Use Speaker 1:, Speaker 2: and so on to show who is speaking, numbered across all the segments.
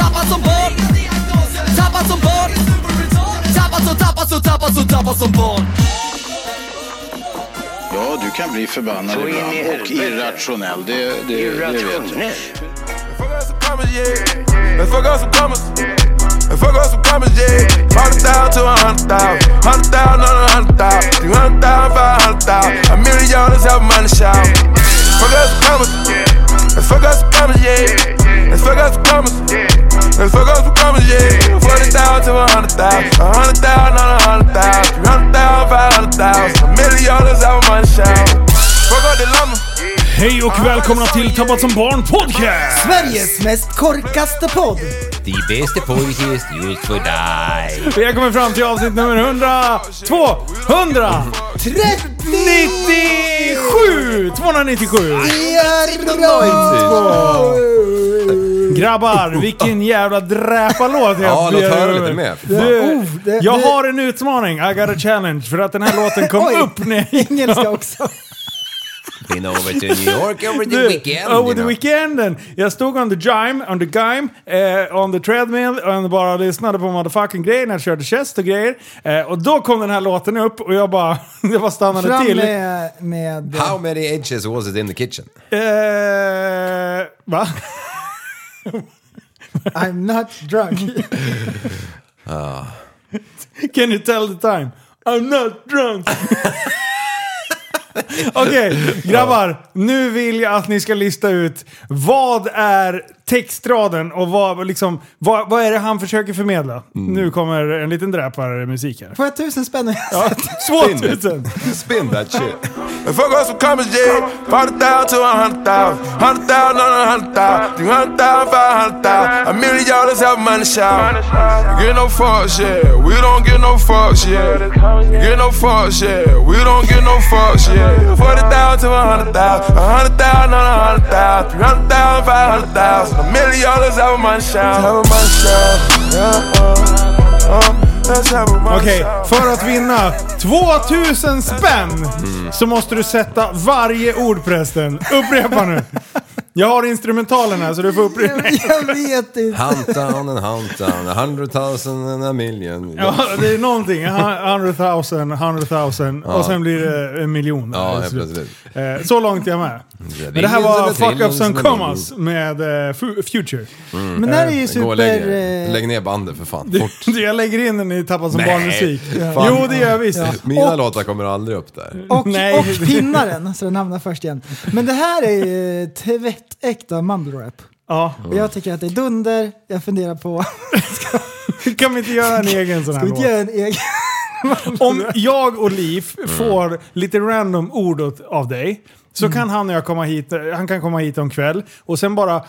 Speaker 1: Tappad som barn Tappad som barn Tappad som, tappad som, tappad som, tappad som barn
Speaker 2: Ja, du kan bli förbannad
Speaker 3: Så in i
Speaker 2: ibland och
Speaker 3: helvete.
Speaker 2: irrationell. Det, det, det vet jag.
Speaker 3: Irrationell.
Speaker 4: Fuck up some commas, yeah. Let's fuck up some commas. Let's fuck up some commas, yeah. Hundred thousand to a hundred thousand. Hundred thousand on a hundred thousand. Three hundred thousand, five hundred thousand. A million is how money shout. Fuck up some commas. Let's fuck up some commas, yeah. Let's fuck up some commas. Let's fuck up some commas, yeah. Forty thousand to a hundred thousand. A hundred thousand on a hundred thousand. Three hundred thousand, five hundred thousand. A million is how money shout. Fuck up the llama.
Speaker 5: Hej och välkomna till Tappad som barn podcast!
Speaker 6: Sveriges mest korkaste podd!
Speaker 7: The best podcast used for die.
Speaker 5: Vi har kommit fram till avsnitt nummer 100, 200, 97, 297!
Speaker 6: 30!
Speaker 5: Grabbar, vilken jävla dräparlåt jag
Speaker 7: Ja, låt
Speaker 5: bjöd
Speaker 7: höra
Speaker 5: över.
Speaker 7: lite mer.
Speaker 5: Du,
Speaker 6: Oh, det-
Speaker 5: jag
Speaker 6: det-
Speaker 5: har en utmaning, I got a challenge, för att den här låten kom
Speaker 6: Oj.
Speaker 5: upp när jag gick
Speaker 6: Engelska också.
Speaker 7: Been over to New York over the
Speaker 5: Du,
Speaker 7: weekend.
Speaker 5: Over the
Speaker 7: you know.
Speaker 5: weekenden. Jag stod on the gym, on the gym, eh, on the treadmill och bara lyssnade på motherfucking grejer när jag körde chest och grejer. Eh, och då kom den här låten upp och jag bara, jag bara stannade
Speaker 6: Fram
Speaker 5: till.
Speaker 6: med... med eh,
Speaker 7: How many edges was it in the kitchen?
Speaker 5: Eh, va?
Speaker 6: I'm not drunk.
Speaker 5: Can you tell the time? I'm not drunk. Okej, grabbar. Nu vill jag att ni ska lista ut vad är textraden och vad, liksom, vad, vad är det han försöker förmedla? Nu kommer en liten dräparmusik här.
Speaker 6: Får jag tusen spänn?
Speaker 5: Ja, 2000!
Speaker 7: Spin that shit.
Speaker 4: And fuck up some commas, yeah. Forty thousand to a hundred thousand. Hundred thousand on a hundred thousand. Three hundred thousand, five hundred thousand. A million dollars have money shout. Get no fucks, yeah. We don't get no fucks, yeah. Get no fucks, yeah. We don't get no fucks, yeah. Forty thousand to a hundred thousand. A hundred thousand on a hundred thousand. Three hundred thousand, five hundred thousand. A million dollars have money shout. Have a money shout. Yeah, uh, uh, let's have a money
Speaker 5: Okej,
Speaker 4: shout.
Speaker 5: för att vinna 2000 spänn så måste du sätta varje ord prästen. Upprepa nu. Jag har instrumentalen här så du får upprepa.
Speaker 6: Jag, jag vet inte.
Speaker 7: Hunt down and hunt down. A hundred thousand and a million.
Speaker 5: Ja, det är någonting. 100 000, 100 000 och sen blir det en miljon.
Speaker 7: Ja,
Speaker 5: Alltså,
Speaker 7: helt plötsligt.
Speaker 5: eh, Så långt är jag med. Men det här var Fuck Ups and Commas med eh, Fu- Future.
Speaker 6: Mm. Men det här är ju
Speaker 7: Mm. Gå
Speaker 6: super...
Speaker 7: och lägg,
Speaker 6: eh,
Speaker 7: lägg ner bandet för fan.
Speaker 5: Du-
Speaker 7: Fort.
Speaker 5: du, Jag lägger in den i Tappad som
Speaker 7: Nej,
Speaker 5: barnmusik.
Speaker 7: fan.
Speaker 5: Jo, det gör jag visst.
Speaker 7: Mina
Speaker 5: Och-
Speaker 7: låtar kommer aldrig upp där.
Speaker 6: Och,
Speaker 5: Nej.
Speaker 6: och pinnaren, så den hamnar först igen. Men det här är ju eh, tvättäkta mumble-rap.
Speaker 5: Ja.
Speaker 6: Och jag tycker att det är dunder. Jag funderar på...
Speaker 5: Kan vi inte göra en egen sån här
Speaker 6: Ska vi
Speaker 5: låt?
Speaker 6: inte göra en egen?
Speaker 5: Om jag och Liv får lite random ord åt- av dig så kan han och jag komma hit, han kan komma hit om kväll och sen bara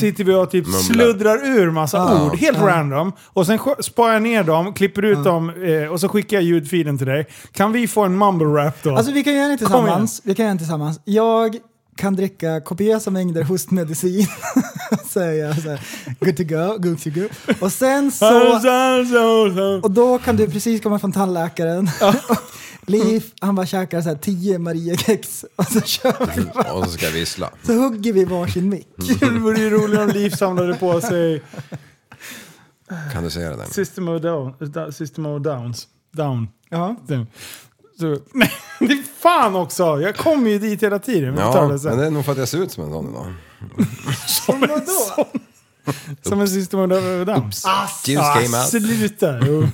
Speaker 5: sitter vi och typ sluddrar ur massa ord, helt random. Och sen sk- sparar jag ner dem, klipper ut dem eh, och så skickar jag ljudfilen till dig. Kan vi få en mumble rap då?
Speaker 6: Alltså vi kan göra den
Speaker 5: Kom igen.
Speaker 6: tillsammans. Vi kan göra den tillsammans. Jag kan dricka kopiösa mängder hostmedicin. så är jag så här, good to go, good to go. Och sen så... Och då kan du precis komma från tandläkaren. Och Liv, han bara käkar så här 10 Mariekex och så kör vi. bara.
Speaker 7: Och så ska jag vissla.
Speaker 6: Så hugger vi varsin mick.
Speaker 5: det vore ju roligare om Liv samlade på sig
Speaker 7: Kan du säga det där?
Speaker 5: System of, down, system of Downs. Down.
Speaker 6: Ja.
Speaker 5: Så- Typ. Så, nej, det är fan också! Jag kommer ju dit hela tiden. Vi tar
Speaker 7: Ja,
Speaker 5: det sen.
Speaker 7: men det är nog för att jag ser ut som en sån idag.
Speaker 6: Som vadå?
Speaker 5: Som en System of a Down.
Speaker 7: Juice
Speaker 5: Ah,
Speaker 7: came out.
Speaker 5: Sluta! Jo.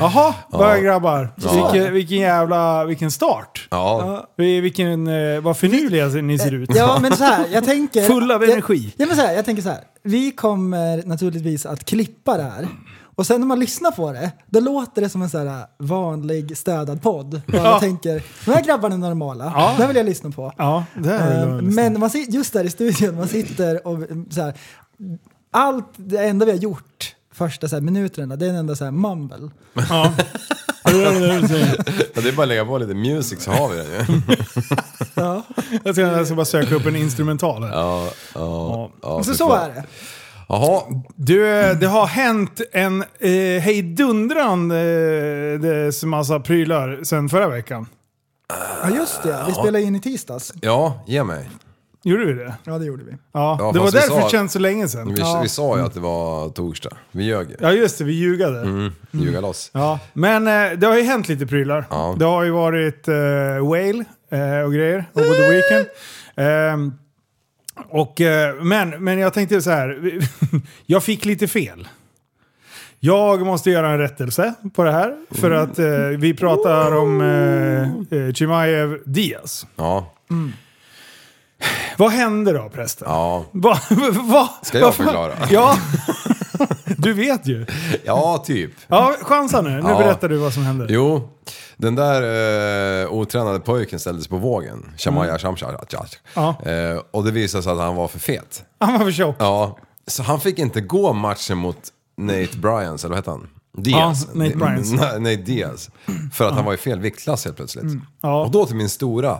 Speaker 5: Jaha, börja grabbar. Vilken, vilken jävla... Vilken start!
Speaker 7: Ja, Eh,
Speaker 5: Vi- Vilken... eh, Vad finurliga ni ser ut.
Speaker 6: Ja men så här, jag tänker...
Speaker 5: Full av
Speaker 6: jag-
Speaker 5: energi.
Speaker 6: Ja men så här, jag tänker så här. Vi kommer naturligtvis att klippa det här. Och sen när man lyssnar på det, då låter det som en så här vanlig städad podd. Och alla tänker, de här grabbarna är normala,
Speaker 5: Ja.
Speaker 6: det här vill jag lyssna på.
Speaker 5: Ja, det här är
Speaker 6: Eh,
Speaker 5: väl-
Speaker 6: men man sit, just där i studion, man sitter och mm, så här, allt det enda vi har gjort första så här, minuterna, det är en enda så här mumble.
Speaker 5: Ja.
Speaker 7: Ja, det är bara att lägga på lite music så har vi den ju.
Speaker 6: Ja,
Speaker 5: jag tror jag ska bara söka upp en instrumental här.
Speaker 7: Ja, ja, ja,
Speaker 6: så
Speaker 7: fy
Speaker 6: så
Speaker 7: fan.
Speaker 6: är det.
Speaker 7: Jaha,
Speaker 5: Du, eh, det har hänt en eh, hejdundrandes massa prylar sen förra veckan.
Speaker 6: Ja just det, vi spelade in i tisdags.
Speaker 7: ja, ge mig.
Speaker 5: Gjorde vi det?
Speaker 6: Ja det gjorde vi.
Speaker 5: Ja,
Speaker 7: Ja,
Speaker 5: det var
Speaker 7: fast vi
Speaker 5: därför
Speaker 7: sa-
Speaker 5: det känns så länge sen.
Speaker 7: Vi, vi sa ju att det var torsdag. Vi ljög ju.
Speaker 5: Ja just det, vi ljugade.
Speaker 7: Mm. Ljuga loss.
Speaker 5: Ja. Men eh, det har ju hänt lite prylar.
Speaker 7: Ja.
Speaker 5: Det har ju varit eh, Whale eh, och grejer over the weekend. Ehm, och, eh, men, men jag tänkte så här, jag fick lite fel. Jag måste göra en rättelse på det här. För
Speaker 7: Mm.
Speaker 5: att eh, vi pratar om eh, eh, Chimaev Diaz.
Speaker 7: Ja,
Speaker 5: Vad hände då prästen?
Speaker 7: ja,
Speaker 5: Va, va,
Speaker 7: Ska jag
Speaker 5: vad fan-
Speaker 7: förklara?
Speaker 5: Ja, du vet ju.
Speaker 7: ja, typ.
Speaker 5: Ja, chansa nu. Nu
Speaker 7: Ja.
Speaker 5: berättar du vad som hände.
Speaker 7: Jo, den där eh, otränade pojken ställdes på vågen. Shamaya Shamshar.
Speaker 5: Mm. Ja.
Speaker 7: Eh, och det visade sig att han var för fet.
Speaker 5: Han var för tjock.
Speaker 7: Ja, så han fick inte gå matchen mot Nate Bryans, eller vad hette han? Diaz.
Speaker 5: Ja, Nate Bryans.
Speaker 7: Nej, Nate Diaz. För att han var i fel viktklass helt plötsligt.
Speaker 5: Mm. Ja.
Speaker 7: Och då till min stora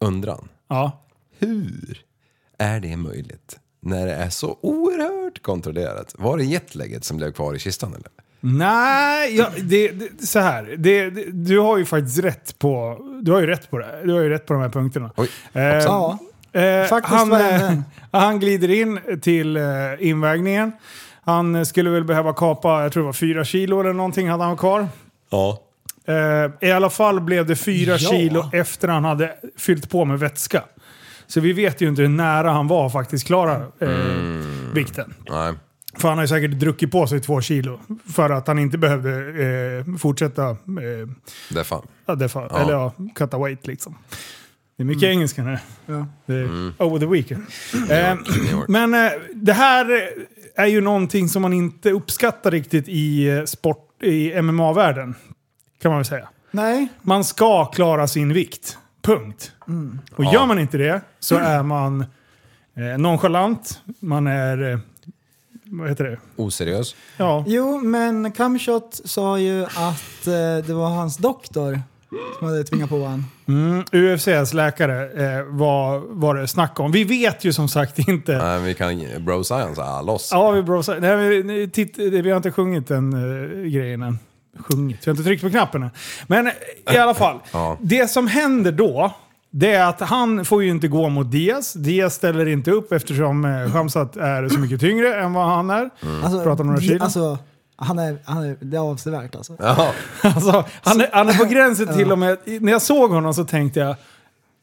Speaker 7: undran.
Speaker 5: Ja.
Speaker 7: Hur är det möjligt när det är så oerhört kontrollerat? Var det jetlaget som blev kvar i kistan eller?
Speaker 5: Nej, ja, det, det, så här. Det, det, du har ju faktiskt rätt på, du har ju rätt på, det. Du har ju rätt på de här punkterna.
Speaker 7: Oj,
Speaker 5: Eh,
Speaker 6: Ja,
Speaker 5: eh,
Speaker 6: Faktiskt
Speaker 5: han,
Speaker 6: var det
Speaker 5: eh,
Speaker 6: den.
Speaker 5: han glider in till eh, invägningen. Han eh, skulle väl behöva kapa, jag tror det var fyra kilo eller någonting hade han kvar.
Speaker 7: Ja.
Speaker 5: Eh, I alla fall blev det fyra
Speaker 6: Ja.
Speaker 5: kilo efter han hade fyllt på med vätska. Så vi vet ju inte hur nära han var faktiskt klara eh,
Speaker 7: Mm.
Speaker 5: vikten.
Speaker 7: Nej.
Speaker 5: För han har ju säkert druckit på sig två kilo för att han inte behövde eh, fortsätta eh,
Speaker 7: Det är fan.
Speaker 5: ja, det för, eller ja, cut away liksom. Det är mycket engelska nu.
Speaker 6: Ja.
Speaker 5: Det är Over the weekend. Eh,
Speaker 7: New York.
Speaker 5: men eh, det här är ju någonting som man inte uppskattar riktigt i, eh, sport, i MMA-världen. Kan man väl säga.
Speaker 6: nej.
Speaker 5: Man ska klara sin vikt. Punkt. Och gör man inte det så är man eh, nonchalant. Man är... Eh, vad heter det?
Speaker 7: Oseriös.
Speaker 5: Ja.
Speaker 6: Jo, men Kamshot sa ju att eh, det var hans doktor som hade tvingat på honom.
Speaker 5: Mm, UFCs läkare eh, var, var det snack om. Vi vet ju som sagt inte.
Speaker 7: Nej, men vi kan... Bro science, ah, loss.
Speaker 5: Ja, vi browsar. Nej, vi, nej, titt, vi har inte sjungit den eh, grejen än. Sjungit? Vi har inte tryckt på knappen än. Men eh, i alla fall.
Speaker 7: Ja.
Speaker 5: Det som händer då, det är att han får ju inte gå mot Diaz. Diaz ställer inte upp eftersom eh, Shamsat är så mycket tyngre än vad han är.
Speaker 7: Mm.
Speaker 6: Alltså,
Speaker 5: Pratar om några
Speaker 6: di-
Speaker 5: kilo.
Speaker 6: Alltså, han är, han är, det är avsevärt alltså.
Speaker 7: Ja.
Speaker 5: Alltså, han, är, han är på gränsen till och med... När jag såg honom så tänkte jag,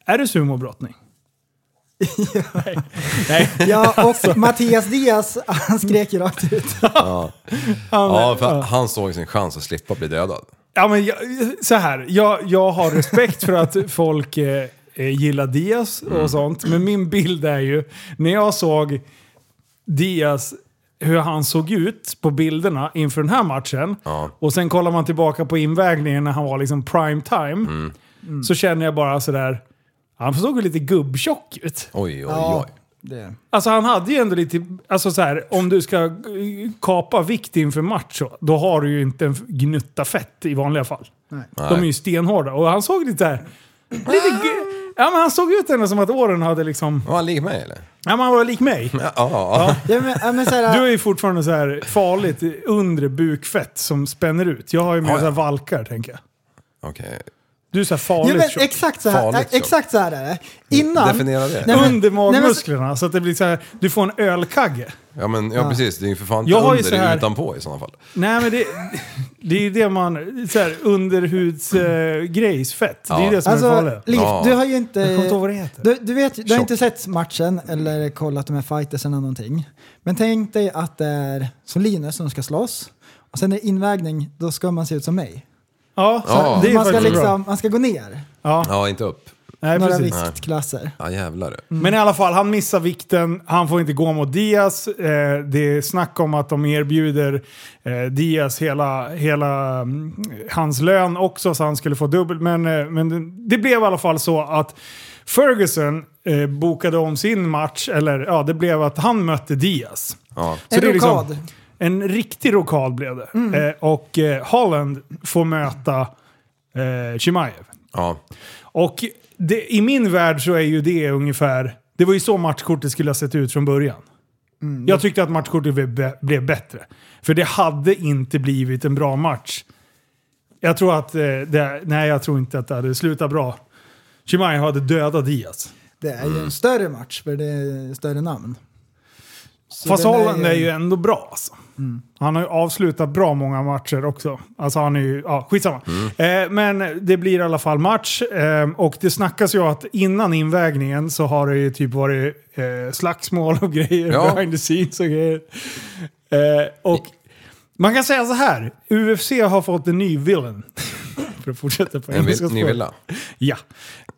Speaker 5: är det sumobrottning? Nej. Nej.
Speaker 6: Ja, och Mattias Diaz, han skrek ju rakt ut.
Speaker 7: ja, för han såg sin chans att slippa bli dödad.
Speaker 5: Ja, men jag, så här. Jag, jag har respekt för att folk eh, eh, gillar Diaz och sånt. Men min bild är ju, när jag såg Diaz, hur han såg ut på bilderna inför den här matchen.
Speaker 7: Ja.
Speaker 5: Och sen kollar man tillbaka på invägningen när han var liksom prime time. Så känner jag bara sådär, han såg ju lite gubbtjock ut.
Speaker 7: Oj, oj,
Speaker 6: Ja,
Speaker 7: oj.
Speaker 6: det.
Speaker 5: Alltså han hade ju ändå lite, alltså så här, om du ska eh, kapa vikt inför match, så- då har du ju inte en gnutta fett i vanliga fall.
Speaker 6: Nej.
Speaker 5: De är ju stenhårda. Och han såg lite här, lite ge- Ja men han såg ut ändå som att åren hade liksom...
Speaker 7: Var han lik mig eller?
Speaker 5: Ja men han var lik mig.
Speaker 7: Ja, ja.
Speaker 6: Ja, men, ja, men så
Speaker 5: Du
Speaker 6: här,
Speaker 5: är ju fortfarande så här farligt undre bukfett som spänner ut. Jag har ju mer
Speaker 7: Har jag?
Speaker 5: så här valkar tänker jag.
Speaker 7: okej.
Speaker 5: Du är så här
Speaker 6: ja,
Speaker 5: farligt
Speaker 6: men
Speaker 5: tjock.
Speaker 6: exakt så här,
Speaker 7: Farligt
Speaker 6: ja, exakt så här är det. Innan...
Speaker 7: Definiera det.
Speaker 6: Nej, men-
Speaker 5: Under
Speaker 6: nej, men-
Speaker 5: magmusklerna så att det blir så här, du får en ölkagge.
Speaker 7: Ja, men ja, precis. Det är ju för fan inte
Speaker 5: Jag har ju
Speaker 7: under,
Speaker 5: så
Speaker 7: det är
Speaker 5: här-
Speaker 7: ju utanpå i sådana fall.
Speaker 5: Nej men det, det är ju det man... Så här, underhudsgrejsfett. det är ju
Speaker 7: Ja.
Speaker 5: det som är
Speaker 6: Alltså,
Speaker 5: farligt.
Speaker 6: Liv,
Speaker 7: Ja.
Speaker 6: du har ju
Speaker 5: Jag kommer inte ihåg vad
Speaker 6: inte...
Speaker 5: det heter.
Speaker 6: Du, du, vet, du har
Speaker 7: Tjock.
Speaker 6: inte sett matchen eller kollat de här fightersen eller någonting. Men tänk dig att det är som Linus som ska slåss. Och sen är det invägning, då ska man se ut som mig.
Speaker 5: Ja,
Speaker 7: Ja.
Speaker 5: det är
Speaker 6: man, ska
Speaker 5: faktiskt bra.
Speaker 6: liksom, man ska gå ner
Speaker 5: Ja,
Speaker 7: Ja, inte upp.
Speaker 5: nej,
Speaker 6: några Mm.
Speaker 5: precis.
Speaker 6: viktklasser.
Speaker 7: Ja, jävlar.
Speaker 5: Men i alla fall, han missar vikten. Han får inte gå mot Diaz. Eh, det är snack om att de erbjuder eh, Diaz hela, hela mm, hans lön också så han skulle få dubbelt. Men, eh, men det, det blev i alla fall så att Ferguson eh, bokade om sin match, eller ja, det blev att han mötte Diaz.
Speaker 7: Ja.
Speaker 5: Så
Speaker 6: En
Speaker 5: det är liksom
Speaker 6: rokad. Mm.
Speaker 5: en riktig rokad blev det. Eh, och eh, Holland får möta eh, Chimaev.
Speaker 7: ja.
Speaker 5: Och det, i min värld så är ju det ungefär... Det var ju så matchkortet skulle ha sett ut från början.
Speaker 6: Mm.
Speaker 5: Jag tyckte att matchkortet blev, blev bättre. För det hade inte blivit en bra match. Jag tror att... Eh, det, nej, jag tror inte att det hade slutat bra. Chimaev hade dödat Diaz.
Speaker 6: Det är ju
Speaker 7: Mm.
Speaker 6: en större match för det är större namn. Så
Speaker 5: Fast
Speaker 6: den
Speaker 5: Holland är ju ändå bra alltså. Han har ju avslutat bra många matcher också. Alltså han är ju, ja skitsamma.
Speaker 7: Mm.
Speaker 5: Eh, men det blir i alla fall match. Eh, och det snackas ju att innan invägningen så har det ju typ varit eh, slagsmål och grejer.
Speaker 7: Ja.
Speaker 5: Behind the scenes och grejer. Eh, och man kan säga så här. UFC har fått en ny villain. För att fortsätta på
Speaker 7: En
Speaker 5: engelska
Speaker 7: vill,
Speaker 5: språk.
Speaker 7: ny villa.
Speaker 5: Ja.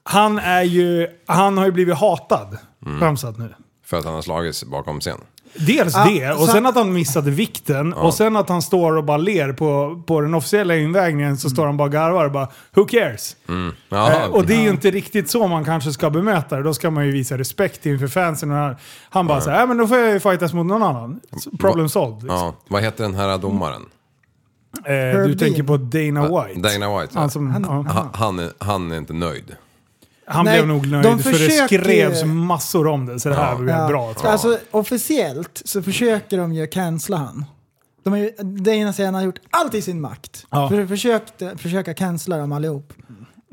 Speaker 5: Han är ju, han har ju blivit hatad.
Speaker 7: Mm.
Speaker 5: Framsatt nu.
Speaker 7: För att han har slagits bakom scen.
Speaker 5: Eh, Dels
Speaker 6: Ah,
Speaker 5: det, och
Speaker 6: så-
Speaker 5: sen att han missade vikten, och sen att han står och bara ler på, på den officiella invägningen så står han bara och garvar och bara “Who cares?”
Speaker 7: Ja,
Speaker 5: eh, Och det är ju inte riktigt så man kanske ska bemöta det. Då ska man ju visa respekt inför fansen. Och han, han bara så här, "Äh, men då får jag ju fightas mot någon annan. Problem
Speaker 7: Va-
Speaker 5: solved. liksom.
Speaker 7: ja. Vad heter den här domaren?
Speaker 5: Eh, du
Speaker 6: Herb
Speaker 5: tänker
Speaker 6: Dean.
Speaker 5: på Dana White.
Speaker 7: Dana White.
Speaker 5: Han,
Speaker 7: Ja.
Speaker 5: som, ja.
Speaker 7: Ha- Han, är, han är inte nöjd.
Speaker 5: han
Speaker 6: Nej,
Speaker 5: blev nog nöjd
Speaker 6: de
Speaker 5: för det
Speaker 6: försöker-
Speaker 5: skrevs massor om det. Så det här blev
Speaker 6: Ja.
Speaker 5: bra. tror jag.
Speaker 6: Alltså officiellt så försöker de ju cancella han. De har ju, Dana säger att han har gjort allt i sin makt
Speaker 5: Ja.
Speaker 6: för att försöka, försöka cancella dem allihop.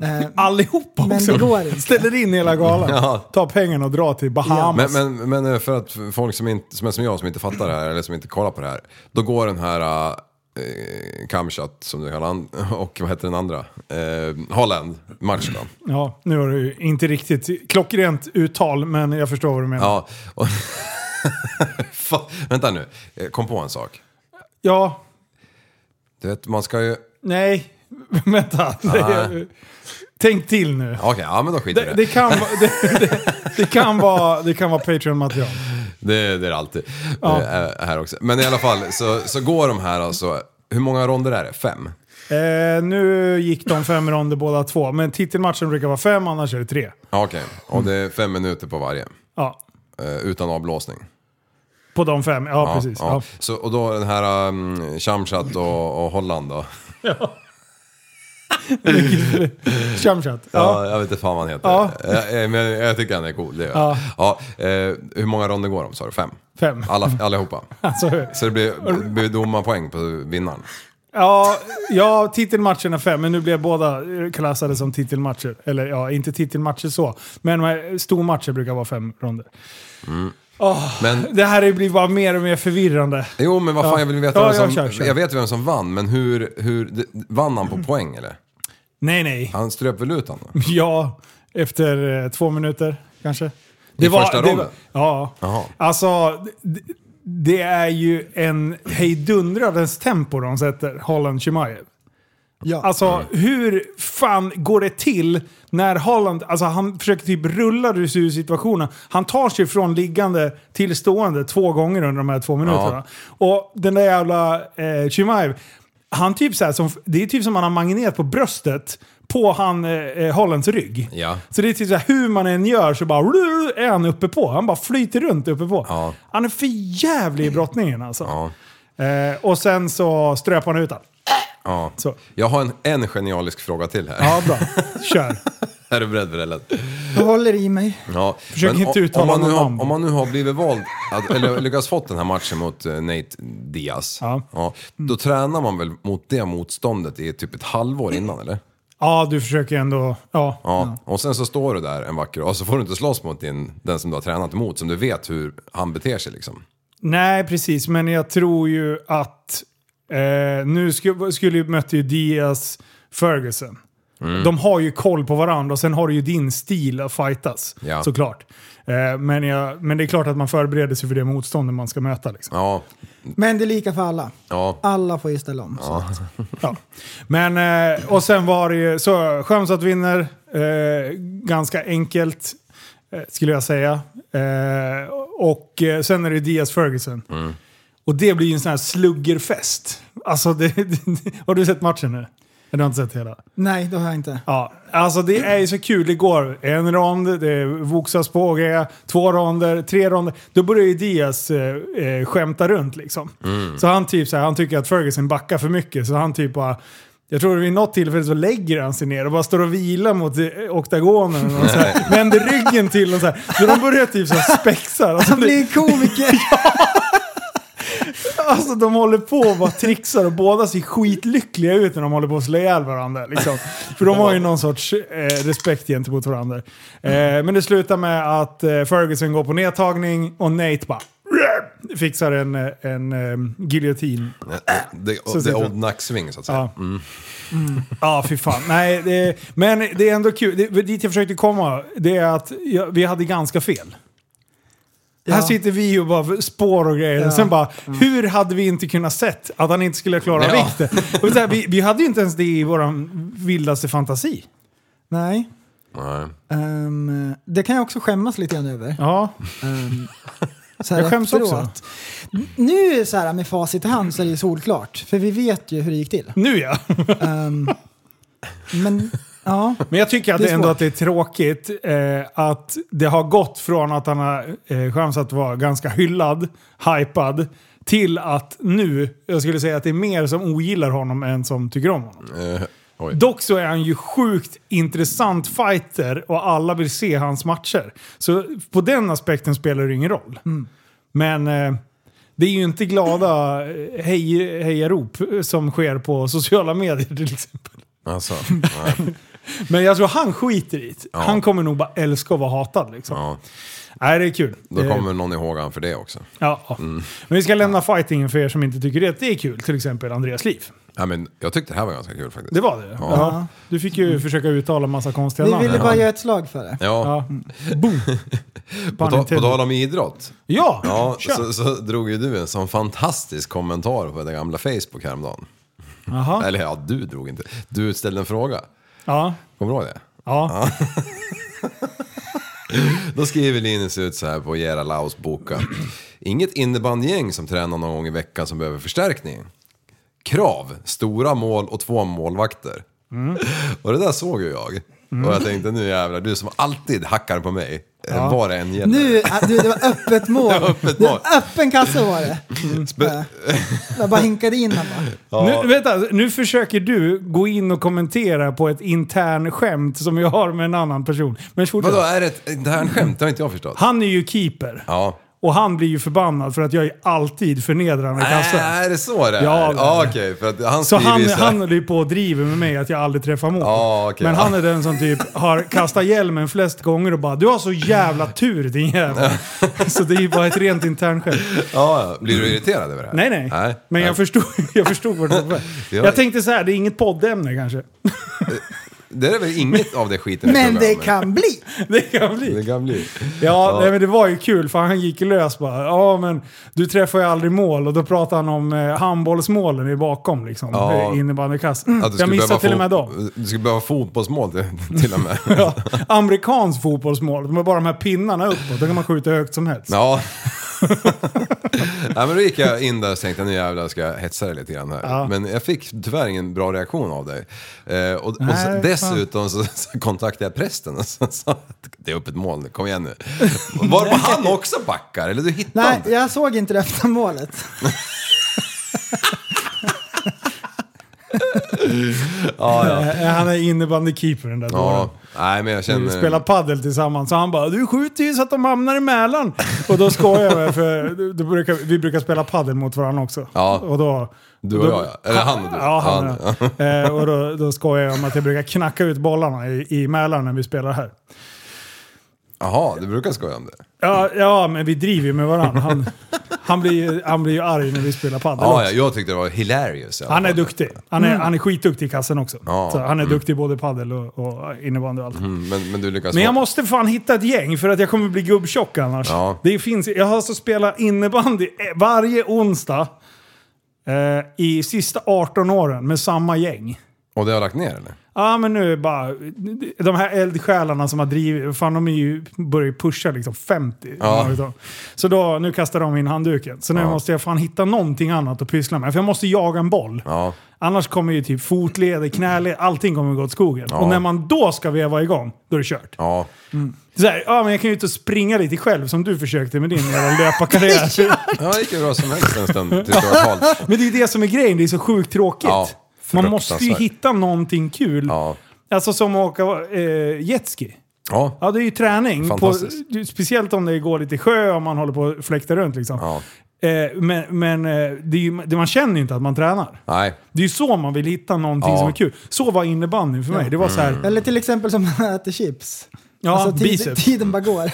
Speaker 6: Eh,
Speaker 5: Allihopa
Speaker 6: Men
Speaker 5: också.
Speaker 6: det går inte.
Speaker 5: Ställer in hela galan.
Speaker 7: Ja.
Speaker 5: Ta pengarna och dra till Bahamas.
Speaker 7: Men, men, men eh, för att folk som, inte, som är som jag som inte fattar det här eller som inte kollar på det här. Då går den här eh, Kamchat som du kallar han och vad heter den andra? Eh, Holland match då.
Speaker 5: Ja, nu har du ju inte riktigt klockrent uttal, men jag förstår vad du menar. Ja,
Speaker 7: Ja. Och Fan, Vänta nu, jag kom på en sak. Du vet man ska ju...
Speaker 5: nej, vänta.
Speaker 7: Nej.
Speaker 5: Tänk till nu.
Speaker 7: Okej, ja men då skiter
Speaker 5: Det,
Speaker 7: vi i
Speaker 5: det, kan, vara- det, det, det kan vara, det kan vara Patreon-material.
Speaker 7: Det, det är det alltid.
Speaker 5: Ja.
Speaker 7: Eh, Här också. Men i alla fall så, så går de här alltså, hur många ronder är det? Fem?
Speaker 5: Eh, nu gick de fem ronder båda två, men titelmatchen brukar vara fem, annars är det tre.
Speaker 7: Ja, Okej, och det är fem minuter på varje.
Speaker 5: Ja,
Speaker 7: eh, Utan avblåsning.
Speaker 5: på de fem. Ja, precis. Ja.
Speaker 7: Så, och då den här um, Shamshat och, och Holland då.
Speaker 5: Chamchat. Ja.
Speaker 7: Ja. jag vet inte fan vad han heter.
Speaker 5: Ja.
Speaker 7: Eh, eh, men jag tycker han är cool, det gör jag. Ja, eh, hur många ronder går de sa du? Fem?
Speaker 5: Fem.
Speaker 7: Alla, allihopa?
Speaker 5: Alltså,
Speaker 7: Så det blir, blir domarpoäng på vinnaren?
Speaker 5: Ja, ja, titelmatchen är fem, men nu blev båda eh, klassade som titelmatcher. Eller ja, inte titelmatcher så, men eh, stormatcher brukar vara fem ronder.
Speaker 7: Men,
Speaker 5: Det här blir bara mer och mer förvirrande.
Speaker 7: jo men vad fan
Speaker 5: Ja.
Speaker 7: jag vill veta
Speaker 5: Ja,
Speaker 7: vem som,
Speaker 5: ja, kör, kör.
Speaker 7: Jag vet vem som vann, men hur, hur d- vann han på poäng eller?
Speaker 5: Nej, nej.
Speaker 7: Han ströp väl ut honom?
Speaker 5: Ja, efter eh, två minuter kanske.
Speaker 7: I första
Speaker 5: det
Speaker 7: ronden?
Speaker 5: Ja.
Speaker 7: Jaha.
Speaker 5: Alltså, det, det är ju en hejdundradens tempo de sätter, Holland Chimaev.
Speaker 6: ja.
Speaker 5: Alltså hur fan går det till när Holland, alltså han försöker typ rulla sig ur situationen. Han tar sig från liggande till stående två gånger under de här två minuterna. Och den där jävla eh, Chimaev, han typ så här som, det är typ som han har magnet på bröstet på han eh, eh, Hollands rygg.
Speaker 7: Ja.
Speaker 5: Så det är typ så här, hur man än gör så bara rrr, är han uppe på. Han bara flyter runt uppe på.
Speaker 7: Ja.
Speaker 5: Han är för jävlig i brottningen alltså.
Speaker 7: Ja.
Speaker 5: Eh, och sen så ströp han ut han.
Speaker 7: ja.
Speaker 5: Så.
Speaker 7: Jag har en, en genialisk fråga till här.
Speaker 5: Ja, bra. Kör.
Speaker 7: Är du beredd Brellen?
Speaker 6: Jag håller i mig.
Speaker 7: Ja,
Speaker 5: Försök
Speaker 7: men
Speaker 5: inte
Speaker 7: o-
Speaker 5: uttala
Speaker 7: om man,
Speaker 5: någon
Speaker 7: nu har,
Speaker 5: namn.
Speaker 7: om man nu har blivit vald, att, eller lyckats fått den här matchen mot eh, Nate Diaz,
Speaker 5: Ja. Mm.
Speaker 7: då tränar man väl mot det motståndet i typ ett halvår innan eller?
Speaker 5: Ja, du försöker ju ändå... Ja.
Speaker 7: Ja. Och sen så står du där en vacker dag och så får du inte slåss mot din, den som du har tränat emot, som du vet hur han beter sig liksom.
Speaker 5: Nej, precis. Men jag tror ju att... Eh, nu skulle, skulle ju, mötte ju Diaz Ferguson. De har ju koll på varandra och sen har du ju din stil att fightas.
Speaker 7: Ja.
Speaker 5: Såklart. Eh, men, jag, men det är klart att man förbereder sig för det motståndet man ska möta. Liksom.
Speaker 7: Ja,
Speaker 6: Men det är lika för alla.
Speaker 7: ja.
Speaker 6: Alla får ju ställa om. Så.
Speaker 5: Ja. Men, eh, och sen var det ju så, Skömsatt vinner, eh, ganska enkelt eh, skulle jag säga. Eh, och eh, sen är det Diaz Ferguson. Och det blir ju en sån här sluggerfest. Alltså, det, har du sett matchen nu? Men du har inte sett hela?
Speaker 6: Nej, det har jag inte.
Speaker 5: Ja, alltså det är ju så kul. Det går en rond, det voxas på, G, två ronder, tre ronder. Då börjar ju Diaz eh, eh, skämta runt liksom.
Speaker 6: Mm.
Speaker 5: Så han typ så här, han tycker att Ferguson backar för mycket, så han typ bara jag tror vid något tillfälle så lägger han sig ner och bara står och vilar mot eh, oktagonen och så här, vänder ryggen till och så här. Så de börjar typ så här spexa. Alltså,
Speaker 6: Han
Speaker 5: det-
Speaker 6: blir komiker!
Speaker 5: Alltså de håller på och bara trixar och båda ser skitlyckliga ut när de håller på att slå ihjäl varandra. Liksom. För de har ju någon sorts eh, respekt gentemot varandra. Eh, men det slutar med att eh, Ferguson går på nedtagning och Nate bara fixar en, eh, en eh, giljotin.
Speaker 7: The,
Speaker 5: Så
Speaker 7: the
Speaker 5: sitter
Speaker 7: old
Speaker 5: han.
Speaker 7: nacksving så att säga.
Speaker 5: Ja, ja fy fan. Nej, det, men det är ändå kul. Det, dit jag försökte komma, det är att jag, vi hade ganska fel.
Speaker 6: Ja.
Speaker 5: Här sitter vi och bara spår och grejer.
Speaker 6: Ja. Mm.
Speaker 5: Och sen bara, hur hade vi inte kunnat sett att han inte skulle klara
Speaker 7: Ja.
Speaker 5: vikten? Och så här, vi, vi hade ju inte ens det i vår vildaste fantasi.
Speaker 6: Nej.
Speaker 7: Nej.
Speaker 6: Ehm, det kan jag också skämmas lite grann över.
Speaker 5: Ja,
Speaker 6: Ehm, så här
Speaker 5: jag skäms också.
Speaker 6: efteråt. Nu så här med facit i hand så är det ju solklart. För vi vet ju hur det gick till.
Speaker 5: Nu ja.
Speaker 6: Ehm, men ja,
Speaker 5: Men jag tycker att
Speaker 6: Det är
Speaker 5: det ändå
Speaker 6: svårt.
Speaker 5: att det är tråkigt eh, att det har gått från att han har eh, chans att vara ganska hyllad, hypad, till att nu, jag skulle säga att det är mer som ogillar honom än som tycker om honom.
Speaker 7: Eh, oj.
Speaker 5: Dock så är han ju sjukt intressant fighter och alla vill se hans matcher. Så på den aspekten spelar det ingen roll.
Speaker 6: Mm.
Speaker 5: Men eh, det är ju inte glada eh, hej, hejarop som sker på sociala medier till exempel.
Speaker 7: Alltså, nej.
Speaker 5: Men jag tror han skiter i det. Han kommer nog bara älska att vara hatad liksom.
Speaker 7: Ja,
Speaker 5: Nej, det är kul.
Speaker 7: då
Speaker 5: Det-
Speaker 7: kommer Mm. någon ihåg han för det också.
Speaker 5: ja, ja. Men vi ska lämna fightingen för er som inte tycker det, det är kul. Till exempel Andreas liv.
Speaker 7: Ja, men jag tyckte det här var ganska kul faktiskt.
Speaker 5: Det var det. Ja. Du fick
Speaker 7: Mm.
Speaker 5: ju försöka uttala massa konstiga
Speaker 6: vi
Speaker 5: namn.
Speaker 6: ville bara göra ett slag för det.
Speaker 7: Ja,
Speaker 5: Ja. Boom.
Speaker 7: på, ta, på
Speaker 5: Nintendo.
Speaker 7: tal om idrott.
Speaker 5: Ja,
Speaker 7: Ja,
Speaker 5: kör.
Speaker 7: så, så drog ju du en sån fantastisk kommentar på det gamla Facebook häromdagen.
Speaker 5: Jaha.
Speaker 7: Eller ja, du drog inte. Du ställde en fråga.
Speaker 5: Ja.
Speaker 7: Kommer du ihåg det?
Speaker 5: Ja.
Speaker 7: Då skriver Linus ut så här på Gera Laus boka. Inget innebandygäng som tränar någon gång i veckan som behöver förstärkning. Krav, stora mål och två målvakter. Och det där såg ju jag. Och jag tänkte nu jävlar, du som alltid hackar på mig. Ja. Vad det än gäller.
Speaker 6: Nu, äh, du, det var öppet mål.
Speaker 7: Det var öppet
Speaker 6: Det var
Speaker 7: mål.
Speaker 6: öppen kasse var det. Äh, Jag bara hinkade in den bara.
Speaker 5: Nu, vänta, nu försöker du gå in och kommentera på ett intern skämt som jag har med en annan person. Men fortsätt.
Speaker 7: Vadå, är det ett internt skämt? Det har inte jag förstått.
Speaker 5: Han är ju keeper.
Speaker 7: Ja.
Speaker 5: Och han blir ju förbannad för att jag är alltid förnedrar honom i kassen.
Speaker 7: Äh, är det så det är?
Speaker 5: Ja,
Speaker 7: Ja,
Speaker 5: det är
Speaker 7: ah,
Speaker 5: det.
Speaker 7: okej. för att han
Speaker 5: Så
Speaker 7: skriver
Speaker 5: han,
Speaker 7: ju så här-
Speaker 5: han håller ju på och driver med mig att jag aldrig träffar mål.
Speaker 7: Ja, okej.
Speaker 5: Men han är den som typ har kastat hjälmen flest gånger och bara “Du har så jävla tur din jävel”. så det är ju bara ett rent internt skämt.
Speaker 7: Ja, ja. blir du irriterad över det här?
Speaker 5: Nej, nej. Men jag förstod, jag förstod vad det var.
Speaker 7: Ja.
Speaker 5: Jag tänkte så här, det är inget poddämne kanske.
Speaker 7: Det är väl inget av det skiten jag
Speaker 6: Men
Speaker 7: frågar
Speaker 6: det
Speaker 7: om.
Speaker 6: kan bli.
Speaker 5: Det kan bli.
Speaker 7: Det kan bli.
Speaker 5: Ja, Nej, men det var ju kul för han gick lös bara. Ja, men du träffar ju aldrig mål och då pratar han om eh, handbollsmålen i bakom liksom.
Speaker 7: Ja.
Speaker 5: Ja. Innebandykass. Mm,
Speaker 7: Att du
Speaker 5: jag
Speaker 7: skulle
Speaker 5: missade
Speaker 7: behöva
Speaker 5: till och med
Speaker 7: fo-
Speaker 5: dem.
Speaker 7: Du skulle behöva fotbollsmål till, till och med.
Speaker 5: Ja, amerikansk fotbollsmål. De har bara de här pinnarna uppåt. Då kan man skjuta högt som helst.
Speaker 7: Ja. Nej, men då gick jag in där och tänkte nu jävlar ska jag hetsa dig lite grann här.
Speaker 5: Ja.
Speaker 7: Men jag fick tyvärr ingen bra reaktion av dig. Eh, och, och
Speaker 5: Nej,
Speaker 7: så,
Speaker 5: fan.
Speaker 7: dessutom så, så kontaktade jag prästen och så sa att det är öppet mål nu, kom igen nu. Varpå han också backar, eller du hittar
Speaker 6: Nej,
Speaker 7: inte.
Speaker 6: jag såg inte det öppna målet.
Speaker 5: Eh, Han är innebandykeeper den där dåren.
Speaker 7: Ja, eh, nej men jag
Speaker 5: Vi
Speaker 7: känner...
Speaker 5: spelar paddel tillsammans. Så han bara “Du skjuter ju så att de hamnar i Mälaren”. Och då skojar jag med för då brukar, vi brukar spela paddel mot varandra också.
Speaker 7: Ja.
Speaker 5: Och då,
Speaker 7: Du och
Speaker 5: då,
Speaker 7: jag, ja. Eller han och du.
Speaker 5: Ja, han,
Speaker 7: Han,
Speaker 5: och jag. Eh, och då, då skojar jag om att jag brukar knacka ut bollarna i, i Mälaren när vi spelar här.
Speaker 7: Jaha, du brukar skoja om det.
Speaker 5: Ja, ja men vi driver ju med varandra. Han, han, blir, ju- han blir ju arg när vi spelar paddel
Speaker 7: Ja,
Speaker 5: också.
Speaker 7: ja, jag tyckte det var hilarious. i alla
Speaker 5: Han är
Speaker 7: fall.
Speaker 5: duktig. Han är, han är skitduktig i kassen också.
Speaker 7: Ja.
Speaker 5: Så han är duktig både i padel och, och innebandy och allt.
Speaker 7: Mm, Men, men du lyckas
Speaker 5: Men jag
Speaker 7: få-
Speaker 5: måste fan hitta ett gäng för att jag kommer bli gubbtjock annars.
Speaker 7: Ja.
Speaker 5: Det finns, jag har alltså spelat innebandy eh, varje onsdag eh, i sista 18 åren med samma gäng.
Speaker 7: Och det har jag lagt ner eller?
Speaker 5: Ja men nu är det bara, de här eldsjälarna som har drivit, fan de är ju, börjar ju pusha liksom 50.
Speaker 7: Ja.
Speaker 5: Så då, nu kastar de in handduken. Så nu måste jag fan hitta någonting annat att pyssla med. För jag måste jaga en boll.
Speaker 7: Ja.
Speaker 5: Annars kommer ju typ fotleder, knäled, allting kommer gå åt skogen. Och när man då ska veva igång, då är det kört.
Speaker 7: Ja.
Speaker 5: Så här, ja men jag kan ju inte springa lite själv som du försökte med din jävla löparkarriär.
Speaker 7: ja, det gick ju bra som helst en stund tills det var halt.
Speaker 5: men det är ju det som är grejen, det är så sjukt tråkigt.
Speaker 7: Ja,
Speaker 5: man måste ju
Speaker 7: fruktansvärt.
Speaker 5: hitta någonting kul.
Speaker 7: Ja.
Speaker 5: Alltså som att åka eh, jetski.
Speaker 7: Ja.
Speaker 5: Ja, det är ju träning. På,
Speaker 7: Fantastiskt.
Speaker 5: speciellt om det går lite sjö och man håller på och fläktar runt. Liksom.
Speaker 7: ja.
Speaker 5: Eh, men men eh, det är ju, det, man känner ju inte att man tränar.
Speaker 7: Nej.
Speaker 5: Det är ju så man vill hitta någonting
Speaker 7: Ja. Mm.
Speaker 5: som är kul. Så var innebandyn för mig. Det var så här,
Speaker 6: Eller till exempel som när man äter chips.
Speaker 5: ja,
Speaker 6: alltså tid,
Speaker 5: biceps.
Speaker 6: tiden bara går.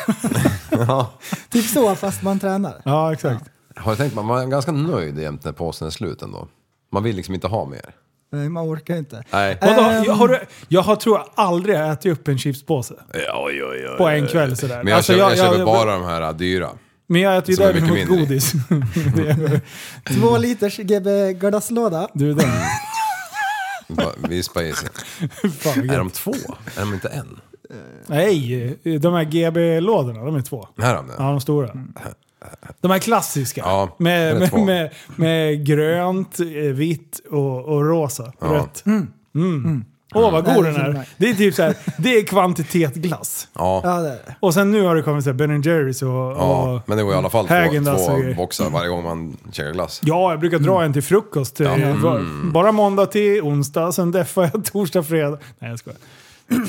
Speaker 7: Ja.
Speaker 6: typ så fast man tränar.
Speaker 5: Ja, exakt.
Speaker 7: Har du tänkt man man är ganska nöjd jämt när påsen är slut ändå. Man vill liksom inte ha mer. Eh.
Speaker 6: Nej, man orkar inte.
Speaker 7: Nej.
Speaker 5: Vadå,
Speaker 6: Ehm.
Speaker 5: jag, har, du- jag har, tror jag aldrig har ätit upp en chipspåse
Speaker 7: Oj, oj, oj.
Speaker 5: på en kväll sådär.
Speaker 7: Men jag,
Speaker 5: Alltså,
Speaker 7: köper, jag, köper bara de här äh, dyra.
Speaker 5: Men jag äter ju
Speaker 7: som är
Speaker 5: däremot
Speaker 7: mycket mindre.
Speaker 5: godis. Det är-
Speaker 6: Två liters GB gardaslåda.
Speaker 5: du är den.
Speaker 7: Bara Vispa i sig.
Speaker 5: Fan, vad
Speaker 7: Är
Speaker 5: gött.
Speaker 7: de två? Är de inte en?
Speaker 5: Nej, de här GB-lådorna, de är två.
Speaker 7: Här har de
Speaker 5: Ja,
Speaker 7: det.
Speaker 5: de stora.
Speaker 6: Mm.
Speaker 5: De här klassiska.
Speaker 7: Ja,
Speaker 5: med,
Speaker 7: det är
Speaker 5: med,
Speaker 7: två.
Speaker 5: med, med grönt, eh, vitt och, och rosa.
Speaker 7: Ja.
Speaker 5: Rött. Åh, vad god
Speaker 6: Mm. Nej,
Speaker 5: den
Speaker 6: det är
Speaker 5: är.
Speaker 6: fint.
Speaker 5: Det är typ så här, det är kvantitet glass.
Speaker 7: Ja.
Speaker 6: Ja, det är det.
Speaker 5: Och sen nu har det kommit så här Ben Jerrys och...
Speaker 7: ja.
Speaker 5: och
Speaker 7: Men det går i alla fall två,
Speaker 5: Häagen-Dazs och
Speaker 7: två
Speaker 5: grejer.
Speaker 7: boxar varje gång man käkar glass.
Speaker 5: Ja, jag brukar
Speaker 6: Mm.
Speaker 5: dra en till frukost. eh, var-
Speaker 7: Mm.
Speaker 5: Bara måndag till onsdag, sen deffar jag torsdag, fredag. Nej, jag skojar.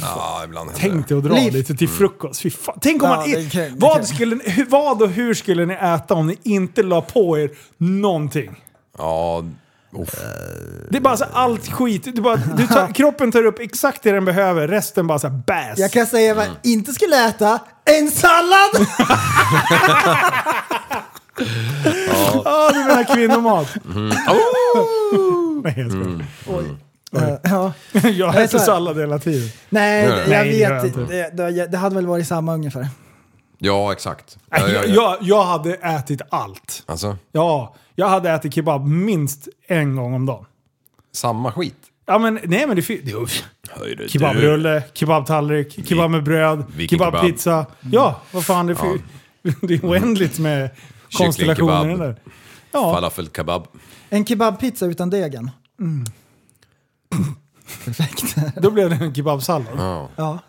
Speaker 7: Ja, ibland händer
Speaker 5: Tänk
Speaker 7: det.
Speaker 5: dig att dra
Speaker 6: Liv.
Speaker 5: lite
Speaker 7: Mm.
Speaker 5: till frukost. Fy fan. Tänk om
Speaker 6: Ja,
Speaker 5: man...
Speaker 6: det kan- det kan.
Speaker 5: vad, skulle, ni- hur- vad och hur skulle ni äta om ni inte la på er någonting?
Speaker 7: Ja. Uff.
Speaker 5: Det är bara så här, allt skit. Det är bara, du tar, kroppen tar upp exakt det den behöver, resten bara så här bäs.
Speaker 6: Jag kan säga vad jag
Speaker 5: Mm.
Speaker 6: inte skulle äta. En sallad!
Speaker 5: Ah, du menar kvinnomat?
Speaker 6: Mm.
Speaker 5: Äh. Nej, jag skojar.
Speaker 7: Mm.
Speaker 6: Eh, ja.
Speaker 5: Jag
Speaker 6: Nej,
Speaker 5: äter
Speaker 6: så här.
Speaker 5: sallad hela tiden.
Speaker 6: Nej,
Speaker 7: Nej,
Speaker 6: jag
Speaker 5: det gör jag
Speaker 6: vet
Speaker 5: inte.
Speaker 6: inte. Det, det, det hade väl varit samma ungefär.
Speaker 7: Ja, exakt. Ja,
Speaker 5: Nej,
Speaker 7: ja,
Speaker 5: Jag,
Speaker 7: ja.
Speaker 5: jag, jag hade ätit allt.
Speaker 7: Alltså,
Speaker 5: Ja, jag hade ätit kebab minst en gång om dagen.
Speaker 7: samma skit.
Speaker 5: Ja, men nej men det finns... Kebabrulle, kebabtallrik, kebab med bröd,
Speaker 7: vilken
Speaker 5: kebabpizza. Mm. Ja, vad fan det finns... Det är oändligt med konstellationer i den där. Ja,
Speaker 7: Falafel kebab.
Speaker 6: En kebabpizza utan degen.
Speaker 5: då blev det en kebabsallad.
Speaker 6: Ja.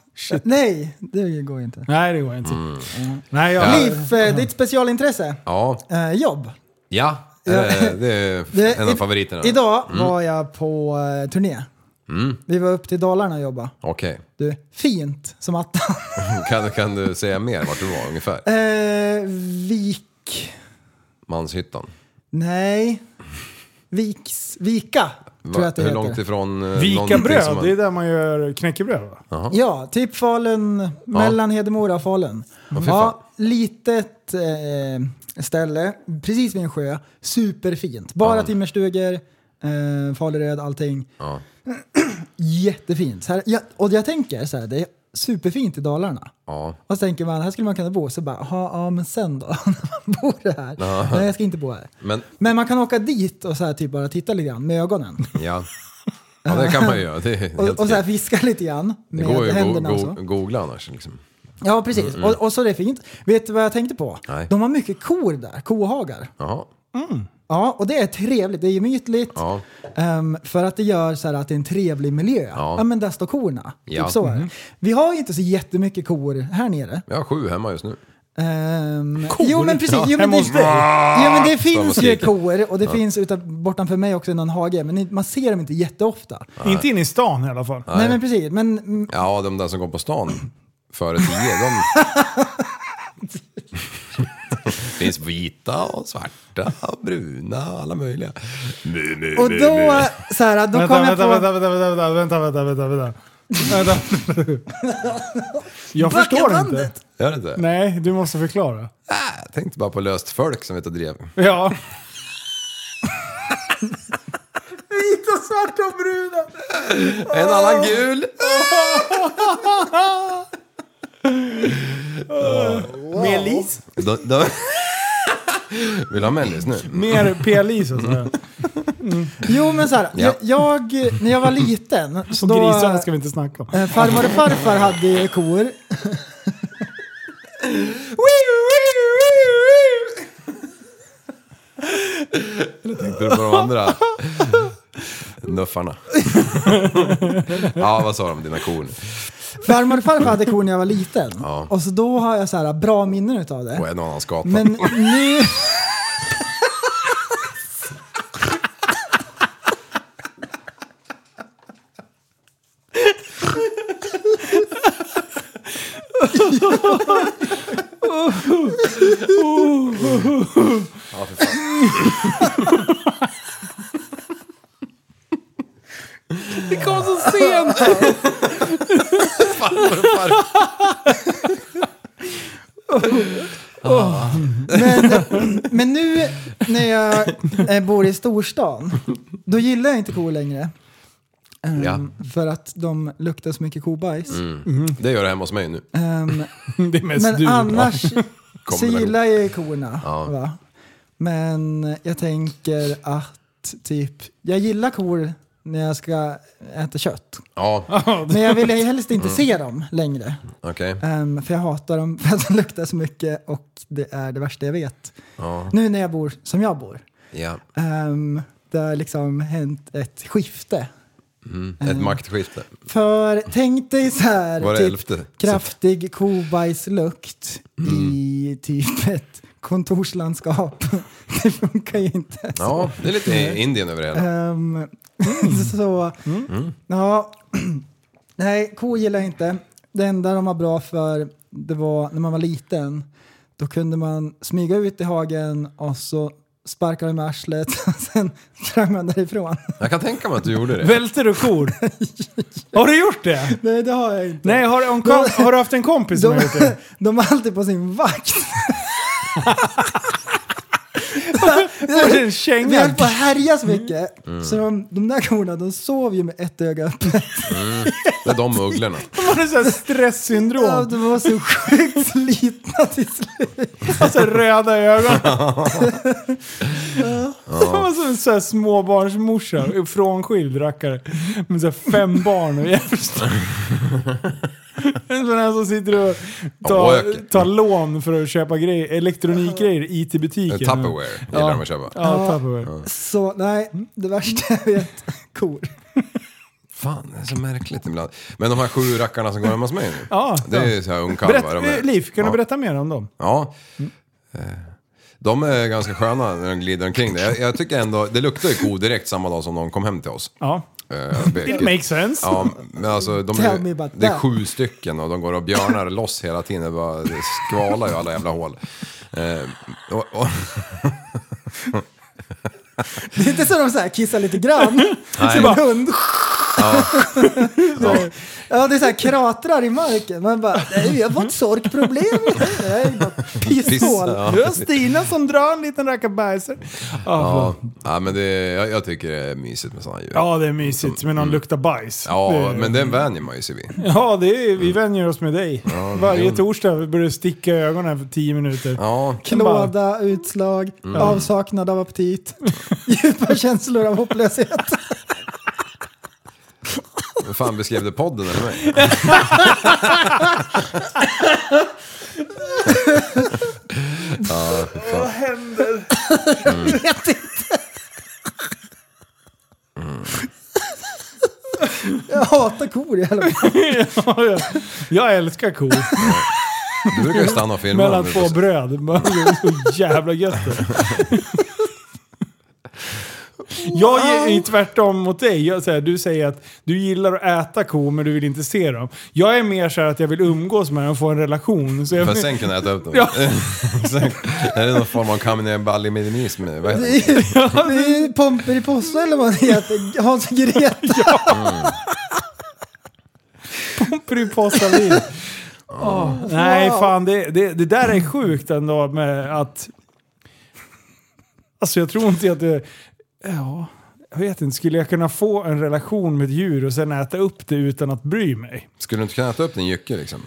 Speaker 6: Nej, det går ju inte.
Speaker 5: Nej, det går inte. Nej, jag...
Speaker 7: Mm. Ja.
Speaker 6: Liv, eh, ditt specialintresse?
Speaker 7: Ja.
Speaker 6: Eh, jobb.
Speaker 7: Ja. eh, Det är
Speaker 6: Det-
Speaker 7: en av
Speaker 6: i-
Speaker 7: favoriterna.
Speaker 6: Idag
Speaker 7: Mm.
Speaker 6: var jag på eh, turné. Vi var upp till Dalarna och jobbade.
Speaker 7: Okej.
Speaker 6: Du, fint som attan.
Speaker 7: Kan, kan du säga mer vart du var ungefär?
Speaker 6: Eh, vik...
Speaker 7: Manshyttan.
Speaker 6: Nej. Viks, vika, tror jag
Speaker 7: Va-
Speaker 6: att det
Speaker 7: Hur
Speaker 6: heter.
Speaker 7: långt ifrån... eh, någonting
Speaker 5: Vika
Speaker 7: som
Speaker 5: bröd,
Speaker 7: man-
Speaker 5: det är där man gör knäckebröd va?
Speaker 6: Ja, typ Falun, mellan Hedemora och Falun.
Speaker 7: fan.
Speaker 6: Ja, litet eh, ställe, precis vid en sjö. Superfint. Bara timmerstugor, eh, Faluröd, allting.
Speaker 7: Ja.
Speaker 6: Jättefint. Så här, ja, och jag tänker så här, det är superfint i Dalarna.
Speaker 7: Ja.
Speaker 6: Och så tänker man, här skulle man kunna bo. Så bara, "Jaha, ja men sen då? När man bor här? Nej, jag ska inte bo här.
Speaker 7: Men
Speaker 6: Men man kan åka dit och så här, typ bara titta lite grann med ögonen.
Speaker 7: ja. ja, det kan man ju göra. Det är helt
Speaker 6: Och, och så här,
Speaker 7: okej.
Speaker 6: fiska lite grann
Speaker 7: Det
Speaker 6: med
Speaker 7: går ju att go-
Speaker 6: händerna och
Speaker 7: go-
Speaker 6: så.
Speaker 7: googla annars. Liksom.
Speaker 6: Ja, precis. Och, och så är det fint. Vet du vad jag tänkte på?
Speaker 7: Nej.
Speaker 6: De har mycket kor där, kohagar.
Speaker 7: Jaha.
Speaker 6: Ja, och det är trevligt. Det är gemytligt.
Speaker 7: Ja.
Speaker 6: Ehm, för att det gör så här att det är en trevlig miljö.
Speaker 7: Ja.
Speaker 6: Ja, men där står korna.
Speaker 7: Ja.
Speaker 6: Typ så är det. Vi har ju inte så jättemycket kor här nere.
Speaker 7: Jag har sju hemma just nu.
Speaker 6: Ehm,
Speaker 5: Kor?
Speaker 6: Jo, men precis.
Speaker 5: Ja,
Speaker 6: Jo, men
Speaker 5: hemma
Speaker 6: det,
Speaker 5: hos dig.
Speaker 6: jo, men det finns ju
Speaker 7: skriker.
Speaker 6: kor och det finns utan, bortanför mig också någon hage. Men man ser dem inte jätteofta.
Speaker 5: Inte in i stan i alla fall.
Speaker 6: Nej, men precis. Men mm,
Speaker 7: Ja, de där som går på stan före tio, de... Det finns vita och svarta och bruna alla möjliga. Mu, mu,
Speaker 6: Och
Speaker 7: mu,
Speaker 6: då,
Speaker 7: mu.
Speaker 6: så här, då
Speaker 5: Vänta,
Speaker 6: kom jag
Speaker 5: vänta,
Speaker 6: på...
Speaker 5: vänta, vänta, vänta, vänta, vänta, vänta, vänta, vänta. Jag
Speaker 6: Backa
Speaker 5: förstår inte.
Speaker 6: bandet.
Speaker 7: Gör det inte? Nej.
Speaker 5: Nej, du måste förklara.
Speaker 7: Jag tänkte bara på löst folk som vet och drev.
Speaker 5: Ja.
Speaker 6: Vita, svarta och bruna.
Speaker 7: En annan gul!
Speaker 5: Melis?
Speaker 7: De, de, Vill du ha mellis nu?
Speaker 5: Mer PLI så att säga.
Speaker 6: Jo men så här,
Speaker 7: Ja.
Speaker 6: jag, jag- när jag var liten så
Speaker 5: Och
Speaker 6: då...
Speaker 5: grisarna ska vi inte snacka om.
Speaker 6: eh, Farmor och farfar hade kor.
Speaker 7: Tänkte du på de andra? Nuffarna. ja, vad sa de? Dina kor?
Speaker 6: Farmor och farfar hade kor när jag var liten.
Speaker 7: Ja.
Speaker 6: Och så då har jag så här bra minnen utav det.
Speaker 7: Och en annan skata.
Speaker 6: Men nu...
Speaker 7: Ja, för fan.
Speaker 5: Det kom så sent!
Speaker 7: Farmor och farfar.
Speaker 6: Men, men nu när jag eh, bor i storstan, då gillar jag inte kor längre. Ehm,
Speaker 7: Ja. Mm.
Speaker 6: För att de luktar så mycket kobajs.
Speaker 7: Det gör det hemma hos mig nu.
Speaker 6: Ehm,
Speaker 5: Det är mest
Speaker 6: men
Speaker 5: du.
Speaker 6: annars så
Speaker 7: Kombination.
Speaker 6: gillar jag ju korna.
Speaker 7: Ja.
Speaker 6: Va? Men jag tänker att typ, jag gillar kor när jag ska äta kött.
Speaker 7: Ja,
Speaker 6: Men jag vill helst
Speaker 7: Mm.
Speaker 6: inte se dem längre.
Speaker 7: okej.
Speaker 6: Ehm, för jag hatar dem för att de luktar så mycket och det är det värsta jag vet.
Speaker 7: Ja,
Speaker 6: Nu när jag bor som jag bor.
Speaker 7: ja.
Speaker 6: Ehm, det har liksom hänt ett skifte.
Speaker 5: Mm.
Speaker 7: Ett maktskifte.
Speaker 6: För tänk dig så här, typ
Speaker 7: Var det elfte? Mm.
Speaker 6: kraftig kobajslukt i typ ett kontorslandskap. Det funkar ju inte.
Speaker 7: Ja, det är lite
Speaker 5: Mm.
Speaker 7: Indien över det hela.
Speaker 6: Ehm,
Speaker 7: Mm.
Speaker 6: så, ja. Nej, kor gillar jag inte. Det enda de var bra för, det var när man var liten. Då kunde man smyga ut i hagen och så sparkade de med arslet och sen sprang man därifrån.
Speaker 7: Jag kan tänka mig att du gjorde det.
Speaker 5: Välter du kor? Har du gjort det?
Speaker 6: Nej, det har jag inte.
Speaker 5: Nej, har, om, kom, har du haft en kompis som
Speaker 6: De,
Speaker 5: har gjort det?
Speaker 6: de var alltid på sin vakt. Så-
Speaker 5: Det är en
Speaker 6: Vi
Speaker 5: känga.
Speaker 6: höll på att härja så mycket.
Speaker 5: Mm.
Speaker 6: Så de, de där korna, de sov ju med ett öga öppet.
Speaker 7: Det är de ugglorna.
Speaker 5: Var det såhär
Speaker 6: Ja,
Speaker 5: stresssyndrom?
Speaker 6: de var så sjukt slitna till slut.
Speaker 5: Alltså röda ögon. Det var som en sån här småbarnsmorsa. Frånskild rackare. Med såhär fem barn och jävligt stor- En sån här som sitter och tar,
Speaker 7: Work.
Speaker 5: tar lån för att köpa grejer, elektronikgrejer i IT-butiken.
Speaker 7: Tupperware gillar de att köpa.
Speaker 5: Ja, Tupperware.
Speaker 6: Så nej, det värsta jag vet, kor.
Speaker 7: Fan, det är så märkligt ibland. Men de här sju rackarna som går hemma hos mig nu.
Speaker 5: Ja,
Speaker 7: Det är ju så här ungkalvar.
Speaker 5: Berätta,
Speaker 7: de är-
Speaker 5: Liv, kan
Speaker 7: ja.
Speaker 5: du berätta mer om dem?
Speaker 7: Ja. Eh, De är ganska sköna när de glider omkring där. Jag, jag tycker ändå, det luktar ju ko direkt samma dag som de kom hem till oss.
Speaker 5: Ja.
Speaker 7: Eh,
Speaker 5: It
Speaker 7: vilket-
Speaker 5: makes sense.
Speaker 7: Ja, men alltså de
Speaker 6: Tell me about
Speaker 7: är, det är
Speaker 6: that.
Speaker 7: sju stycken och de går och björnar loss hela tiden. Det, bara, det skvalar ju alla jävla hål. Eh, och, och,
Speaker 6: Det är inte så de så här kissar lite grann.
Speaker 7: nej,
Speaker 6: Som en hund. Ja. det är så här kratrar i marken. Man bara, nej vi har fått sorkproblem. Nej, bara pisshål.
Speaker 7: Ja.
Speaker 5: Det var Stina som drar en liten rackabajsare.
Speaker 7: ja, ja, men det, jag, jag tycker det är mysigt med sådana djur. Ja,
Speaker 5: Ja, det är mysigt med någon luktar bajs. det,
Speaker 7: mm. men den vänjer man ju sig vid.
Speaker 5: Ja, det är, vi vänjer oss med dig. Varje torsdag börjar det sticka i ögonen för tio minuter.
Speaker 7: Ja,
Speaker 6: Klåda, utslag,
Speaker 5: Mm.
Speaker 6: avsaknad av aptit, djupa känslor av hopplöshet.
Speaker 7: vad fan beskrev det podden eller mig?
Speaker 6: vet inte. Jag hatar kor i alla fall.
Speaker 5: Ja, jag, jag älskar kor.
Speaker 7: Du brukar ju stanna och filma.
Speaker 5: Mellan
Speaker 7: dem.
Speaker 5: två bröd. Det är så jävla gött det. Jag är ju tvärtom mot dig. Jag, så här, du säger att du gillar att äta kor men du vill inte se dem. Jag är mer så här att jag vill umgås med dem och få en relation. Så jag,
Speaker 7: För att sen kunna äta upp dem.
Speaker 5: Ja.
Speaker 7: Sen- är det någon form av kaminiballimedinism? Vad heter
Speaker 6: Det
Speaker 7: det?
Speaker 6: är- det är Pomper i Posse eller vad det heter. Hans och Greta.
Speaker 5: Prypåstavin. nej, fan det, det, det där är sjukt ändå med att... Alltså jag tror inte att det... Ja, jag vet inte. Skulle jag kunna få en relation med ett djur och sen äta upp det utan att bry mig?
Speaker 7: Skulle du inte kunna äta upp din jycke liksom?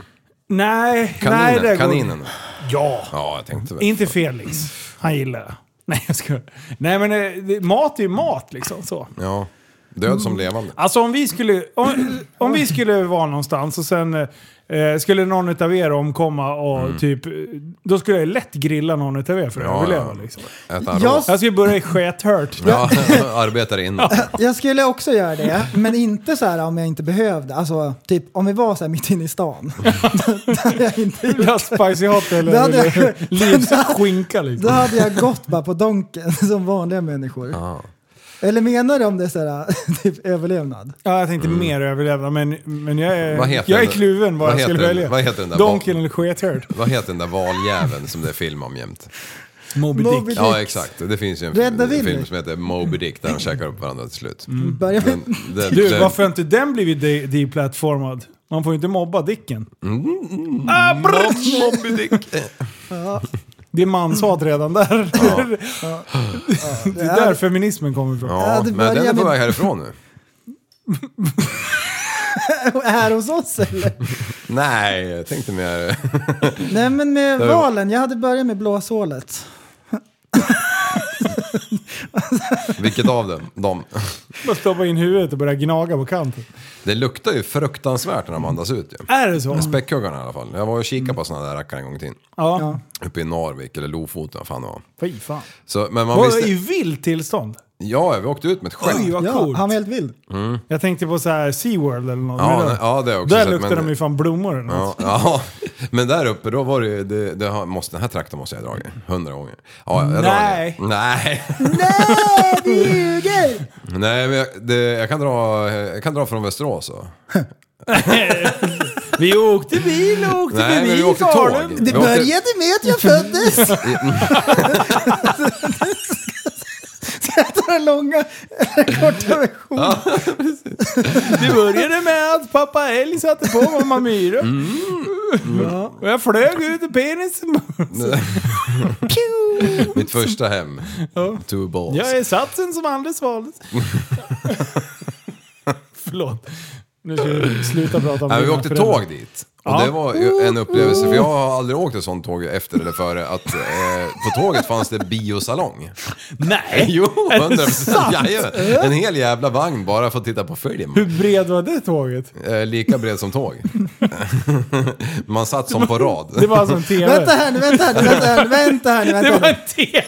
Speaker 5: Nej,
Speaker 7: Kaninen,
Speaker 5: nej det går
Speaker 7: kaninen.
Speaker 5: Ja!
Speaker 7: Ja, jag tänkte väl.
Speaker 5: Inte Felix. Han gillar det. Nej, jag skojar. Nej, men eh, det- mat är ju mat liksom. Så.
Speaker 7: Ja. Död som levande.
Speaker 5: Alltså om vi skulle, om, om vi skulle vara någonstans och sen eh, skulle någon utav er omkomma och typ... eh, Då skulle jag lätt grilla någon utav er för att
Speaker 7: Mm. Ja,
Speaker 5: överleva
Speaker 7: ja.
Speaker 5: liksom.
Speaker 7: Äta
Speaker 6: Jag-
Speaker 7: jag...
Speaker 5: Jag skulle börja i skethört.
Speaker 7: Ja, arbetare in.
Speaker 6: Jag skulle också göra det, men inte så här om jag inte behövde. Alltså, typ om vi var så här mitt inne i stan. Då hade jag inte gjort-
Speaker 5: Ja. Spicy hot eller,
Speaker 6: Då hade jag-
Speaker 5: eller livsskinka
Speaker 6: Då
Speaker 5: liksom.
Speaker 6: hade jag gått bara på donken som vanliga människor. Eller menar du om det är så här, typ överlevnad?
Speaker 5: Ja, jag tänkte mer överlevnad, men, men jag är,
Speaker 7: Mm. Vad heter
Speaker 5: jag är
Speaker 7: den?
Speaker 5: kluven vad,
Speaker 7: Vad
Speaker 5: jag
Speaker 7: heter
Speaker 5: skulle
Speaker 7: den?
Speaker 5: välja.
Speaker 7: Vad heter den där
Speaker 5: Donken
Speaker 7: ba-
Speaker 5: eller skethört?
Speaker 7: Vad heter den där valjäveln som det är film om jämt?
Speaker 5: Moby Dick.
Speaker 6: Moby Dick.
Speaker 7: Ja, exakt. Det finns ju en
Speaker 6: Rädda
Speaker 7: film,
Speaker 6: Willy.
Speaker 7: film som heter Moby Dick där de käkar upp varandra till slut. Mm.
Speaker 6: Börja med,
Speaker 7: Den, den,
Speaker 5: Du,
Speaker 7: den,
Speaker 5: Mm. varför har inte den blivit de- deplattformad? Man får ju inte mobba Dicken. Ah, brr!
Speaker 7: Mm. Moby Dick!
Speaker 5: det är manshat redan där. det är där feminismen kommer ifrån.
Speaker 7: Ja,
Speaker 6: det
Speaker 7: men den
Speaker 6: börjar
Speaker 7: är på
Speaker 6: med-
Speaker 7: väg härifrån nu.
Speaker 6: här hos oss eller?
Speaker 7: Nej, jag tänkte mer...
Speaker 6: Nej men med
Speaker 7: Där-
Speaker 6: valen, jag hade börjat med blåsålet.
Speaker 7: Vilket av dem? De.
Speaker 5: Bara stoppa in huvudet och börja gnaga på kanten.
Speaker 7: Det luktar ju fruktansvärt när de andas ut ju.
Speaker 5: Är det så?
Speaker 7: Späckhuggarna i alla fall. Jag var och kikade på sådana där rackare en gång till.
Speaker 5: Ja.
Speaker 7: Uppe i Narvik, eller Lofoten, vad fan det var.
Speaker 5: Fy fan.
Speaker 7: Så, men man
Speaker 5: Var i
Speaker 7: visste...
Speaker 5: vilt tillstånd.
Speaker 7: Ja, vi åkte ut med ett skepp.
Speaker 5: Oj, vad
Speaker 6: Ja,
Speaker 5: coolt.
Speaker 6: han var helt vild.
Speaker 5: Jag tänkte på så här SeaWorld eller något.
Speaker 7: Ja,
Speaker 5: Men
Speaker 7: nej, ja, det har jag också
Speaker 5: Där
Speaker 7: sett,
Speaker 5: luktar
Speaker 7: men-
Speaker 5: de ju fan blommor eller något.
Speaker 7: Ja, ja, men där uppe då var det ju, det, det har, måste, den här traktorn måste jag ha dragit. Hundra gånger. Ja, jag drar
Speaker 5: Nej.
Speaker 7: den. Nej.
Speaker 6: Nej, du ljuger!
Speaker 7: Nej, men jag, det, jag, kan dra, jag kan dra från Västerås så.
Speaker 5: Vi åkte bil och åkte
Speaker 7: Nej, men
Speaker 5: förbi
Speaker 7: vi åkte
Speaker 5: Falun.
Speaker 7: tåg.
Speaker 6: Det
Speaker 7: Vi åkte-
Speaker 6: började med att jag föddes. Ska jag ta den långa eller korta versionen?
Speaker 5: Det började med att pappa älg satte på mamma myra.
Speaker 7: Mm.
Speaker 5: Ja. Och jag flög ut i penisen.
Speaker 7: Mitt första hem.
Speaker 5: Ja.
Speaker 7: Two balls.
Speaker 5: Jag är satsen som Anders valdes. Förlåt. Nu ska vi sluta prata om
Speaker 7: Nej, vi
Speaker 5: mina
Speaker 7: åkte
Speaker 5: föräldrar.
Speaker 7: tåg dit. Och det var ju en upplevelse, för jag har aldrig åkt ett sånt tåg efter eller före, att eh, på tåget fanns det biosalong.
Speaker 5: Nej!
Speaker 7: Jo,
Speaker 5: Är det
Speaker 7: 100
Speaker 5: sant?
Speaker 7: Jajamän. En hel jävla vagn bara för att titta på film.
Speaker 5: Hur bred var det tåget?
Speaker 7: Eh, lika bred som tåg. Man satt som på rad.
Speaker 5: Det var alltså en TV.
Speaker 6: Vänta här nu, vänta här nu, vänta här nu, vänta här nu.
Speaker 5: det
Speaker 6: Vänta
Speaker 5: var
Speaker 6: här
Speaker 5: en TV!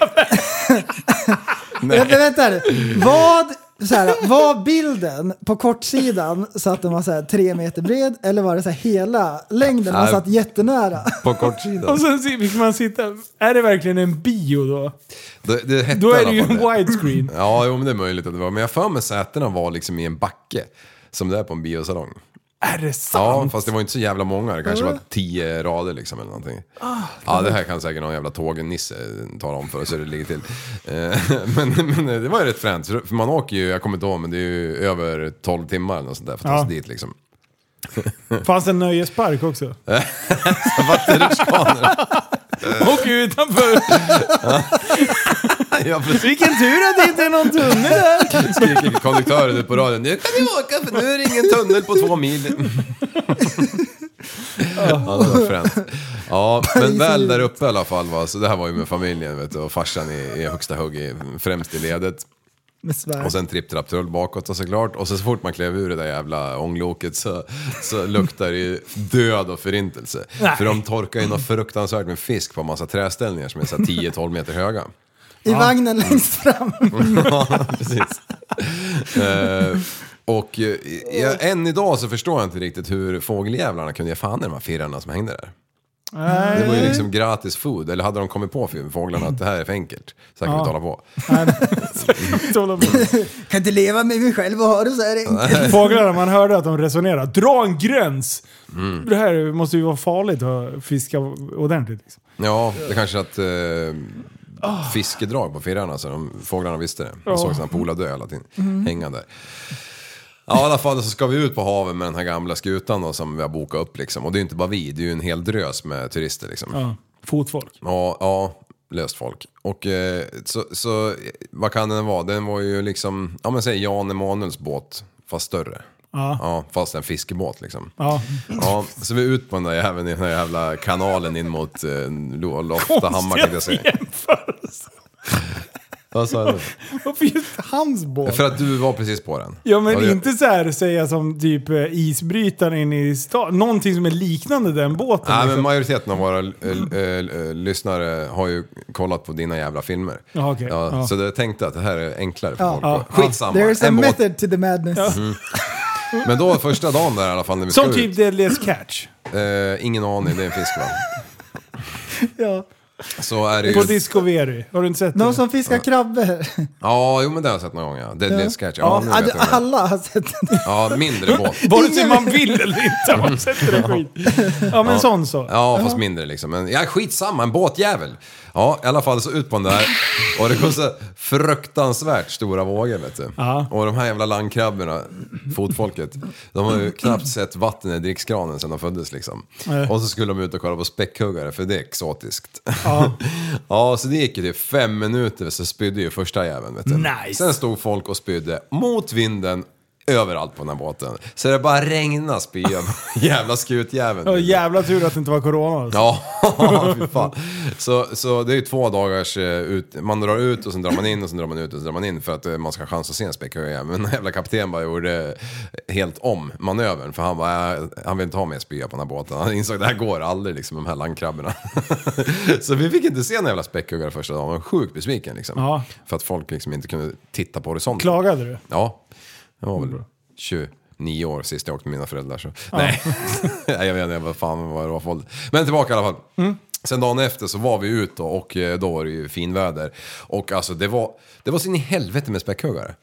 Speaker 6: nu. Vänta, vänta här nu. Vad, så här, var bilden på kortsidan så att den var så här tre meter bred eller var det så här hela längden? Man
Speaker 7: Nej.
Speaker 6: satt jättenära.
Speaker 7: På kortsidan.
Speaker 5: Och sen si- fick man sitta... Är det verkligen en bio då?
Speaker 7: Det, det hette
Speaker 5: Då
Speaker 7: i
Speaker 5: är
Speaker 7: alla
Speaker 5: det ju
Speaker 7: fall
Speaker 5: en widescreen.
Speaker 7: Ja, jo, men det är möjligt att det var. Men jag har för mig sätena var liksom i en backe. Som det är på en biosalong.
Speaker 5: Är det
Speaker 7: Ja,
Speaker 5: sant?
Speaker 7: fast det var inte så jävla många. Det
Speaker 5: Äh.
Speaker 7: kanske var tio rader liksom eller någonting.
Speaker 5: Ah,
Speaker 7: ja, det här kan säkert någon jävla tågen-Nisse tala om för oss hur det ligger till. Eh, men, men det var ju rätt fränt. För för man åker ju, jag kommer inte ihåg, men det är ju över 12 timmar eller något sånt där för att ta sig
Speaker 5: Ja.
Speaker 7: dit liksom.
Speaker 5: Fanns det en nöjespark också?
Speaker 7: Vattenrutschkanor.
Speaker 5: Och utanför.
Speaker 7: ja, precis.
Speaker 5: Vilken tur att det inte är någon tunnel där.
Speaker 7: Skriker konduktören ut på radion. Nu kan ni åka för nu är det ingen tunnel på två mil. ja, det var fränt. Ja, men väl där uppe i alla fall. Va? Så det här var ju med familjen vet du, och farsan i, i högsta hugg i, främst i ledet.
Speaker 6: Med svärd.
Speaker 7: Och sen tripp, trapp, trull bakåt och såklart. Och så, så fort man klev ur det där jävla ångloket så, så luktar det ju död och förintelse.
Speaker 5: Nej.
Speaker 7: För de torkar ju något fruktansvärt med fisk på en massa träställningar som är så här 10-12 meter höga.
Speaker 6: I vagnen längst fram.
Speaker 7: Ja, precis. Eh, och eh, jag, än idag så förstår jag inte riktigt hur fågeljävlarna kunde ge fan i de här firarna som hängde där. Det var ju liksom gratis food, eller hade de kommit på för fåglarna att det här är för enkelt, så här kan vi inte hålla på.
Speaker 6: Kan inte leva med mig själv och ha det så här enkelt.
Speaker 5: Fåglarna, man hörde att de resonerade. Dra en gräns! Det här måste ju vara farligt att fiska ordentligt. Liksom.
Speaker 7: Ja, det kanske är att eh, fiskedrag på firarna så de, fåglarna visste det. De såg sina polare dö hela tiden, hänga där. Ja, i alla fall så ska vi ut på havet med den här gamla skutan då, som vi har bokat upp liksom. Och det är ju inte bara vi, det är ju en hel drös med turister liksom.
Speaker 5: Ja. Fotfolk.
Speaker 7: Ja, ja löst folk. Och eh, så, så eh, vad kan den vara? Den var ju liksom, ja men säg Jan Emanuels båt, fast större. Ja. fast en fiskebåt liksom.
Speaker 5: Ja.
Speaker 7: Ja, så vi är ut på den där jäveln i den där jävla kanalen in mot eh, Lo- Loftahammar kan jag säga.
Speaker 5: jämförelse.
Speaker 7: Vad sa jag nu?
Speaker 5: Varför just hans båt?
Speaker 7: För att du var precis på den.
Speaker 5: Ja men
Speaker 7: det-
Speaker 5: inte så här säga som typ eh, isbrytaren in i stan. Någonting som är liknande den båten.
Speaker 7: Nej, men
Speaker 5: liksom.
Speaker 7: majoriteten av våra eh, eh, eh, lyssnare har ju kollat på dina jävla filmer.
Speaker 5: Ja, okej.
Speaker 7: ja,
Speaker 5: Ja.
Speaker 7: Så jag tänkte att det här är enklare för
Speaker 6: Ja.
Speaker 7: folk.
Speaker 5: Ja.
Speaker 7: Skitsamma,
Speaker 6: There's a
Speaker 7: en båt.
Speaker 6: method to the madness.
Speaker 7: Men då första dagen där i alla fall när vi
Speaker 5: Som
Speaker 7: ska
Speaker 5: typ
Speaker 7: ut.
Speaker 5: Deadliest Catch.
Speaker 7: Eh, ingen aning, det är en fisk va?
Speaker 6: Ja.
Speaker 7: Så är det
Speaker 5: På
Speaker 7: ju...
Speaker 5: Disco Veri. Har du inte sett
Speaker 6: Någon
Speaker 5: det?
Speaker 6: som fiskar krabbor.
Speaker 7: Ja, jo men det har jag sett någon gång ja. Det, det är sketch. Ja, nu
Speaker 6: Ja,
Speaker 7: vet
Speaker 6: du,
Speaker 7: jag det.
Speaker 6: alla har sett den.
Speaker 7: Ja, mindre båt.
Speaker 5: Vare sig man vill eller inte. Man sätter det skit. Ja men sån så.
Speaker 7: Mm. Ja, fast mindre liksom. Men ja, skitsamma, en båtjävel. Ja, i alla fall så ut på den där. Och det kom så fruktansvärt stora vågor vet du.
Speaker 5: Ja.
Speaker 7: Och de här jävla landkrabborna, fotfolket, de har ju knappt sett vatten i drickskranen sedan de föddes liksom. Och så skulle de ut och kolla på späckhuggare, för det är exotiskt. Ja, så det gick ju typ fem minuter så spydde ju första jäveln vet du.
Speaker 5: Nice.
Speaker 7: Sen stod folk och spydde mot vinden. Överallt på den här båten. Så det bara regnade spya på jävla skutjäveln.
Speaker 5: Ja, jävla tur att det inte var corona. Alltså.
Speaker 7: Ja, fy fan. Så, så det är ju två dagars eh, ut, man drar ut och sen drar man in och sen drar man ut och sen drar man in för att eh, man ska ha chans att se en späckhöja. Men den jävla kapten bara gjorde eh, helt om manövern för han bara, "Äh, han vill inte ha mer spya på den här båten. Han insåg det här går aldrig liksom de här landkrabborna. så vi fick inte se några jävla späckhuggare första dagen, jag var sjukt besviken liksom.
Speaker 5: Ja.
Speaker 7: För att folk liksom inte kunde titta på horisonten.
Speaker 5: Klagade du?
Speaker 7: Ja, jag var väl 29 år sist jag åkte med mina föräldrar. Så. Nej. Nej, jag vet inte vad fan vad det var för ålder. Men tillbaka i alla fall. Sen dagen efter så var vi ute och, och eh, då var det ju finväder. Och alltså det var, det var så in i helvete med späckhuggare.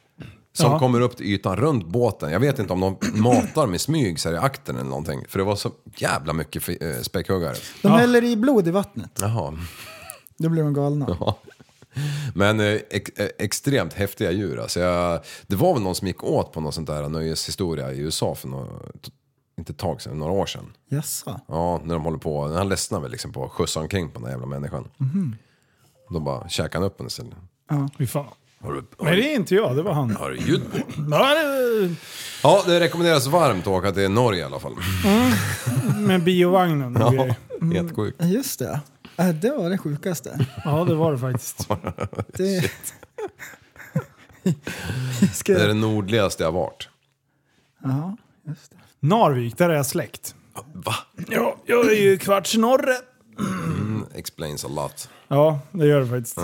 Speaker 7: Som
Speaker 5: Ja.
Speaker 7: kommer upp till ytan runt båten. Jag vet inte om de matar med smyg så här i akten eller någonting. För det var så jävla mycket fi- eh, späckhuggare.
Speaker 6: De häller i blod i vattnet.
Speaker 7: Jaha.
Speaker 6: Då blir de galna.
Speaker 7: Men eh, ex, eh, extremt häftiga djur. Alltså jag, det var väl någon som gick åt på någon sånt där nöjeshistoria i USA för några, t- inte ett tag sedan, några år sedan.
Speaker 6: Jaså?
Speaker 7: Ja, när de håller på, han ledsnar väl liksom på att skjutsa omkring på den där jävla människan. Då bara käkade han upp den istället.
Speaker 5: Fy fan.
Speaker 7: Har du, har,
Speaker 5: Nej
Speaker 7: du-
Speaker 5: det är inte jag, det var han.
Speaker 7: har du ljud på?
Speaker 5: Ja, det-
Speaker 7: Ja, det rekommenderas varmt att åka till Norge i alla fall.
Speaker 5: Med biovagnen och grejer.
Speaker 7: Helt sjukt.
Speaker 6: Just det. Äh, Det var det sjukaste.
Speaker 5: Ja det var det faktiskt.
Speaker 6: Det... Ska...
Speaker 7: Det är det nordligaste jag varit.
Speaker 6: Ja, just det.
Speaker 5: Narvik, där är jag släkt.
Speaker 7: Va?
Speaker 5: Ja, jag är ju kvartsnorre.
Speaker 7: Explains a lot.
Speaker 5: Ja, det gör det faktiskt.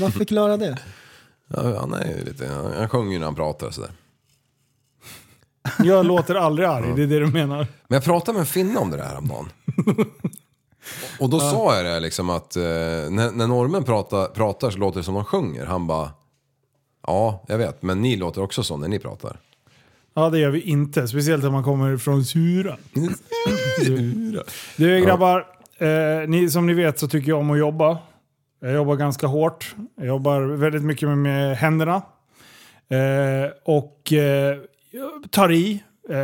Speaker 6: Varför förklara det?
Speaker 7: Ja, han är ju lite, han han sjunger ju när han pratar och sådär.
Speaker 5: Jag låter aldrig arg, det är det du menar.
Speaker 7: Men jag pratade med en finne om det där häromdagen. Och då sa jag det liksom att eh, när, när norrmän pratar, pratar så låter det som de sjunger. Han bara, ja jag vet, men ni låter också så när ni pratar.
Speaker 5: Ja, det gör vi inte. Speciellt om man kommer från Sura. Du grabbar, eh, ni, som ni vet så tycker jag om att jobba. Jag jobbar ganska hårt. Jag jobbar väldigt mycket med, med händerna. Eh, och eh, jag tar i. Eh,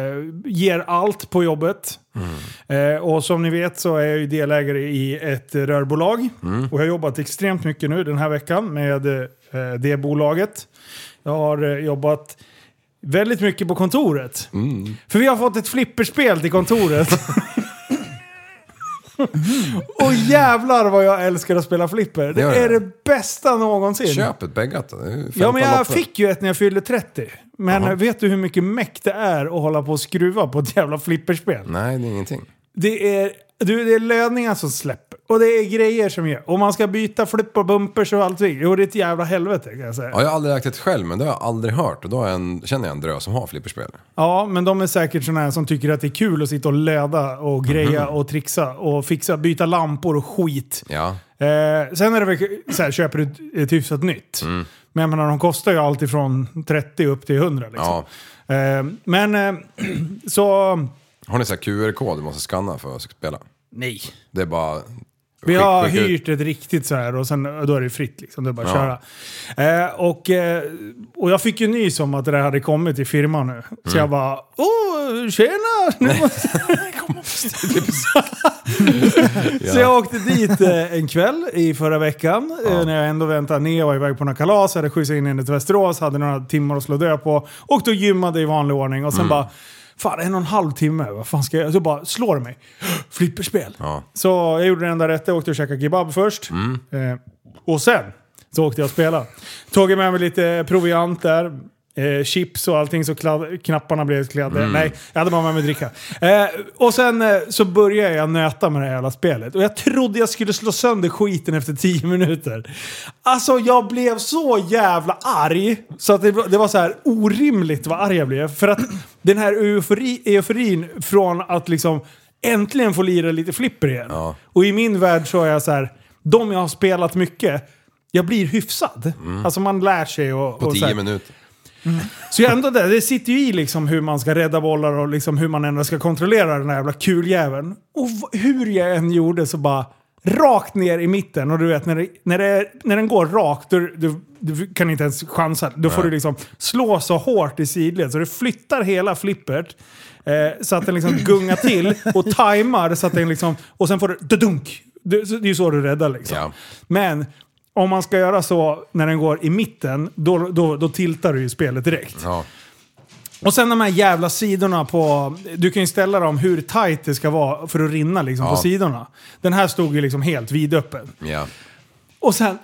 Speaker 5: ger allt på jobbet. Eh, och som ni vet så är jag ju delägare i ett eh, rörbolag. Och jag har jobbat extremt mycket nu den här veckan med eh, det bolaget. Jag har eh, jobbat väldigt mycket på kontoret. För vi har fått ett flipperspel till kontoret. Och jävlar vad jag älskar att spela flipper. Det
Speaker 7: Gör det.
Speaker 5: är det bästa någonsin.
Speaker 7: Köp ett bäggat då. det är ju 15
Speaker 5: Ja, men jag
Speaker 7: loppor.
Speaker 5: fick ju ett när jag fyllde 30. Men
Speaker 7: Jaha.
Speaker 5: vet du hur mycket meck det är att hålla på och skruva på ett jävla flipperspel?
Speaker 7: Nej, det är ingenting.
Speaker 5: Det är, du, det är lödningar som släpper. Och det är grejer som gör. Och man ska byta flipp och bumpers och allt. Jo, det är ett jävla helvete kan jag säga.
Speaker 7: Ja, jag har aldrig ägt ett själv, men det har jag aldrig hört. Och då är jag en, känner jag en drös som har flipperspel.
Speaker 5: Ja, men de är säkert sådana här som tycker att det är kul att sitta och löda och greja
Speaker 7: Mm.
Speaker 5: och trixa och fixa, byta lampor och skit.
Speaker 7: Ja.
Speaker 5: Eh, sen är det väl så här, köper du ett hyfsat nytt. Men jag menar, de kostar ju allt ifrån 30 upp till 100 liksom. Eh, men eh, så...
Speaker 7: Har ni så här QR-kod du måste skanna för att spela?
Speaker 5: Nej.
Speaker 7: Det är bara
Speaker 5: Vi
Speaker 7: Skick-
Speaker 5: har
Speaker 7: skicka ut.
Speaker 5: hyrt ett riktigt så här och sen, då är det fritt liksom. Det är bara att köra. Eh, och, eh, och jag fick ju nys om att det där hade kommit i firman nu. Så jag bara åh, tjena! Nu måste... så jag åkte dit eh, en kväll i förra veckan eh, när jag ändå väntade ner. Jag var iväg på några kalas, hade skjutsat in henne till Västerås, hade några timmar att slå död på. Åkte och gymmade i vanlig ordning och sen bara Fan, en och en halv timme. Vad fan ska jag göra? Så bara slår det mig. Flipperspel.
Speaker 7: Ja.
Speaker 5: Så jag gjorde det enda rätta. Jag åkte och käkade kebab först. Eh, och sen så åkte jag och spelade. Tog med mig lite proviant där. Eh, chips och allting så kladd, knapparna blev klädda. Nej, jag hade bara med mig dricka. Eh, och sen eh, så började jag nöta med det här jävla spelet. Och jag trodde jag skulle slå sönder skiten efter 10 minuter. Alltså jag blev så jävla arg. Så att det, var- det var så här orimligt vad arg jag blev. För att den här eufori, euforin från att liksom äntligen få lira lite flipper igen. Och i min värld så är jag så här, de jag har spelat mycket, jag blir hyfsad. Alltså man lär sig och...
Speaker 7: Mm. På
Speaker 5: och så här.
Speaker 7: tio minuter.
Speaker 5: Så jag ändå där, det sitter ju i liksom hur man ska rädda bollar och liksom hur man ändå ska kontrollera den här jävla kuljäveln. Och v- hur jag än gjorde så bara rakt ner i mitten. Och du vet när, det, när, det, är- när den går rakt, du, du, du kan inte ens chansa. Då får du liksom slå så hårt i sidled så du flyttar hela flippert. Eh, så att den liksom gungar till och tajmar så att den liksom... Och sen får du dunk. Det, det är ju så du räddar liksom.
Speaker 7: Ja.
Speaker 5: Men om man ska göra så när den går i mitten, då, då, då tiltar du ju spelet direkt.
Speaker 7: Ja.
Speaker 5: Och sen de här jävla sidorna på... Du kan ju ställa dem hur tight det ska vara för att rinna liksom
Speaker 7: Ja.
Speaker 5: på sidorna. Den här stod ju liksom helt vidöppen.
Speaker 7: Ja.
Speaker 5: Och sen...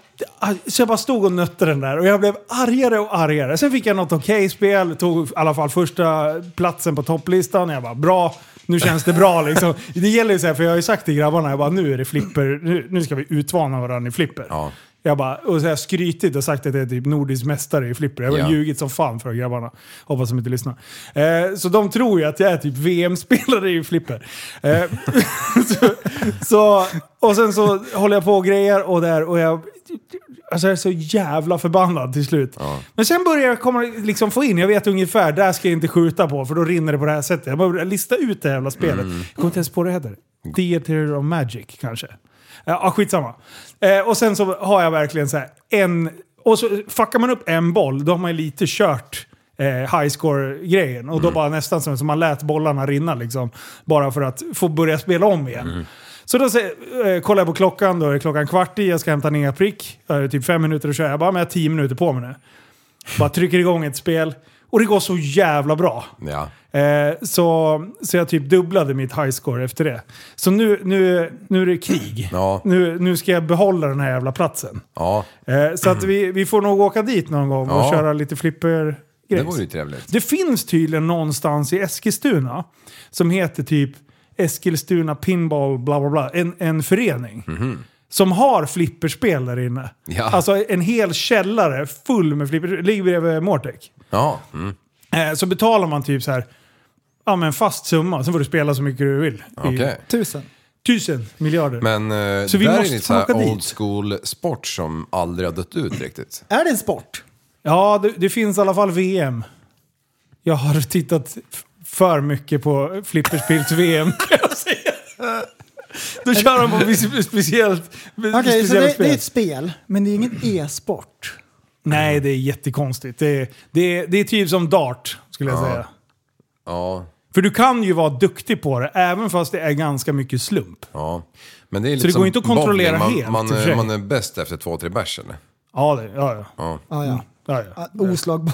Speaker 5: Så jag bara stod och nötte den där och jag blev argare och argare. Sen fick jag något okej spel, tog i alla fall första platsen på topplistan. Jag bara bra, nu känns det bra liksom. Det gäller ju så här, för jag har ju sagt till grabbarna, jag bara nu är det flipper, nu, nu ska vi utvana varandra i flipper.
Speaker 7: Ja.
Speaker 5: Jag bara, och så har jag skrytit och sagt att jag är typ nordisk mästare i flipper. Jag har
Speaker 7: Ja.
Speaker 5: ljugit som fan för grabbarna. Hoppas de inte lyssnar. Eh, så de tror ju att jag är typ VM-spelare i flipper. Eh, så, så, och sen så håller jag på och grejer och där och jag... Alltså jag är så jävla förbannad till slut. Men sen börjar jag komma, liksom få in, jag vet ungefär, där ska jag inte skjuta på för då rinner det på det här sättet. Jag börjar lista ut det här jävla spelet. Jag kommer inte ens på vad det heter. Theater of Magic kanske. Ja, skitsamma. Eh, och sen så har jag verkligen så här en... Och så fuckar man upp en boll, då har man ju lite kört eh, highscore-grejen. Och då bara nästan som som man lät bollarna rinna liksom. Bara för att få börja spela om igen. Så då säger, eh, kollar jag på klockan, då är klockan kvart i, jag ska hämta ner prick. Jag har typ fem minuter att köra, jag bara, men jag har tio minuter på mig nu. Bara trycker igång ett spel. Och det går så jävla bra.
Speaker 7: Ja.
Speaker 5: Eh, så, så jag typ dubblade mitt highscore efter det. Så nu, nu, nu är det krig.
Speaker 7: Ja.
Speaker 5: Nu, nu ska jag behålla den här jävla platsen.
Speaker 7: Ja.
Speaker 5: Eh, så att vi, vi får nog åka dit någon gång och
Speaker 7: Ja.
Speaker 5: köra lite flipper
Speaker 7: Det vore ju trevligt.
Speaker 5: det finns tydligen någonstans i Eskilstuna som heter typ Eskilstuna Pinball bla bla bla. En, en förening. Som har flipperspel där inne.
Speaker 7: Ja.
Speaker 5: Alltså en hel källare full med flipperspel. Ligger bredvid Mortec.
Speaker 7: Ja. Mm.
Speaker 5: Eh, så betalar man typ så här, ja men fast summa, sen får du spela så mycket du vill.
Speaker 7: Okej.
Speaker 5: I
Speaker 6: Tusen.
Speaker 5: tusen miljarder.
Speaker 7: Men eh,
Speaker 5: Så vi
Speaker 7: där
Speaker 5: måste
Speaker 7: är det så här
Speaker 5: åka dit.
Speaker 7: old school sport som aldrig har dött ut riktigt.
Speaker 6: Är det en sport?
Speaker 5: Ja, det, det finns i alla fall VM. Jag har tittat f- för mycket på flipperspels VM kan jag säga. Då kör de på vis- speciellt,
Speaker 6: Okej,
Speaker 5: speciellt
Speaker 6: så det,
Speaker 5: spel.
Speaker 6: det är ett spel, men det är ingen e-sport.
Speaker 5: Nej, det är jättekonstigt. Det är, det, är, det är typ som dart, skulle jag säga.
Speaker 7: Ja.
Speaker 5: För du kan ju vara duktig på det, även fast det är ganska mycket slump.
Speaker 7: Ja. Men det är lite
Speaker 5: det
Speaker 7: som
Speaker 5: går inte att kontrollera
Speaker 7: bowling.
Speaker 5: helt,
Speaker 7: man, eh,
Speaker 5: i och för sig.
Speaker 7: man, man är bäst efter två, tre bärs eller?
Speaker 5: Ja, det, ja, ja.
Speaker 6: Ah, ja.
Speaker 5: ja, ja.
Speaker 6: Ah, Oslagbar.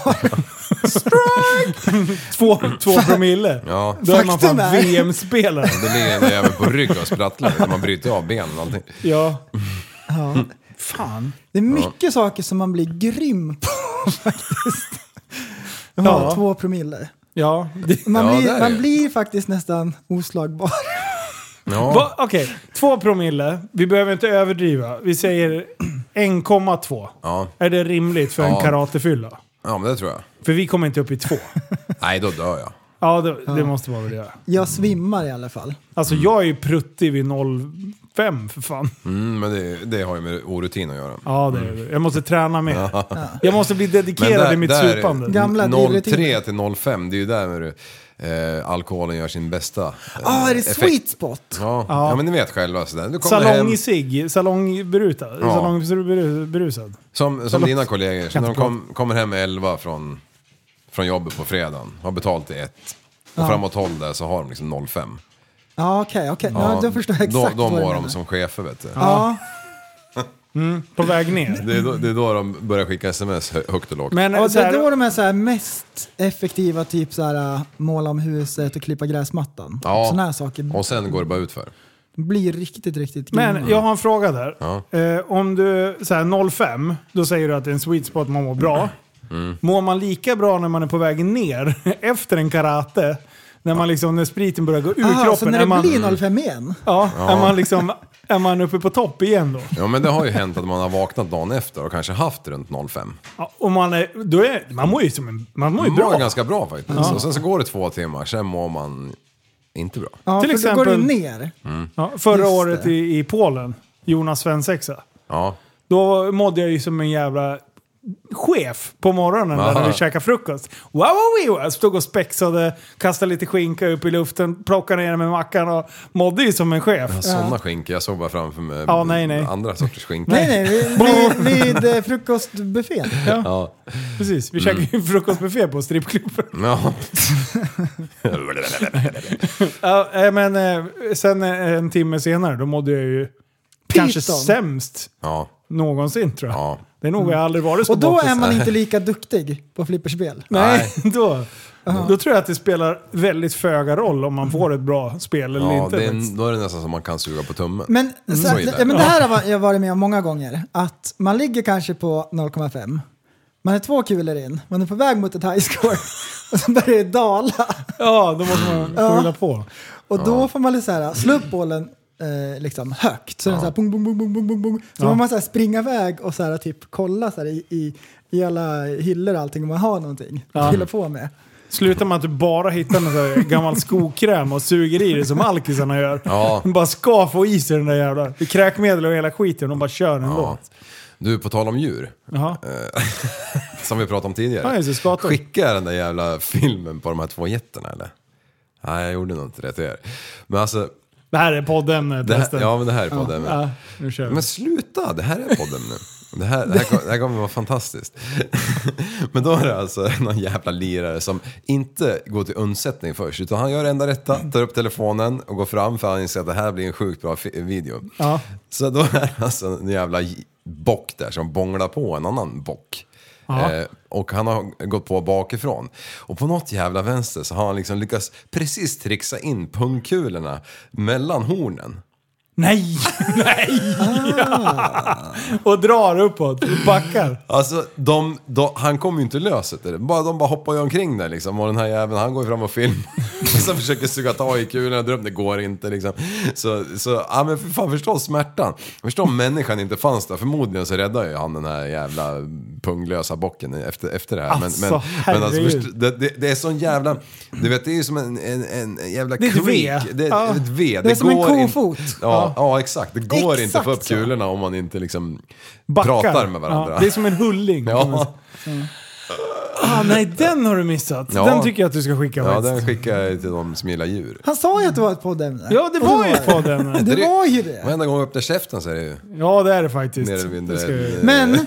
Speaker 5: Två, två promille.
Speaker 7: Ja.
Speaker 5: Då är man fan
Speaker 6: Faktum är-
Speaker 5: VM-spelare.
Speaker 7: Det ligger en jävel på rygg och sprattlar när man bryter av benen och allting.
Speaker 5: Ja.
Speaker 6: Ja.
Speaker 5: Fan.
Speaker 6: Det är mycket saker som man blir grym på faktiskt. Ja,
Speaker 5: Ja.
Speaker 6: Två promille.
Speaker 5: Ja. Det,
Speaker 6: Man,
Speaker 7: Ja, där
Speaker 6: blir,
Speaker 7: är
Speaker 6: man
Speaker 7: det.
Speaker 6: blir faktiskt nästan oslagbar.
Speaker 7: Ja.
Speaker 5: Va? Okej, två promille. Vi behöver inte överdriva. Vi säger 1,2.
Speaker 7: Ja.
Speaker 5: Är det rimligt för
Speaker 7: Ja.
Speaker 5: en karatefylla?
Speaker 7: ja, men det tror jag.
Speaker 5: För vi kommer inte upp i två.
Speaker 7: Nej, då dör jag.
Speaker 5: Ja, det, det måste vara väl det.
Speaker 6: Jag svimmar i alla fall.
Speaker 5: Alltså jag är ju pruttig vid 05 för fan.
Speaker 7: Mm, men det, det har ju med orutin att göra.
Speaker 5: Ja, det är det. Jag måste träna mer. Jag måste bli
Speaker 7: Mm. Men
Speaker 5: dedikerad i mitt supande. Mm.
Speaker 6: Gam- Gamla
Speaker 7: 03 till 05, det är ju där eh, alkoholen gör sin bästa eh,
Speaker 6: Ah, är det
Speaker 7: effekt.
Speaker 6: sweet spot?
Speaker 7: Ja, ja. men ni vet själva. Sådär. Du kommer hem,
Speaker 5: Salong i sig, salongberusad.
Speaker 7: Ja.
Speaker 5: Salongberusad.
Speaker 7: som som
Speaker 5: salong-
Speaker 7: dina kollegor, så
Speaker 5: Kan
Speaker 7: när de
Speaker 5: inte prata.
Speaker 7: kom, kommer hem 11 från, från jobbet på fredagen, har betalt till 1 och framåt 12 där så har de liksom 05.
Speaker 6: Ja, okej, okej. Ja, då förstår jag
Speaker 7: då,
Speaker 6: exakt
Speaker 7: då
Speaker 6: vad du
Speaker 7: mår
Speaker 6: menar.
Speaker 7: de som chefer vet du.
Speaker 6: Ja,
Speaker 5: På väg ner.
Speaker 7: Det, är då, det är då de börjar skicka sms hö- högt och lågt.
Speaker 5: Men
Speaker 6: och
Speaker 5: så
Speaker 6: det är
Speaker 5: här,
Speaker 6: då de är så här mest effektiva, typ så här äh, måla om huset och klippa gräsmattan.
Speaker 7: Ja.
Speaker 6: Sådana saker
Speaker 7: Och sen går det bara ut för.
Speaker 6: blir riktigt, riktigt grymma.
Speaker 5: Men jag har en fråga där.
Speaker 7: Mm. Ja.
Speaker 5: Eh, om du säger 05, då säger du att det är en sweet spot man mår bra.
Speaker 7: Mm.
Speaker 5: Mår man lika bra när man är på väg ner efter en karate? När man liksom, när spriten börjar gå ur
Speaker 6: ah,
Speaker 5: kroppen?
Speaker 6: så när
Speaker 5: är,
Speaker 6: det
Speaker 5: man,
Speaker 6: blir 05 igen?
Speaker 5: ja, är man liksom, är man uppe på topp igen då?
Speaker 7: Ja men det har ju hänt att man har vaknat dagen efter och kanske haft runt 05.
Speaker 5: Ja, och man är, då är, man mår ju som en, man mår ju
Speaker 7: Man mår
Speaker 5: bra.
Speaker 7: ganska bra faktiskt. Och sen så går det två timmar, sen mår man inte bra.
Speaker 6: Ja,
Speaker 5: Till
Speaker 6: för
Speaker 5: exempel-
Speaker 6: då går du ner.
Speaker 5: Ja, förra
Speaker 6: Just
Speaker 5: året
Speaker 6: det.
Speaker 5: i, i Polen, Jonas svensexa.
Speaker 7: Ja.
Speaker 5: Då mådde jag ju som en jävla chef på morgonen
Speaker 7: Aha.
Speaker 5: där när vi käkade frukost. Wow, wow, wow. Jag stod och spexade, kastade lite skinka upp i luften, plockade ner den med mackan och mådde ju som en chef.
Speaker 7: Sådana skinkor, jag såg bara framför mig
Speaker 5: Ja, nej, nej.
Speaker 7: andra sorters skinkor.
Speaker 6: Nej, nej, Eh,
Speaker 5: Mm.
Speaker 6: vid, vid, vid eh, frukostbuffén.
Speaker 7: Ja.
Speaker 5: Precis, vi käkade ju frukostbuffé på strippklubben.
Speaker 7: Ja.
Speaker 5: Ja, eh, men eh, sen eh, en timme senare, då mådde jag ju kanske
Speaker 6: Pyton.
Speaker 5: sämst
Speaker 7: ja.
Speaker 5: någonsin tror jag.
Speaker 7: Ja.
Speaker 5: Det är nog jag aldrig varit så
Speaker 6: Och då
Speaker 5: bakis.
Speaker 6: är man inte lika duktig på flipperspel.
Speaker 5: Nej, då, då tror jag att det spelar väldigt föga roll om man får ett bra spel eller
Speaker 7: ja
Speaker 5: inte.
Speaker 7: det är,
Speaker 5: faktiskt.
Speaker 7: då är det nästan som man kan suga på tummen.
Speaker 6: Men, Mm, så
Speaker 7: Så
Speaker 6: att,
Speaker 7: illa.
Speaker 6: ja, men det här har jag varit med om många gånger. Att man ligger kanske på 0,5. Man är två kulor in, man är på väg mot ett high score och så börjar det dala.
Speaker 5: Ja, då måste man fylla på.
Speaker 6: Och då får man lite så här, slå upp bollen eh, liksom högt. Så den så här, pung, pung, pung, pung, pung, pung, pung. Så
Speaker 5: Ja.
Speaker 6: får man så här springa iväg och så här, typ kolla så här, i, i, i alla hyllor och allting om man har någonting att fylla på med.
Speaker 5: Slutar med att du bara hittar någon sån här gammal skokräm och suger i det som alkisarna gör.
Speaker 7: Ja.
Speaker 5: De bara ska få i sig den där jävla kräkmedel och hela skiten och de bara kör ändå.
Speaker 7: Ja. Du, på tal om djur, eh,
Speaker 5: Jaha.
Speaker 7: som vi pratade om
Speaker 5: Ja,
Speaker 7: tidigare.
Speaker 5: just det, skator.
Speaker 7: Skickade jag den där jävla filmen på de här två getterna eller? Nej, jag gjorde nog inte det till er. Men alltså,
Speaker 5: Det här är podden
Speaker 7: det här,
Speaker 5: förresten.
Speaker 7: ja men det här är podden.
Speaker 5: Ja, nu kör vi.
Speaker 7: Men sluta, det här är podden nu. Det här, det, här, kom- det här kommer vara fantastiskt. Men då är det alltså någon jävla lirare som inte går till undsättning först. Utan han gör det enda rätta, tar upp telefonen och går fram för han inser att det här blir en sjukt bra fi- video.
Speaker 5: Ja.
Speaker 7: Så då är det alltså en jävla j- bock där som bånglar på en annan bock. Eh, och han har gått på bakifrån. Och på något jävla vänster så har han liksom lyckats precis trixa in pungkulorna mellan hornen.
Speaker 5: Nej! Nej!
Speaker 7: Ah.
Speaker 5: och drar uppåt och backar.
Speaker 7: Alltså, de, de, han kom ju inte lös efter det. Bara, de bara hoppar ju omkring där liksom. Och den här jäveln, han går ju fram och filmar. Som försöker suga tag i kulorna, dröm, det går inte liksom. Så, så ja men för fan, förstå smärtan. Förstå om människan inte fanns där. Förmodligen så räddade ju han den här jävla punglösa bocken efter, efter det här.
Speaker 5: Alltså,
Speaker 7: men, men, men alltså,
Speaker 5: herregud.
Speaker 7: förstå, det, det, det är sån jävla... Du vet, det är ju som en, en, en jävla
Speaker 5: Det är ett
Speaker 7: kvik.
Speaker 5: V.
Speaker 7: Det är
Speaker 5: Ja.
Speaker 7: ett V. Det,
Speaker 6: är som en
Speaker 7: går in-
Speaker 6: kofot.
Speaker 7: Ja, ja, exakt. Det går inte att få upp
Speaker 6: Exakt så.
Speaker 7: kulorna om man inte liksom
Speaker 5: Backar.
Speaker 7: pratar med varandra.
Speaker 5: Ja, det är som en hulling. kan man säga.
Speaker 7: Ja,
Speaker 5: Ah, nej, den har du missat.
Speaker 7: Ja.
Speaker 5: Den tycker jag att du ska skicka
Speaker 7: ja
Speaker 5: faktiskt.
Speaker 7: den skickar jag till de som gillar djur.
Speaker 6: Han sa ju att det var ett poddämne.
Speaker 5: Ja, det
Speaker 6: Och så
Speaker 5: var ju ett poddämne.
Speaker 6: Det var ju det.
Speaker 7: Varenda gång jag öppnar käften så är det ju
Speaker 5: Ja, det är det faktiskt.
Speaker 7: mer eller mindre...
Speaker 5: Det ska jag-
Speaker 7: eh,
Speaker 6: Men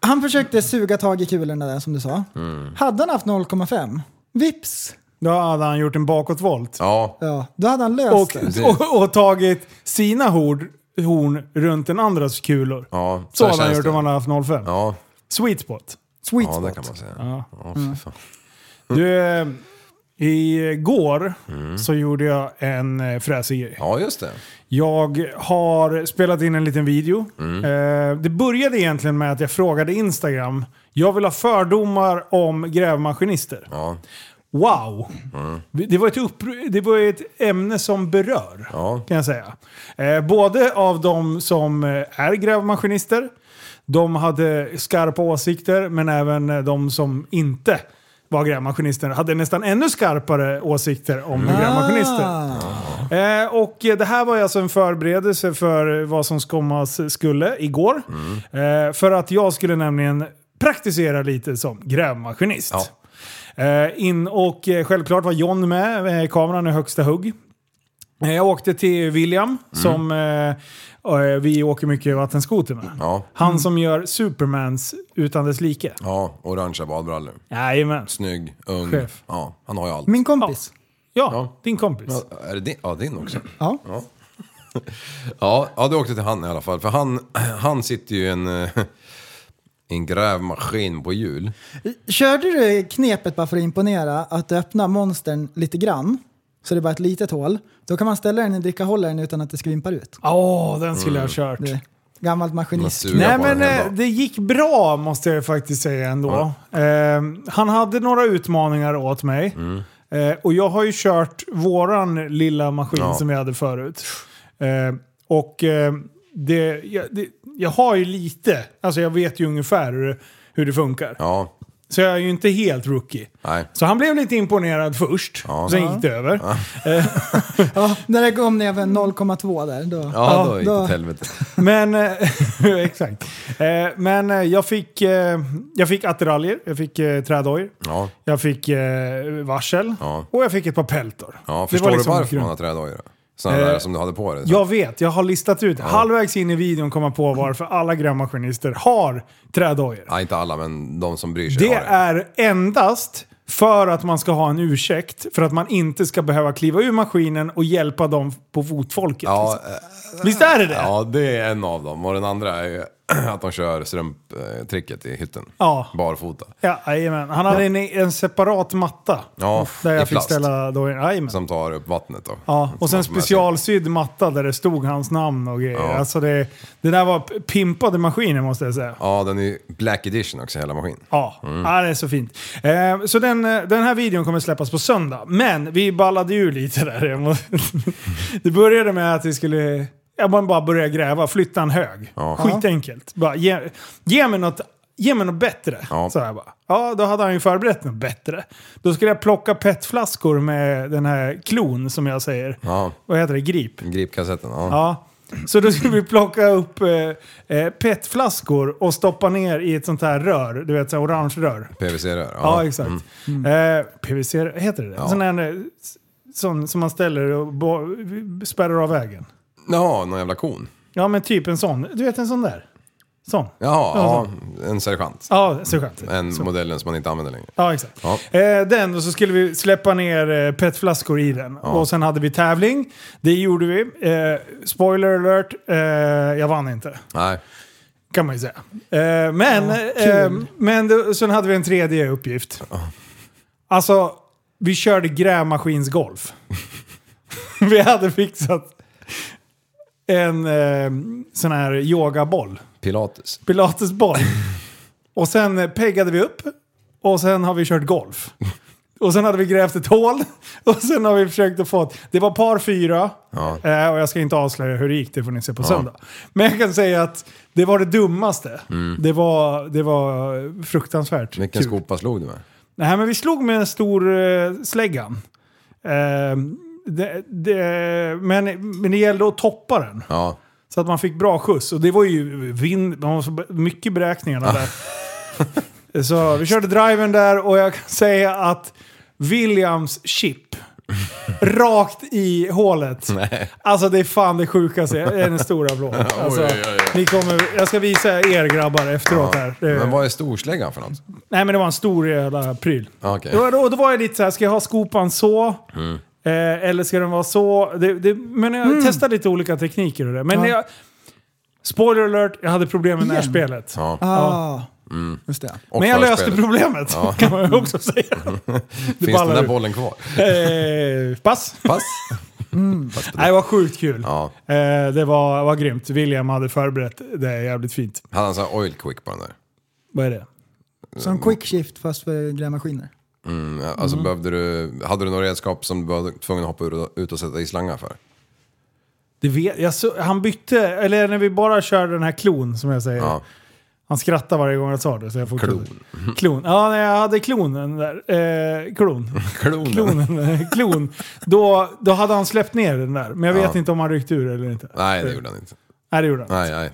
Speaker 6: han försökte suga tag i kulorna där som du sa.
Speaker 7: Mm.
Speaker 6: Hade han haft 0,5, vips,
Speaker 5: Då hade han gjort en bakåtvolt.
Speaker 7: Ja,
Speaker 6: ja, då hade han löst
Speaker 5: Och,
Speaker 6: det.
Speaker 5: och, och tagit sina hord, horn runt den andras kulor.
Speaker 7: ja.
Speaker 5: så hade han
Speaker 7: känns
Speaker 5: gjort
Speaker 7: det.
Speaker 5: om han hade haft 05.
Speaker 7: Ja,
Speaker 5: Sweet spot.
Speaker 6: Sweet
Speaker 7: ja, det
Speaker 6: spot.
Speaker 7: kan man säga.
Speaker 5: Ja. Mm.
Speaker 7: Ja, fy fan.
Speaker 5: Du, eh, igår
Speaker 7: Mm.
Speaker 5: så gjorde jag en eh, fräsig grej.
Speaker 7: ja just det.
Speaker 5: Jag har spelat in en liten video.
Speaker 7: Mm.
Speaker 5: Eh, det började egentligen med att jag frågade Instagram. Jag vill ha fördomar om grävmaskinister.
Speaker 7: Ja,
Speaker 5: Wow! Det, var ett uppr- det var ett ämne som berör,
Speaker 7: Ja.
Speaker 5: kan jag säga. Eh, både av de som eh, är grävmaskinister, de hade skarpa åsikter, men även eh, de som inte var grävmaskinisten, hade nästan ännu skarpare åsikter om
Speaker 7: Mm.
Speaker 5: grävmaskinisten.
Speaker 7: Ah.
Speaker 5: Eh, och eh, det här var ju alltså en förberedelse för vad som komma skulle igår.
Speaker 7: Mm.
Speaker 5: Eh, för att jag skulle nämligen praktisera lite som grävmaskinist.
Speaker 7: Ja.
Speaker 5: Eh, in och eh, självklart var John med, eh, kameran i högsta hugg. Eh, Jag åkte till William,
Speaker 7: Mm.
Speaker 5: som eh, eh, vi åker mycket vattenskoter med.
Speaker 7: Ja. Mm.
Speaker 5: Han som gör Supermans utan dess like.
Speaker 7: Ja, orangea badbrallor.
Speaker 5: Jajamän.
Speaker 7: Snygg, ung.
Speaker 5: Chef.
Speaker 7: Ja, han har ju allt.
Speaker 6: Min kompis.
Speaker 5: Ja,
Speaker 7: Ja.
Speaker 5: din kompis.
Speaker 7: Ja, är det din? Ja, din också.
Speaker 6: Ja.
Speaker 7: Ja, ja, du åkte till han i alla fall. För han, han sitter ju i en, eh, i en grävmaskin på hjul.
Speaker 6: Körde du knepet bara för att imponera att öppna monstern lite grann? Så det är bara ett litet hål. Då kan man ställa den i drickahållaren utan att det skvimpar ut.
Speaker 5: Åh, den skulle
Speaker 7: Mm.
Speaker 5: jag ha kört.
Speaker 6: Det är gammalt
Speaker 7: Man
Speaker 6: maskinist.
Speaker 7: surar
Speaker 5: Nej
Speaker 7: på den
Speaker 5: men
Speaker 7: hela
Speaker 5: eh,
Speaker 7: dagen.
Speaker 5: det gick bra måste jag faktiskt säga ändå. Ehm, han hade några utmaningar åt mig.
Speaker 7: Mm.
Speaker 5: Eh, och jag har ju kört våran lilla maskin
Speaker 7: Ja.
Speaker 5: som vi hade förut. Ehm, och eh, det, jag, det, jag har ju lite, alltså jag vet ju ungefär hur, det- hur det funkar.
Speaker 7: Ja,
Speaker 5: Så jag är ju inte helt rookie.
Speaker 7: nej.
Speaker 5: Så han blev lite imponerad först, sen gick det över.
Speaker 6: Ja, när det kom ner över 0,2 där. Då.
Speaker 7: Ja,
Speaker 5: Ja,
Speaker 7: då gick det
Speaker 6: då-
Speaker 7: åt helvete.
Speaker 5: Men, eh, exakt. Eh, men eh, jag fick, eh, jag fick attiraljer, jag fick eh, trädojor,
Speaker 7: Ja,
Speaker 5: jag fick eh, varsel
Speaker 7: Ja.
Speaker 5: och jag fick ett par peltor.
Speaker 7: ja
Speaker 5: Det
Speaker 7: förstår
Speaker 5: var
Speaker 7: du
Speaker 5: liksom
Speaker 7: varför
Speaker 5: grund-
Speaker 7: man har trädojor? Sådana
Speaker 5: Eh,
Speaker 7: där som du hade på dig?
Speaker 5: Jag vet, jag har listat ut. Halvvägs in i videon kom jag på varför alla grävmaskinister har trädojor.
Speaker 7: Nej, inte alla, men de som bryr sig
Speaker 5: Det
Speaker 7: har det.
Speaker 5: är endast för att man ska ha en ursäkt för att man inte ska behöva kliva ur maskinen och hjälpa dem på fotfolket.
Speaker 7: Ja, eh,
Speaker 5: liksom. Visst är det det?
Speaker 7: Ja, det är en av dem. Och den andra är ju att de kör strumptricket i hytten.
Speaker 5: Ja.
Speaker 7: Barfota.
Speaker 5: Ja, jajamän. Han hade en, en separat matta.
Speaker 7: Ja,
Speaker 5: där
Speaker 7: i
Speaker 5: jag fick
Speaker 7: plast.
Speaker 5: ställa då, jajamän.
Speaker 7: Som tar upp vattnet då.
Speaker 5: Ja, och sen
Speaker 7: Som man får med sig.
Speaker 5: specialsydd matta där det stod hans namn och grejer.
Speaker 7: Ja.
Speaker 5: Alltså det, det där var p- pimpade maskiner måste jag säga.
Speaker 7: Ja, den är ju black edition också, hela maskinen.
Speaker 5: Ja,
Speaker 7: Mm.
Speaker 5: ja det är så fint. Eh, så den, eh, den här videon kommer släppas på söndag. Men vi ballade ju lite där. Jag må- Det började med att vi skulle... Jag bara- bara börja gräva, flytta en hög. Skitenkelt. Bara, ge, ge, mig något, ge mig något bättre.
Speaker 7: Ja.
Speaker 5: Så jag bara. Ja, då hade han ju förberett något bättre. Då skulle jag plocka petflaskor med den här klon som jag säger.
Speaker 7: Ja,
Speaker 5: Vad heter det? Grip.
Speaker 7: gripkassetten. Ja.
Speaker 5: Ja. Så då skulle vi plocka upp eh, eh, PET-flaskor och stoppa ner i ett sånt här rör. Du vet, så här orange rör.
Speaker 7: PVC-rör.
Speaker 5: Ja, exakt.
Speaker 7: Mm.
Speaker 5: Eh, PVC, heter det det? Sån här, eh, s- sån som man ställer och bo- spärrar av vägen.
Speaker 7: Jaha, någon jävla kon.
Speaker 5: Ja, men typ en sån. Du vet en sån där? Sån.
Speaker 7: Jaha,
Speaker 5: Ja,
Speaker 7: ja, en sergeant.
Speaker 5: Ja, så skönt.
Speaker 7: En modellen som man inte använder längre.
Speaker 5: Ja, exakt.
Speaker 7: Ja.
Speaker 5: Eh, den, och så skulle vi släppa ner eh, petflaskor i den. Och sen hade vi tävling. Det gjorde vi. Eh, spoiler alert, eh, jag vann inte.
Speaker 7: Nej.
Speaker 5: Kan man ju säga. Eh, men eh, men då, sen hade vi en tredje uppgift. Alltså, vi körde grävmaskinsgolf. vi hade fixat en eh, sån här yogaboll.
Speaker 7: Pilates.
Speaker 5: Pilatesboll. och sen eh, peggade vi upp. Och sen har vi kört golf. Och sen hade vi grävt ett hål. Och sen har vi försökt att få... Det var par fyra. Eh, och jag ska inte avslöja hur det gick, det får ni se på söndag. Men jag kan säga att det var det dummaste. Det, var, det var fruktansvärt
Speaker 7: Vilken skopa slog du med?
Speaker 5: Nej, men vi slog med en stor eh, släggan. Eh, det, det, men, men det gällde att toppa den.
Speaker 7: Ja.
Speaker 5: Så att man fick bra skjuts. Och det var ju vind, man var så mycket beräkningar där. så vi körde driven där och jag kan säga att Williams chip rakt i hålet. Alltså det är fan det sjukaste. Det är en stor applåd. Alltså,
Speaker 7: oj, oj, oj.
Speaker 5: Ni kommer, jag ska visa er grabbar efteråt här. Det,
Speaker 7: Men vad är storsläggan för något?
Speaker 5: Nej men det var en stor jävla pryl.
Speaker 7: Ja, Okej.
Speaker 5: Då, då, då var jag lite så här, ska jag ha skopan så?
Speaker 7: Mm.
Speaker 5: Eh, eller ska den vara så? Det, det, men jag testade lite olika tekniker och det. Men
Speaker 6: Mm. Ja.
Speaker 5: jag, spoiler alert, jag hade problem med
Speaker 6: Igen?
Speaker 5: närspelet.
Speaker 7: Ja.
Speaker 6: Ah,
Speaker 7: Mm.
Speaker 6: just det.
Speaker 7: Och
Speaker 5: Men jag löste
Speaker 7: förspelet.
Speaker 5: problemet, kan man ju också säga. Det
Speaker 7: Finns den
Speaker 5: ballar
Speaker 7: där
Speaker 5: ur.
Speaker 7: bollen kvar?
Speaker 5: Eh, pass.
Speaker 7: Pass?
Speaker 5: Nej, det var sjukt kul.
Speaker 7: Ja.
Speaker 5: Eh, det var, var grymt. William hade förberett det jävligt fint.
Speaker 7: Hade han sån här oil quick på den där?
Speaker 5: Vad är det?
Speaker 6: Som quick shift fast för grävmaskiner.
Speaker 7: Mm, alltså behövde du, hade du några redskap som du var tvungen att hoppa ur och- ut och sätta i slangar för?
Speaker 5: det vet, jag så, han bytte, eller när vi bara körde den här klon som jag säger.
Speaker 7: Ja.
Speaker 5: Han skrattade varje gång jag sa det. Så jag fortsatte. Klon. Ja, när jag hade klonen där. Eh, klon.
Speaker 7: Klonen.
Speaker 5: Klonen. Klon. Då, då hade han släppt ner den där. Men jag vet
Speaker 7: Ja.
Speaker 5: inte om han ryckte ur eller inte.
Speaker 7: Nej, det gjorde han inte.
Speaker 5: Nej, det gjorde han.
Speaker 7: Nej, nej.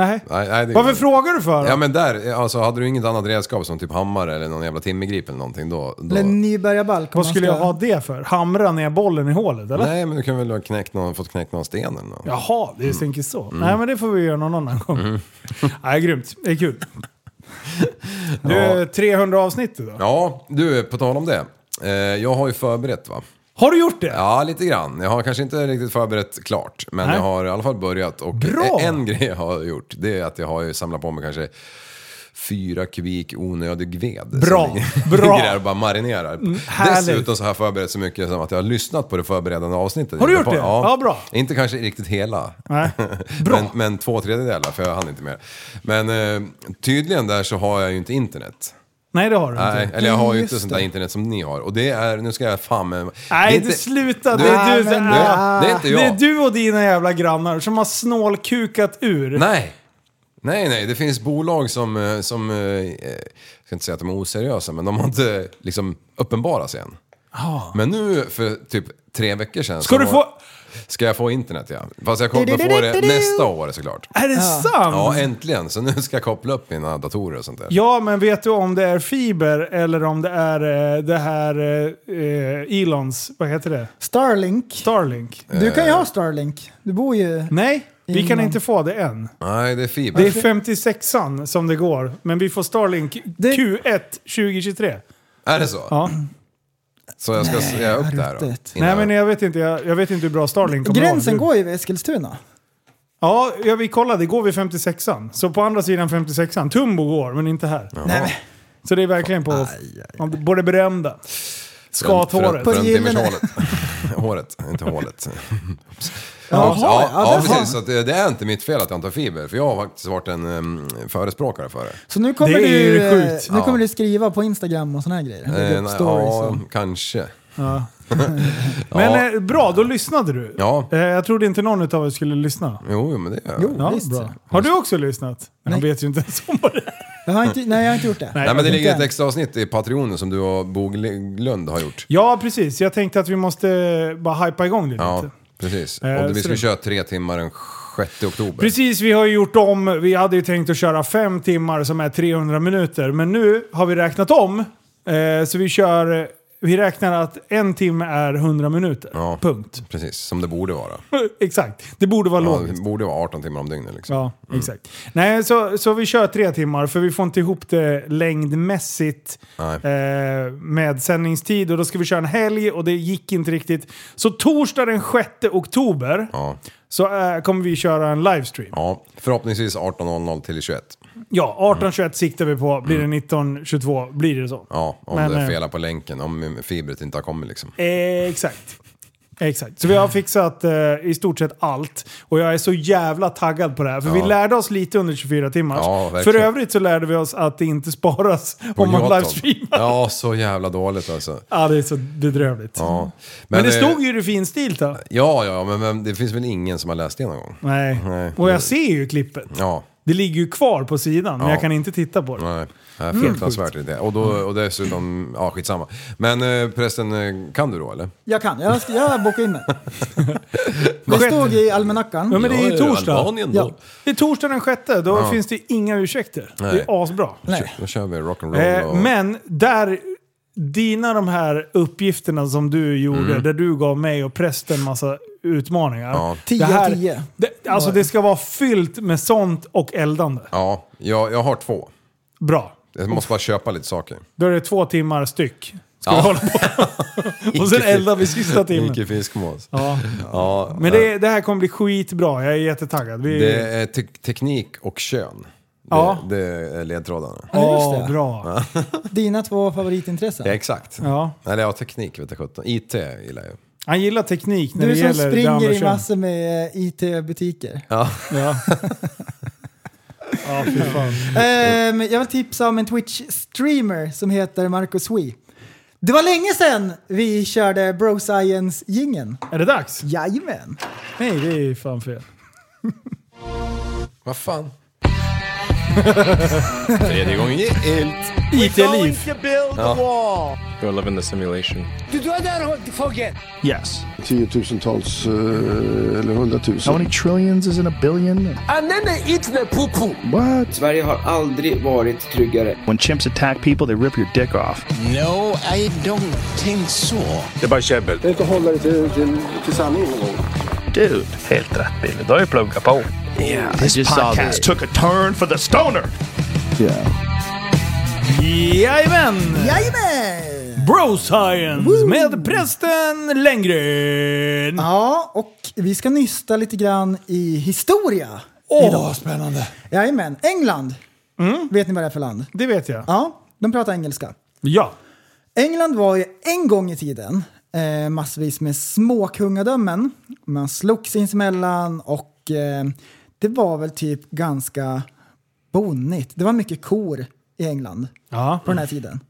Speaker 5: Nej.
Speaker 7: nej, nej det gjorde
Speaker 5: Varför
Speaker 7: han inte.
Speaker 5: frågar du för?
Speaker 7: Ja men där, alltså hade du inget annat redskap som typ hammare eller någon jävla timmergrip eller någonting då... då...
Speaker 6: Eller en nybörjarbalk. om
Speaker 5: Vad
Speaker 6: man
Speaker 5: skulle
Speaker 6: ska-
Speaker 5: jag ha det för? Hamra ner bollen i hålet eller?
Speaker 7: Nej men du kan väl ha knäckt någon, fått knäckt någon sten eller något.
Speaker 5: Jaha, det tänker så.
Speaker 7: Mm.
Speaker 5: Nej, men det får vi göra någon annan gång. Nej, grymt. Det är kul. Du,
Speaker 7: Ja.
Speaker 5: 300 avsnitt idag.
Speaker 7: Ja, du på tal om det. Eh, jag har ju förberett va?
Speaker 5: Har du gjort det?
Speaker 7: Ja, lite grann. Jag har kanske inte riktigt förberett klart, men
Speaker 5: Nej.
Speaker 7: jag har i alla fall börjat. Och e-
Speaker 5: Bra!
Speaker 7: en grej jag har gjort, det är att jag har ju samlat på mig kanske fyra kvik onödig ved.
Speaker 5: Bra,
Speaker 7: som ligger-
Speaker 5: bra. Mm,
Speaker 7: ligger där och bara marinerar.
Speaker 5: härligt.
Speaker 7: Dessutom så har jag förberett så mycket som att jag har lyssnat på det förberedande avsnittet.
Speaker 5: Har du
Speaker 7: Jag
Speaker 5: gjort
Speaker 7: på-
Speaker 5: det? Ja, bra.
Speaker 7: Inte kanske riktigt hela.
Speaker 5: Nej. Bra.
Speaker 7: Men, men två tredjedelar, för jag hann inte mer. Men eh, tydligen där så har jag ju inte internet.
Speaker 5: Nej, det har du
Speaker 7: Nej,
Speaker 5: inte.
Speaker 7: eller jag har ju
Speaker 6: Just
Speaker 7: inte sånt där internet som ni har. Och det är, nu ska jag fan med...
Speaker 5: Nej,
Speaker 7: det är
Speaker 5: du sluta. Det
Speaker 6: Nej,
Speaker 5: är, du,
Speaker 6: men-
Speaker 5: det,
Speaker 7: Ja, det är inte jag.
Speaker 5: det är du och dina jävla grannar som har snålkukat ur.
Speaker 7: Nej! Nej, nej, det finns bolag som, eh, som eh, jag ska inte säga att de är oseriösa, men de har inte liksom uppenbarats än. Men nu för typ tre veckor sedan
Speaker 5: Ah. Ska
Speaker 7: så
Speaker 5: du
Speaker 7: har-
Speaker 5: få...
Speaker 7: Ska jag få internet ja. Fast jag kommer få det nästa år såklart.
Speaker 5: Är det sant?
Speaker 7: Ja, äntligen. Så nu ska jag koppla upp mina datorer och sånt där.
Speaker 5: Ja, men vet du om det är fiber eller om det är eh, det här eh, eh, Elons, vad heter det?
Speaker 6: Starlink.
Speaker 5: Starlink?
Speaker 6: Du kan ju
Speaker 5: Eh.
Speaker 6: ha Starlink. Du bor ju...
Speaker 5: Nej, vi kan
Speaker 6: Elon.
Speaker 5: inte få det än.
Speaker 7: Nej, det är fiber.
Speaker 5: Det är 56an som det går, men vi får Starlink
Speaker 6: Det-
Speaker 5: Q1 2023.
Speaker 7: Är det så?
Speaker 5: Ja.
Speaker 7: Så jag ska säga upp det här då?
Speaker 6: ruttet.
Speaker 7: Innan-
Speaker 5: Nej, men jag vet inte, jag, jag vet inte hur bra Starlink kommer
Speaker 6: Gränsen
Speaker 5: vara.
Speaker 6: går ju vid Eskilstuna.
Speaker 5: Ja, ja, vi kollade, går vi 56an? Så på andra sidan 56an, Tumbo går, men inte här.
Speaker 6: Nej, men,
Speaker 5: Så det är verkligen på, på det berömda. Skathåret.
Speaker 6: På
Speaker 7: På
Speaker 6: det gyllene.
Speaker 7: dimmershålet. Håret, inte hålet.
Speaker 6: Jaha,
Speaker 7: ja,
Speaker 6: ja,
Speaker 7: ja,
Speaker 6: där
Speaker 7: precis.
Speaker 6: har-
Speaker 7: Så att det det är inte mitt fel att jag inte har fiber, för jag har faktiskt varit en em, förespråkare för det.
Speaker 6: Så nu kommer,
Speaker 5: Det är
Speaker 6: du,
Speaker 5: ju
Speaker 6: eh, nu
Speaker 5: sjukt.
Speaker 7: Ja.
Speaker 6: kommer du skriva på Instagram och såna här grejer. Lägga
Speaker 7: Eh,
Speaker 6: upp
Speaker 7: nej,
Speaker 6: stories.
Speaker 7: ja,
Speaker 5: liksom.
Speaker 6: och-
Speaker 7: kanske.
Speaker 5: Men
Speaker 7: Ja.
Speaker 5: eh, bra, då lyssnade du.
Speaker 7: Ja.
Speaker 5: Eh, jag trodde inte någon av er skulle lyssna.
Speaker 7: Jo, jo, men det gör jag.
Speaker 6: Jo,
Speaker 5: Ja,
Speaker 6: visst.
Speaker 5: bra. Har du också lyssnat? Nej. Han
Speaker 6: Nej.
Speaker 5: vet ju inte ens om vad det är.
Speaker 6: Jag har inte, nej, jag har inte gjort det.
Speaker 5: Nej.
Speaker 7: Nej, men det
Speaker 6: inte
Speaker 7: ligger ett
Speaker 6: än.
Speaker 7: extra avsnitt i Patreon som du och Bo Lund har gjort.
Speaker 5: Ja, precis. Jag tänkte att vi måste eh, bara hypa igång det
Speaker 7: Ja,
Speaker 5: lite.
Speaker 7: precis.
Speaker 5: Eh,
Speaker 7: Och vi
Speaker 5: så
Speaker 7: ska
Speaker 5: det-
Speaker 7: köra tre timmar den 6 oktober.
Speaker 5: Precis, vi har ju gjort om. Vi hade ju tänkt att köra fem timmar som är 300 minuter. Men nu har vi räknat om. Eh, så vi kör... eh, Vi räknar att en timme är 100 minuter.
Speaker 7: Ja.
Speaker 5: Punkt.
Speaker 7: Precis, som det borde vara.
Speaker 5: Exakt. Det borde vara
Speaker 7: Ja,
Speaker 5: logiskt.
Speaker 7: det borde vara 18 timmar om dygnet liksom.
Speaker 5: Ja, exakt. Nej, så, så vi kör tre timmar för vi får inte ihop det längdmässigt
Speaker 7: Nej.
Speaker 5: eh, med sändningstid och då ska vi köra en helg och det gick inte riktigt. Så torsdag den 6 oktober
Speaker 7: Ja.
Speaker 5: så eh, kommer vi köra en livestream. Ja,
Speaker 7: ja, förhoppningsvis 18.00 till 21.
Speaker 5: 18.21 siktar vi på. Blir det 19.22 blir det så.
Speaker 7: Mm. Ja, om
Speaker 5: Men,
Speaker 7: det
Speaker 5: eh,
Speaker 7: är fel på länken, om fibret inte har kommit liksom.
Speaker 5: Eh, exakt. Exakt. Så vi har fixat eh, i stort sett allt. Och jag är så jävla taggad på det här. För vi lärde oss lite under 24 timmar.
Speaker 7: Ja, verkligen.
Speaker 5: för övrigt så lärde vi oss att det inte sparas om man
Speaker 7: På Youtube.
Speaker 5: livestreamar.
Speaker 7: Ja, så jävla dåligt alltså.
Speaker 5: Ja, det är så bedrövligt.
Speaker 7: Ja.
Speaker 5: Mm. Men, det
Speaker 7: eh,
Speaker 5: stod ju det finstilt då.
Speaker 7: Ja, ja, men vem, det finns väl ingen som har läst det någon gång?
Speaker 5: Nej.
Speaker 7: Nej.
Speaker 5: Och jag ser ju klippet.
Speaker 7: Ja.
Speaker 5: Det ligger ju kvar på sidan, men
Speaker 7: Ja.
Speaker 5: jag kan inte titta på det.
Speaker 7: Nej, nej,
Speaker 5: Mm.
Speaker 7: fruktansvärt idé. Och, då, och dessutom, ja skitsamma. Men eh, förresten, eh, kan du då eller?
Speaker 6: Jag kan, jag, ska- jag bokar in mig. Det stod i almanackan.
Speaker 5: Ja, men det är ju torsdag.
Speaker 7: Albanien
Speaker 6: då. Ja.
Speaker 5: Det är torsdag den sjätte, då finns det inga ursäkter. Det
Speaker 7: Nej.
Speaker 5: är asbra.
Speaker 7: Kör, då kör vi rock'n'roll
Speaker 5: Eh,
Speaker 7: och...
Speaker 5: men där, dina de här uppgifterna som du gjorde, där du gav mig och prästen massa utmaningar.
Speaker 7: Mm. Ja.
Speaker 5: Det
Speaker 6: 10
Speaker 5: här,
Speaker 6: av 10.
Speaker 5: det, alltså det ska vara fyllt med sånt och eldande.
Speaker 7: Ja, jag, jag har två.
Speaker 5: Bra.
Speaker 7: Jag måste bara köpa lite saker.
Speaker 5: Då är det två timmar styck. Ska
Speaker 7: Ja.
Speaker 5: vi hålla på. och sen eldar vi sista timmen.
Speaker 7: Micke Fiskmås.
Speaker 5: Ja.
Speaker 7: Ja,
Speaker 5: Men det, det här kommer bli skitbra. Jag är jättetaggad. Vi,
Speaker 7: det är te- teknik och kön. Det,
Speaker 5: Ja.
Speaker 7: det är ledtrådarna.
Speaker 6: Ja, just
Speaker 5: Åh,
Speaker 6: det.
Speaker 5: bra.
Speaker 6: Dina två favoritintressen.
Speaker 7: Ja, exakt.
Speaker 5: Ja.
Speaker 7: Eller ja, teknik vet jag sjutton. IT gillar jag.
Speaker 5: Han gillar teknik när
Speaker 6: Du
Speaker 5: det
Speaker 6: som
Speaker 5: gäller det andra
Speaker 6: springer i
Speaker 5: könet.
Speaker 6: massor med eh, IT-butiker.
Speaker 7: Ja.
Speaker 5: Ja. ja, fy fan.
Speaker 6: Ehm, jag vill tipsa om en Twitch-streamer som heter Marco Sui. Det var länge sedan vi körde Bro science gingen
Speaker 5: Är det dags?
Speaker 6: Jajamän!
Speaker 5: Nej, det är fan fel.
Speaker 7: Vad fan? Tredje gången gillt.
Speaker 5: IT-liv.
Speaker 8: You're living the simulation.
Speaker 9: Yes.
Speaker 10: tiotusentals eh, eller hundratusen.
Speaker 9: How many trillions is in a billion?
Speaker 10: What?
Speaker 11: Sverige har aldrig varit tryggare.
Speaker 9: When chimps attack people, they rip your dick off.
Speaker 2: No, I don't think so.
Speaker 9: Det är bara käbbel.
Speaker 10: Det är inte att hålla det till, till, till sanningen någon gång.
Speaker 9: Dude. Helt rätt Billy. Du har ju pluggat på. Yeah, this podcast took a turn for the stoner.
Speaker 5: Jajamän!
Speaker 6: Jajamän!
Speaker 5: Bro Science med prästen Lenngren.
Speaker 6: Ja, och vi ska nysta lite grann i historia.
Speaker 5: Åh, vad spännande.
Speaker 6: Jajamän, England. Vet ni vad det är för land?
Speaker 5: Det vet jag.
Speaker 6: Ja, de pratar engelska.
Speaker 5: Ja.
Speaker 6: England var ju en gång i tiden eh, massvis med små kungadömen. Man slog sinsemellan och eh, det var väl typ ganska bonnigt. Det var mycket kor i England
Speaker 5: Ja.
Speaker 6: på den här tiden.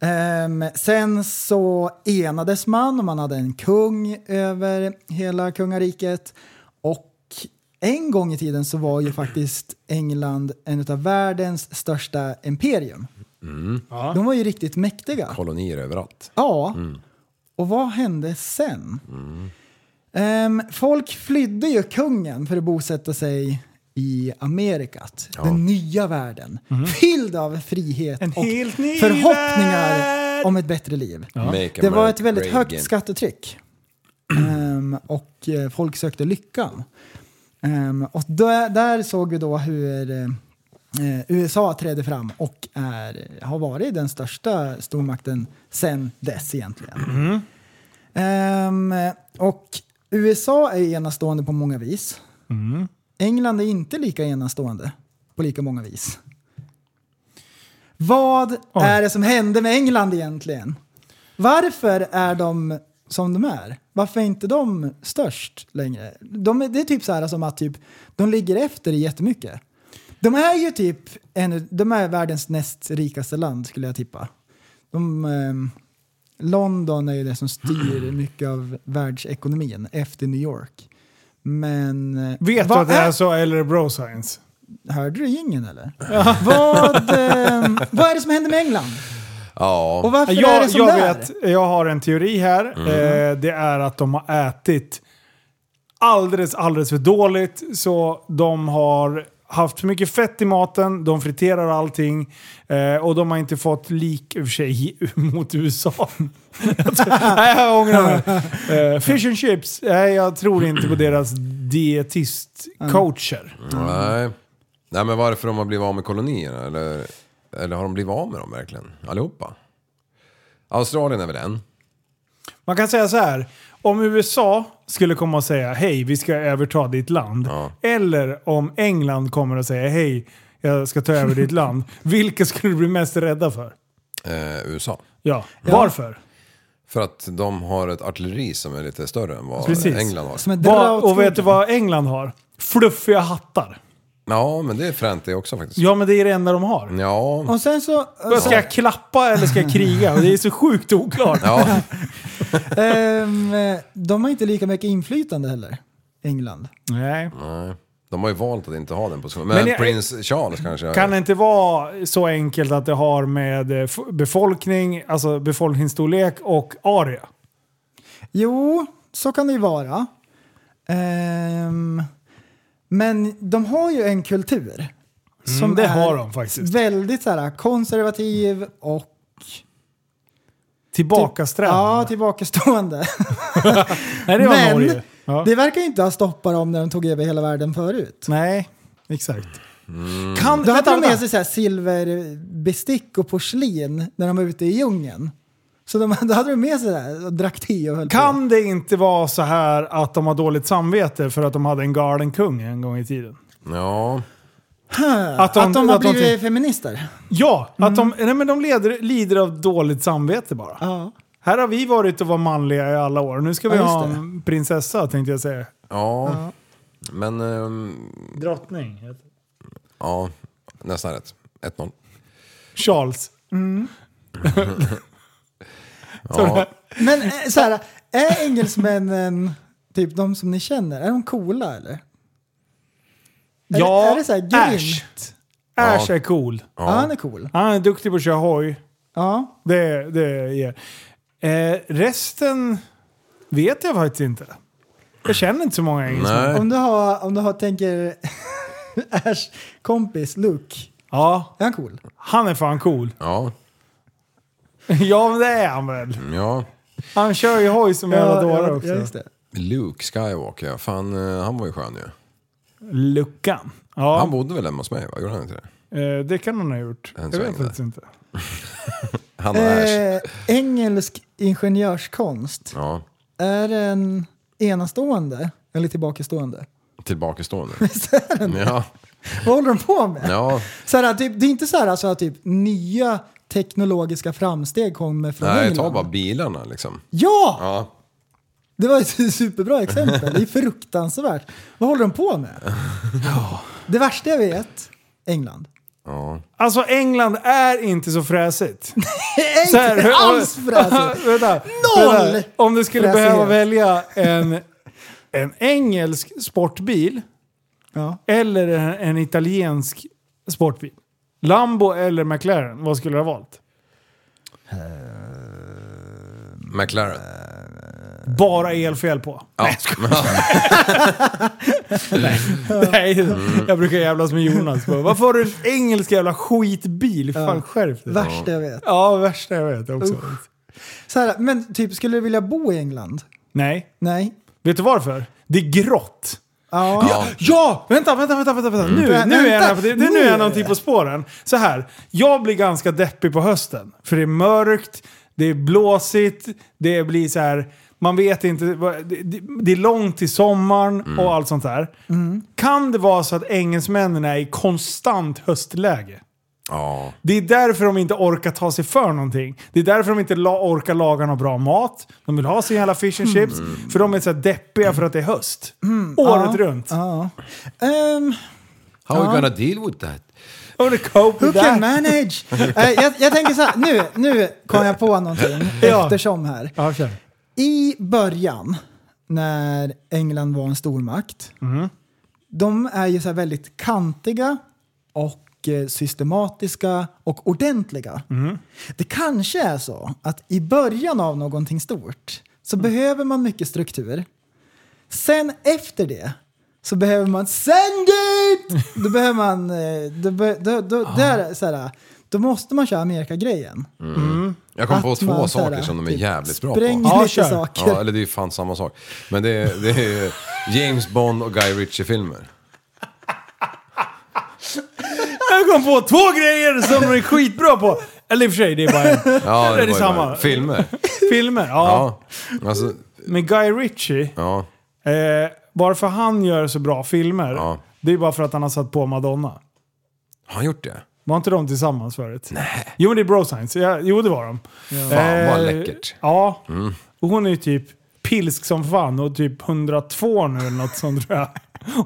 Speaker 6: Ehm, sen så enades man och man hade en kung över hela kungariket. Och en gång i tiden så var ju faktiskt England en av världens största imperium. De var ju riktigt mäktiga.
Speaker 7: Kolonier överallt.
Speaker 6: Ja. Och vad hände sen? Ehm, folk flydde ju kungen för att bosätta sig i Amerikat, den nya världen. Fylld av frihet
Speaker 5: Mhm. En
Speaker 6: och
Speaker 5: helt ny
Speaker 6: förhoppningar
Speaker 5: värld!
Speaker 6: om ett bättre liv.
Speaker 7: Make
Speaker 6: Det var
Speaker 7: America
Speaker 6: ett väldigt
Speaker 7: great
Speaker 6: högt
Speaker 7: again.
Speaker 6: skattetryck. Ehm, och eh, folk sökte lyckan. Ehm, och där, där såg vi då hur eh, eh, USA trädde fram och är, har varit den största stormakten sen dess egentligen. Ehm, och USA är enastående på många vis. England är inte lika enastående på lika många vis. Vad är det som hände med England egentligen? Varför är de som de är? Varför är inte de störst längre? De är, det är typ så här som att typ, de ligger efter i jättemycket. De är ju typ en, de är världens näst rikaste land skulle jag tippa. De, ehm, London är ju det som styr mycket av världsekonomin efter New York. Men... eh,
Speaker 5: Vet du
Speaker 6: vad
Speaker 5: att det är så eller är det Bro Science?
Speaker 6: Hörde du ingen eller? vad, ehm, vad är det som händer med England?
Speaker 7: Ja.
Speaker 6: Och varför är det
Speaker 5: Jag,
Speaker 6: som
Speaker 5: jag
Speaker 6: det är?
Speaker 5: vet, jag har en teori här. Eh, det är att de har ätit alldeles, alldeles för dåligt. Så de har haft för mycket fett i maten, de friterar allting eh, och de har inte fått lik, i och för sig, mot USA. Alltså, Nej, jag ångrar mig. Eh, fish and chips, nej jag tror inte på deras dietistcoacher.
Speaker 7: Mm. Nej. Nej men varför de har blivit av med kolonierna eller, eller har de blivit av med dem verkligen? Allihopa? Australien är väl en?
Speaker 5: Man kan säga så här. Om USA skulle komma och säga hej, vi ska överta ditt land. Eller om England kommer och säger hej, jag ska ta över ditt land. Vilka skulle du bli mest rädda för?
Speaker 7: Eh, USA.
Speaker 5: Ja. Varför?
Speaker 7: För att de har ett artilleri som är lite större än vad
Speaker 5: Precis.
Speaker 7: England har.
Speaker 6: Som är
Speaker 5: Va,
Speaker 6: dra åt
Speaker 5: och vet du
Speaker 6: skogen.
Speaker 5: vad England har? Fluffiga hattar.
Speaker 7: Ja men det är fränt det också faktiskt.
Speaker 5: Ja, men det är det enda de har.
Speaker 7: Ja.
Speaker 6: Och sen så...
Speaker 5: Ska jag klappa eller ska jag kriga? Och Det är så sjukt oklart.
Speaker 7: Ja,
Speaker 6: ehm, de har inte lika mycket inflytande heller, England.
Speaker 5: Nej.
Speaker 7: nej. De har ju valt att inte ha den positionen. Men,
Speaker 5: Men jag-
Speaker 7: prins Charles kanske?
Speaker 5: Kan det inte vara så enkelt att det har med eh, f- befolkning, alltså befolkningsstorlek och area?
Speaker 6: Jo, så kan det ju vara. Ehm, men de har ju en kultur. Som
Speaker 5: Mm, det
Speaker 6: är
Speaker 5: har de faktiskt.
Speaker 6: Väldigt så här, konservativ och...
Speaker 5: Tillbakasträvande.
Speaker 6: Ja, tillbakastående.
Speaker 5: Nej, det var
Speaker 6: Men
Speaker 5: Norge. Ja.
Speaker 6: det verkar ju inte ha stoppat dem när de tog över hela världen förut.
Speaker 5: Nej, exakt. Kan,
Speaker 6: Då hade
Speaker 5: vänta,
Speaker 6: de med
Speaker 5: vänta.
Speaker 6: sig så här silverbestick och porslin när de var ute i djungen. Så de, då hade de med sig det här och drack te och höll på.
Speaker 5: kan det inte vara så här att de har dåligt samvete för att de hade en galen kung en gång i tiden?
Speaker 7: Ja.
Speaker 5: Att
Speaker 6: Att de har
Speaker 5: att de- typ-
Speaker 6: blivit feminister.
Speaker 5: ja, att de, nej, men de leder, lider av dåligt samvete bara.
Speaker 6: Ja.
Speaker 5: Här har vi varit och var manliga i alla år. Nu ska vi
Speaker 6: Ja, just
Speaker 5: ha
Speaker 6: det.
Speaker 5: en prinsessa tänkte jag säga.
Speaker 7: Ja. Men, ehm,
Speaker 5: Drottning.
Speaker 7: ja. Nästan rätt. 1-0.
Speaker 5: Charles.
Speaker 7: Ja.
Speaker 6: Men eh, så här, är engelsmännen, typ de som ni känner, är de coola eller? Är,
Speaker 5: Ja,
Speaker 6: det, är det så här grymt?
Speaker 5: Ash. Ash är cool.
Speaker 6: Ja. Han är cool.
Speaker 5: Han är duktig på att köra hoj.
Speaker 6: Ja.
Speaker 5: Det, det ger. Eh, resten vet jag faktiskt inte. Jag känner inte så många engelsmän.
Speaker 6: Om du har, om du har tänker Ash kompis Luke,
Speaker 5: Ja,
Speaker 6: är han cool?
Speaker 5: han är fan cool.
Speaker 7: Ja,
Speaker 5: ja, men det är han väl.
Speaker 7: ja.
Speaker 5: Han kör ju hoj som en jävla dåre också.
Speaker 6: Ja, just det.
Speaker 7: Luke Skywalker, ja. Fan, eh, han var ju skön ju.
Speaker 5: Luckan. Ja,
Speaker 7: Han bodde väl hemma hos mig, va? Gjorde han inte det?
Speaker 5: eh, det kan han ha gjort.
Speaker 7: En
Speaker 5: Jag
Speaker 7: sväng
Speaker 5: vet
Speaker 7: där.
Speaker 5: faktiskt inte.
Speaker 7: Han och Ash.
Speaker 6: Eh, engelsk ingenjörskonst,
Speaker 7: Ja,
Speaker 6: är den enastående eller tillbakastående?
Speaker 7: tillbakastående. Ja,
Speaker 6: Vad håller de på med?
Speaker 7: ja.
Speaker 6: Så här, typ, det är inte så här alltså, att typ, nya teknologiska framsteg kommer från
Speaker 7: Nej, ta
Speaker 6: England.
Speaker 7: bara bilarna liksom.
Speaker 6: Ja!
Speaker 7: Ja,
Speaker 6: Det var ett superbra exempel. Det är fruktansvärt. Vad håller de på med? Det värsta jag vet, England.
Speaker 7: ja.
Speaker 5: Alltså England är inte så fräsigt.
Speaker 6: Det är
Speaker 5: Så här,
Speaker 6: inte
Speaker 5: hur-
Speaker 6: alls fräsigt.
Speaker 5: vänta,
Speaker 6: Noll
Speaker 5: vänta. Om du skulle
Speaker 6: fräsighet.
Speaker 5: behöva välja en, en engelsk sportbil
Speaker 6: Ja.
Speaker 5: eller en, en italiensk sportbil. Lambo eller McLaren, vad skulle du ha valt?
Speaker 7: McLaren.
Speaker 5: Bara elfel på.
Speaker 7: Ja.
Speaker 5: Nej, jag brukar jävlas med Jonas. Bara, Varför har du en engelsk jävla skitbil? Fan, skärp dig.
Speaker 6: Värsta jag vet.
Speaker 5: Ja, värsta jag vet också.
Speaker 6: Så här, men typ, skulle du vilja bo i England?
Speaker 5: Nej,
Speaker 6: Nej.
Speaker 5: vet du varför? Det är grått.
Speaker 6: Ja.
Speaker 7: Ja.
Speaker 5: Ja! Vänta, vänta, vänta, vänta. vänta. Nu,
Speaker 6: Vä-
Speaker 5: Mm. nu, är jag,
Speaker 6: vänta,
Speaker 5: på- det- det- nu är
Speaker 6: nu.
Speaker 5: jag någonting på spåren. Så här, jag blir ganska deppig på hösten. För det är mörkt, det är blåsigt, det blir så här... Man vet inte, vad- det, det- det är långt till sommaren och allt sånt där. Kan det vara så att engelsmännen är i konstant höstläge?
Speaker 7: ja.
Speaker 5: Det är därför de inte orkar ta sig för någonting. Det är därför de inte la- orkar laga någon bra mat. De vill ha sin jävla fish and chips. För de är så här deppiga för att det är höst. Året runt.
Speaker 6: Ja. Ehm,
Speaker 7: How are we gonna deal with that?
Speaker 5: Oh, the cope
Speaker 6: who
Speaker 5: with that.
Speaker 6: can manage? Eh, jag, jag tänker så här, nu, nu kom jag på någonting
Speaker 5: Ja.
Speaker 6: eftersom här.
Speaker 5: Ja, kör.
Speaker 6: I början, när England var en stormakt,
Speaker 7: Mm-hmm.
Speaker 6: de är ju så här väldigt kantiga och eh, systematiska och ordentliga.
Speaker 7: Mm-hmm.
Speaker 6: Det kanske är så att i början av någonting stort så
Speaker 7: Mm.
Speaker 6: behöver man mycket struktur. Sen efter det så behöver man send it! Då behöver man... eh, Då, be- då, då,
Speaker 7: Ah.
Speaker 6: där, så här, då måste man köra Amerika-grejen.
Speaker 7: Jag kom
Speaker 6: Att
Speaker 7: på två
Speaker 6: man så här,
Speaker 7: saker som de är
Speaker 6: typ
Speaker 7: jävligt bra
Speaker 6: spränger
Speaker 7: på.
Speaker 5: Ja,
Speaker 6: lite
Speaker 5: kör.
Speaker 6: saker.
Speaker 7: Ja, eller det är ju fan samma sak. Men det är, det är James Bond och Guy Ritchie-filmer.
Speaker 5: Jag kom på två grejer som de är skitbra på. Eller i och för sig, det är bara en.
Speaker 7: Ja,
Speaker 5: Eller det är
Speaker 7: var ju
Speaker 5: samma.
Speaker 7: bara- Filmer.
Speaker 5: Filmer, ja.
Speaker 7: Ja. Alltså,
Speaker 5: Men Guy Ritchie,
Speaker 7: ja.
Speaker 5: eh, varför han gör så bra filmer,
Speaker 7: Ja.
Speaker 5: det är bara för att han har satt på Madonna.
Speaker 7: Har han gjort det?
Speaker 5: Var inte de tillsammans förut? Nej. Jo, men det är bro science. Ja, jo, det var de. Eh,
Speaker 7: Fan vad Mm. läckert.
Speaker 5: Ja. Och hon är ju typ pilsk som fan och typ 102 nu eller något sånt tror jag.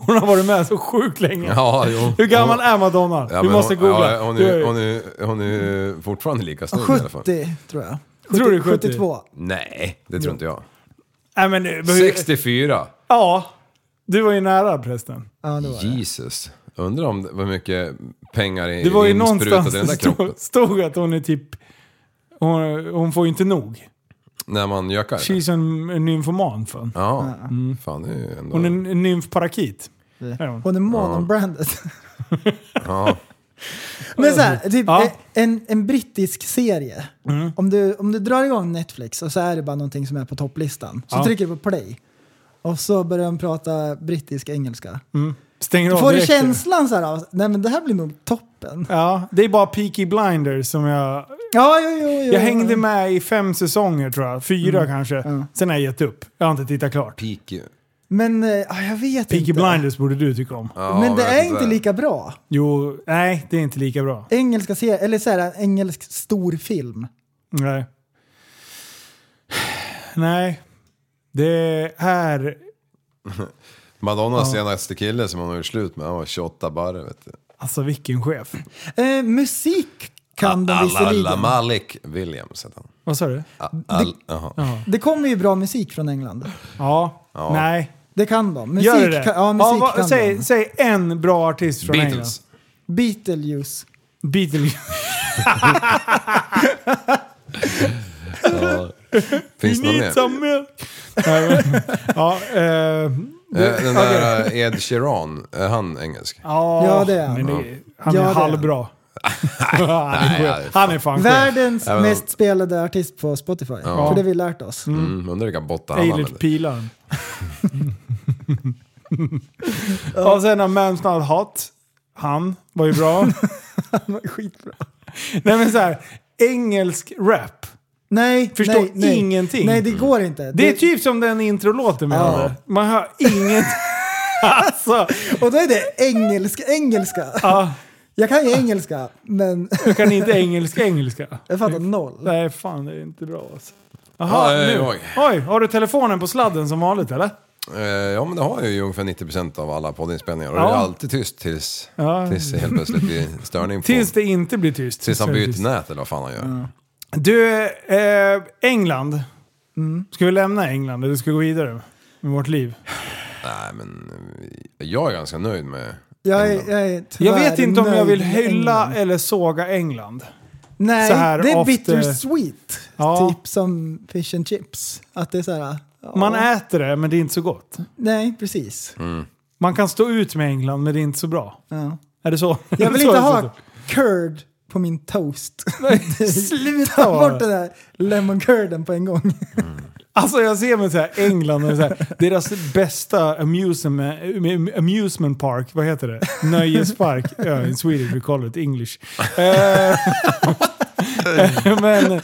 Speaker 5: Hon har varit med så sjukt länge.
Speaker 7: Ja, jo.
Speaker 5: Hur gammal
Speaker 7: Hon-
Speaker 5: är Madonna?
Speaker 7: Ja,
Speaker 5: du
Speaker 7: men
Speaker 5: måste
Speaker 7: hon,
Speaker 5: googla.
Speaker 7: Ja, hon,
Speaker 5: Du
Speaker 7: är,
Speaker 5: har-
Speaker 7: hon, är, hon är ju fortfarande lika snygg i alla fall.
Speaker 6: 70 tror jag.
Speaker 5: Tror du 70?
Speaker 6: 72.
Speaker 7: Nej, det tror inte jag.
Speaker 5: Nej, men, nu-
Speaker 7: 64!
Speaker 5: Ja. Du var ju nära prästen.
Speaker 6: Ja, det var det.
Speaker 7: Jesus. Undrar om det var mycket pengar i
Speaker 5: Det var ju
Speaker 7: insprutat i
Speaker 5: någonstans
Speaker 7: den där
Speaker 5: det
Speaker 7: kroppen.
Speaker 5: stod, stod att hon är typ... Hon, hon får ju inte nog.
Speaker 7: När man gökar. eller?
Speaker 5: She's en nymfoman fan.
Speaker 7: Ja. Fan, det är ju ändå...
Speaker 5: Hon är en nymfparakit. Är hon.
Speaker 6: Hon är monobranded.
Speaker 7: Ja.
Speaker 6: Men så här, typ
Speaker 5: Ja. Mm.
Speaker 6: eh, en, en brittisk serie. Om, du, om du drar igång Netflix och så är det bara någonting som är på topplistan. Så
Speaker 5: Ja.
Speaker 6: trycker du på play. Och så börjar de prata brittisk engelska.
Speaker 5: Stänger
Speaker 6: Då
Speaker 5: av
Speaker 6: får du
Speaker 5: direkt.
Speaker 6: känslan så här av, nej men det här blir nog toppen.
Speaker 5: Ja, det är bara Peaky Blinders som jag...
Speaker 6: Ja, Mm. jo, jo, jo.
Speaker 5: Jag hängde med i fem säsonger tror jag. Fyra kanske. Sen har jag gett upp. Jag har inte tittat klart.
Speaker 7: Peak ju.
Speaker 6: Men eh, ah, jag vet
Speaker 5: Peaky
Speaker 6: inte.
Speaker 5: Blinders borde du tycka om.
Speaker 7: Ja,
Speaker 6: men det
Speaker 7: jag
Speaker 6: är
Speaker 7: vet
Speaker 6: inte lika bra.
Speaker 5: Jo, nej det är inte lika bra.
Speaker 6: Engelska serier, eller så här, en engelsk storfilm.
Speaker 5: Nej. Nej. Det här...
Speaker 7: Madonnas senaste kille som hon har gjort slut med, han var 28 barre vet du.
Speaker 5: Alltså vilken chef.
Speaker 6: Eh, musik kan de
Speaker 7: Alla, alla
Speaker 6: visserligen.
Speaker 7: Malik Williams hette han.
Speaker 5: Vad sa du?
Speaker 7: Al, jaha.
Speaker 6: Det kommer ju bra musik från England.
Speaker 5: Ja. Nej.
Speaker 6: Det kan de. Musik
Speaker 5: Gör det det?
Speaker 6: Kan, ja, musik
Speaker 5: vad-
Speaker 6: kan
Speaker 5: säg,
Speaker 6: de.
Speaker 5: säg en bra artist från England.
Speaker 7: Beatles.
Speaker 6: Beetlejuice.
Speaker 5: Beetlejuice.
Speaker 7: Ja. Finns det något mer?
Speaker 5: mer? ja, eh, det,
Speaker 7: Eh, Den där eh, Ed Sheeran, är han engelsk?
Speaker 5: ja,
Speaker 6: Ja, det är han.
Speaker 5: men han. är
Speaker 6: Ja, det är han.
Speaker 5: halvbra. han, är
Speaker 7: Nej, alltså.
Speaker 5: skön. han är fan skön.
Speaker 6: Världens
Speaker 7: Även om-
Speaker 6: mest spelade artist på Spotify. För det har vi lärt oss.
Speaker 7: Mm, undrar vilka bottar han
Speaker 5: Eilert
Speaker 7: använder.
Speaker 5: Pilar. Och sen har Man's Not Hot. Han var ju bra.
Speaker 6: Skitbra.
Speaker 5: Nej men så här, engelsk rap.
Speaker 6: Nej,
Speaker 5: Förstår
Speaker 6: nej, nej.
Speaker 5: ingenting.
Speaker 6: Nej, det går inte.
Speaker 5: Det är typ som den introlåten vi
Speaker 6: Ja.
Speaker 5: hade. Man hör inget. alltså,
Speaker 6: Och då är det engelska, engelska.
Speaker 5: ja,
Speaker 6: Jag kan ju engelska, men
Speaker 5: jag kan inte engelska engelska.
Speaker 6: jag fattar noll.
Speaker 5: Nej fan, det är inte bra alltså. Jaha,
Speaker 7: Ja, jag är
Speaker 5: nu.
Speaker 7: igång.
Speaker 5: Oj, har du telefonen på sladden som vanligt eller?
Speaker 7: Eh, Ja men det har jag ju ungefär 90% av alla poddinspelningar. Och
Speaker 5: Ja.
Speaker 7: det är alltid tyst tills,
Speaker 5: Ja.
Speaker 7: tills det helt plötsligt blir störning på...
Speaker 5: Tills det inte blir tyst.
Speaker 7: tills han
Speaker 5: Så är det
Speaker 7: byter
Speaker 5: tyst.
Speaker 7: nät eller vad fan han gör.
Speaker 5: Du, eh, England. Mm. Ska vi lämna England eller ska vi gå vidare med vårt liv?
Speaker 7: Nej men eh, jag är ganska nöjd med...
Speaker 6: Jag, är,
Speaker 7: England.
Speaker 6: jag, är
Speaker 5: Jag
Speaker 6: tyvärr
Speaker 5: vet inte om jag
Speaker 6: nöjd
Speaker 5: vill
Speaker 6: med
Speaker 5: hylla
Speaker 6: England.
Speaker 5: eller såga England.
Speaker 6: Nej,
Speaker 5: så här
Speaker 6: det är
Speaker 5: ofta-
Speaker 6: bittersweet.
Speaker 5: Ja.
Speaker 6: Typ som fish and chips. Att det är så här... ja.
Speaker 5: Man Mm. äter det, men det är inte så gott.
Speaker 6: Nej, precis.
Speaker 5: Man kan stå ut med England, men det är inte så bra.
Speaker 6: Ja.
Speaker 5: Är det så?
Speaker 6: Jag vill
Speaker 5: Så
Speaker 6: inte
Speaker 5: är det
Speaker 6: ha
Speaker 5: så.
Speaker 6: curd på min toast.
Speaker 5: Sluta!
Speaker 6: Ta bort den där lemon curden på en gång.
Speaker 5: Alltså jag ser mig så här, England, och så här, deras bästa amusement, amusement park, vad heter det? Nöjespark. Ja, in Swedish we call it English. Eh, men,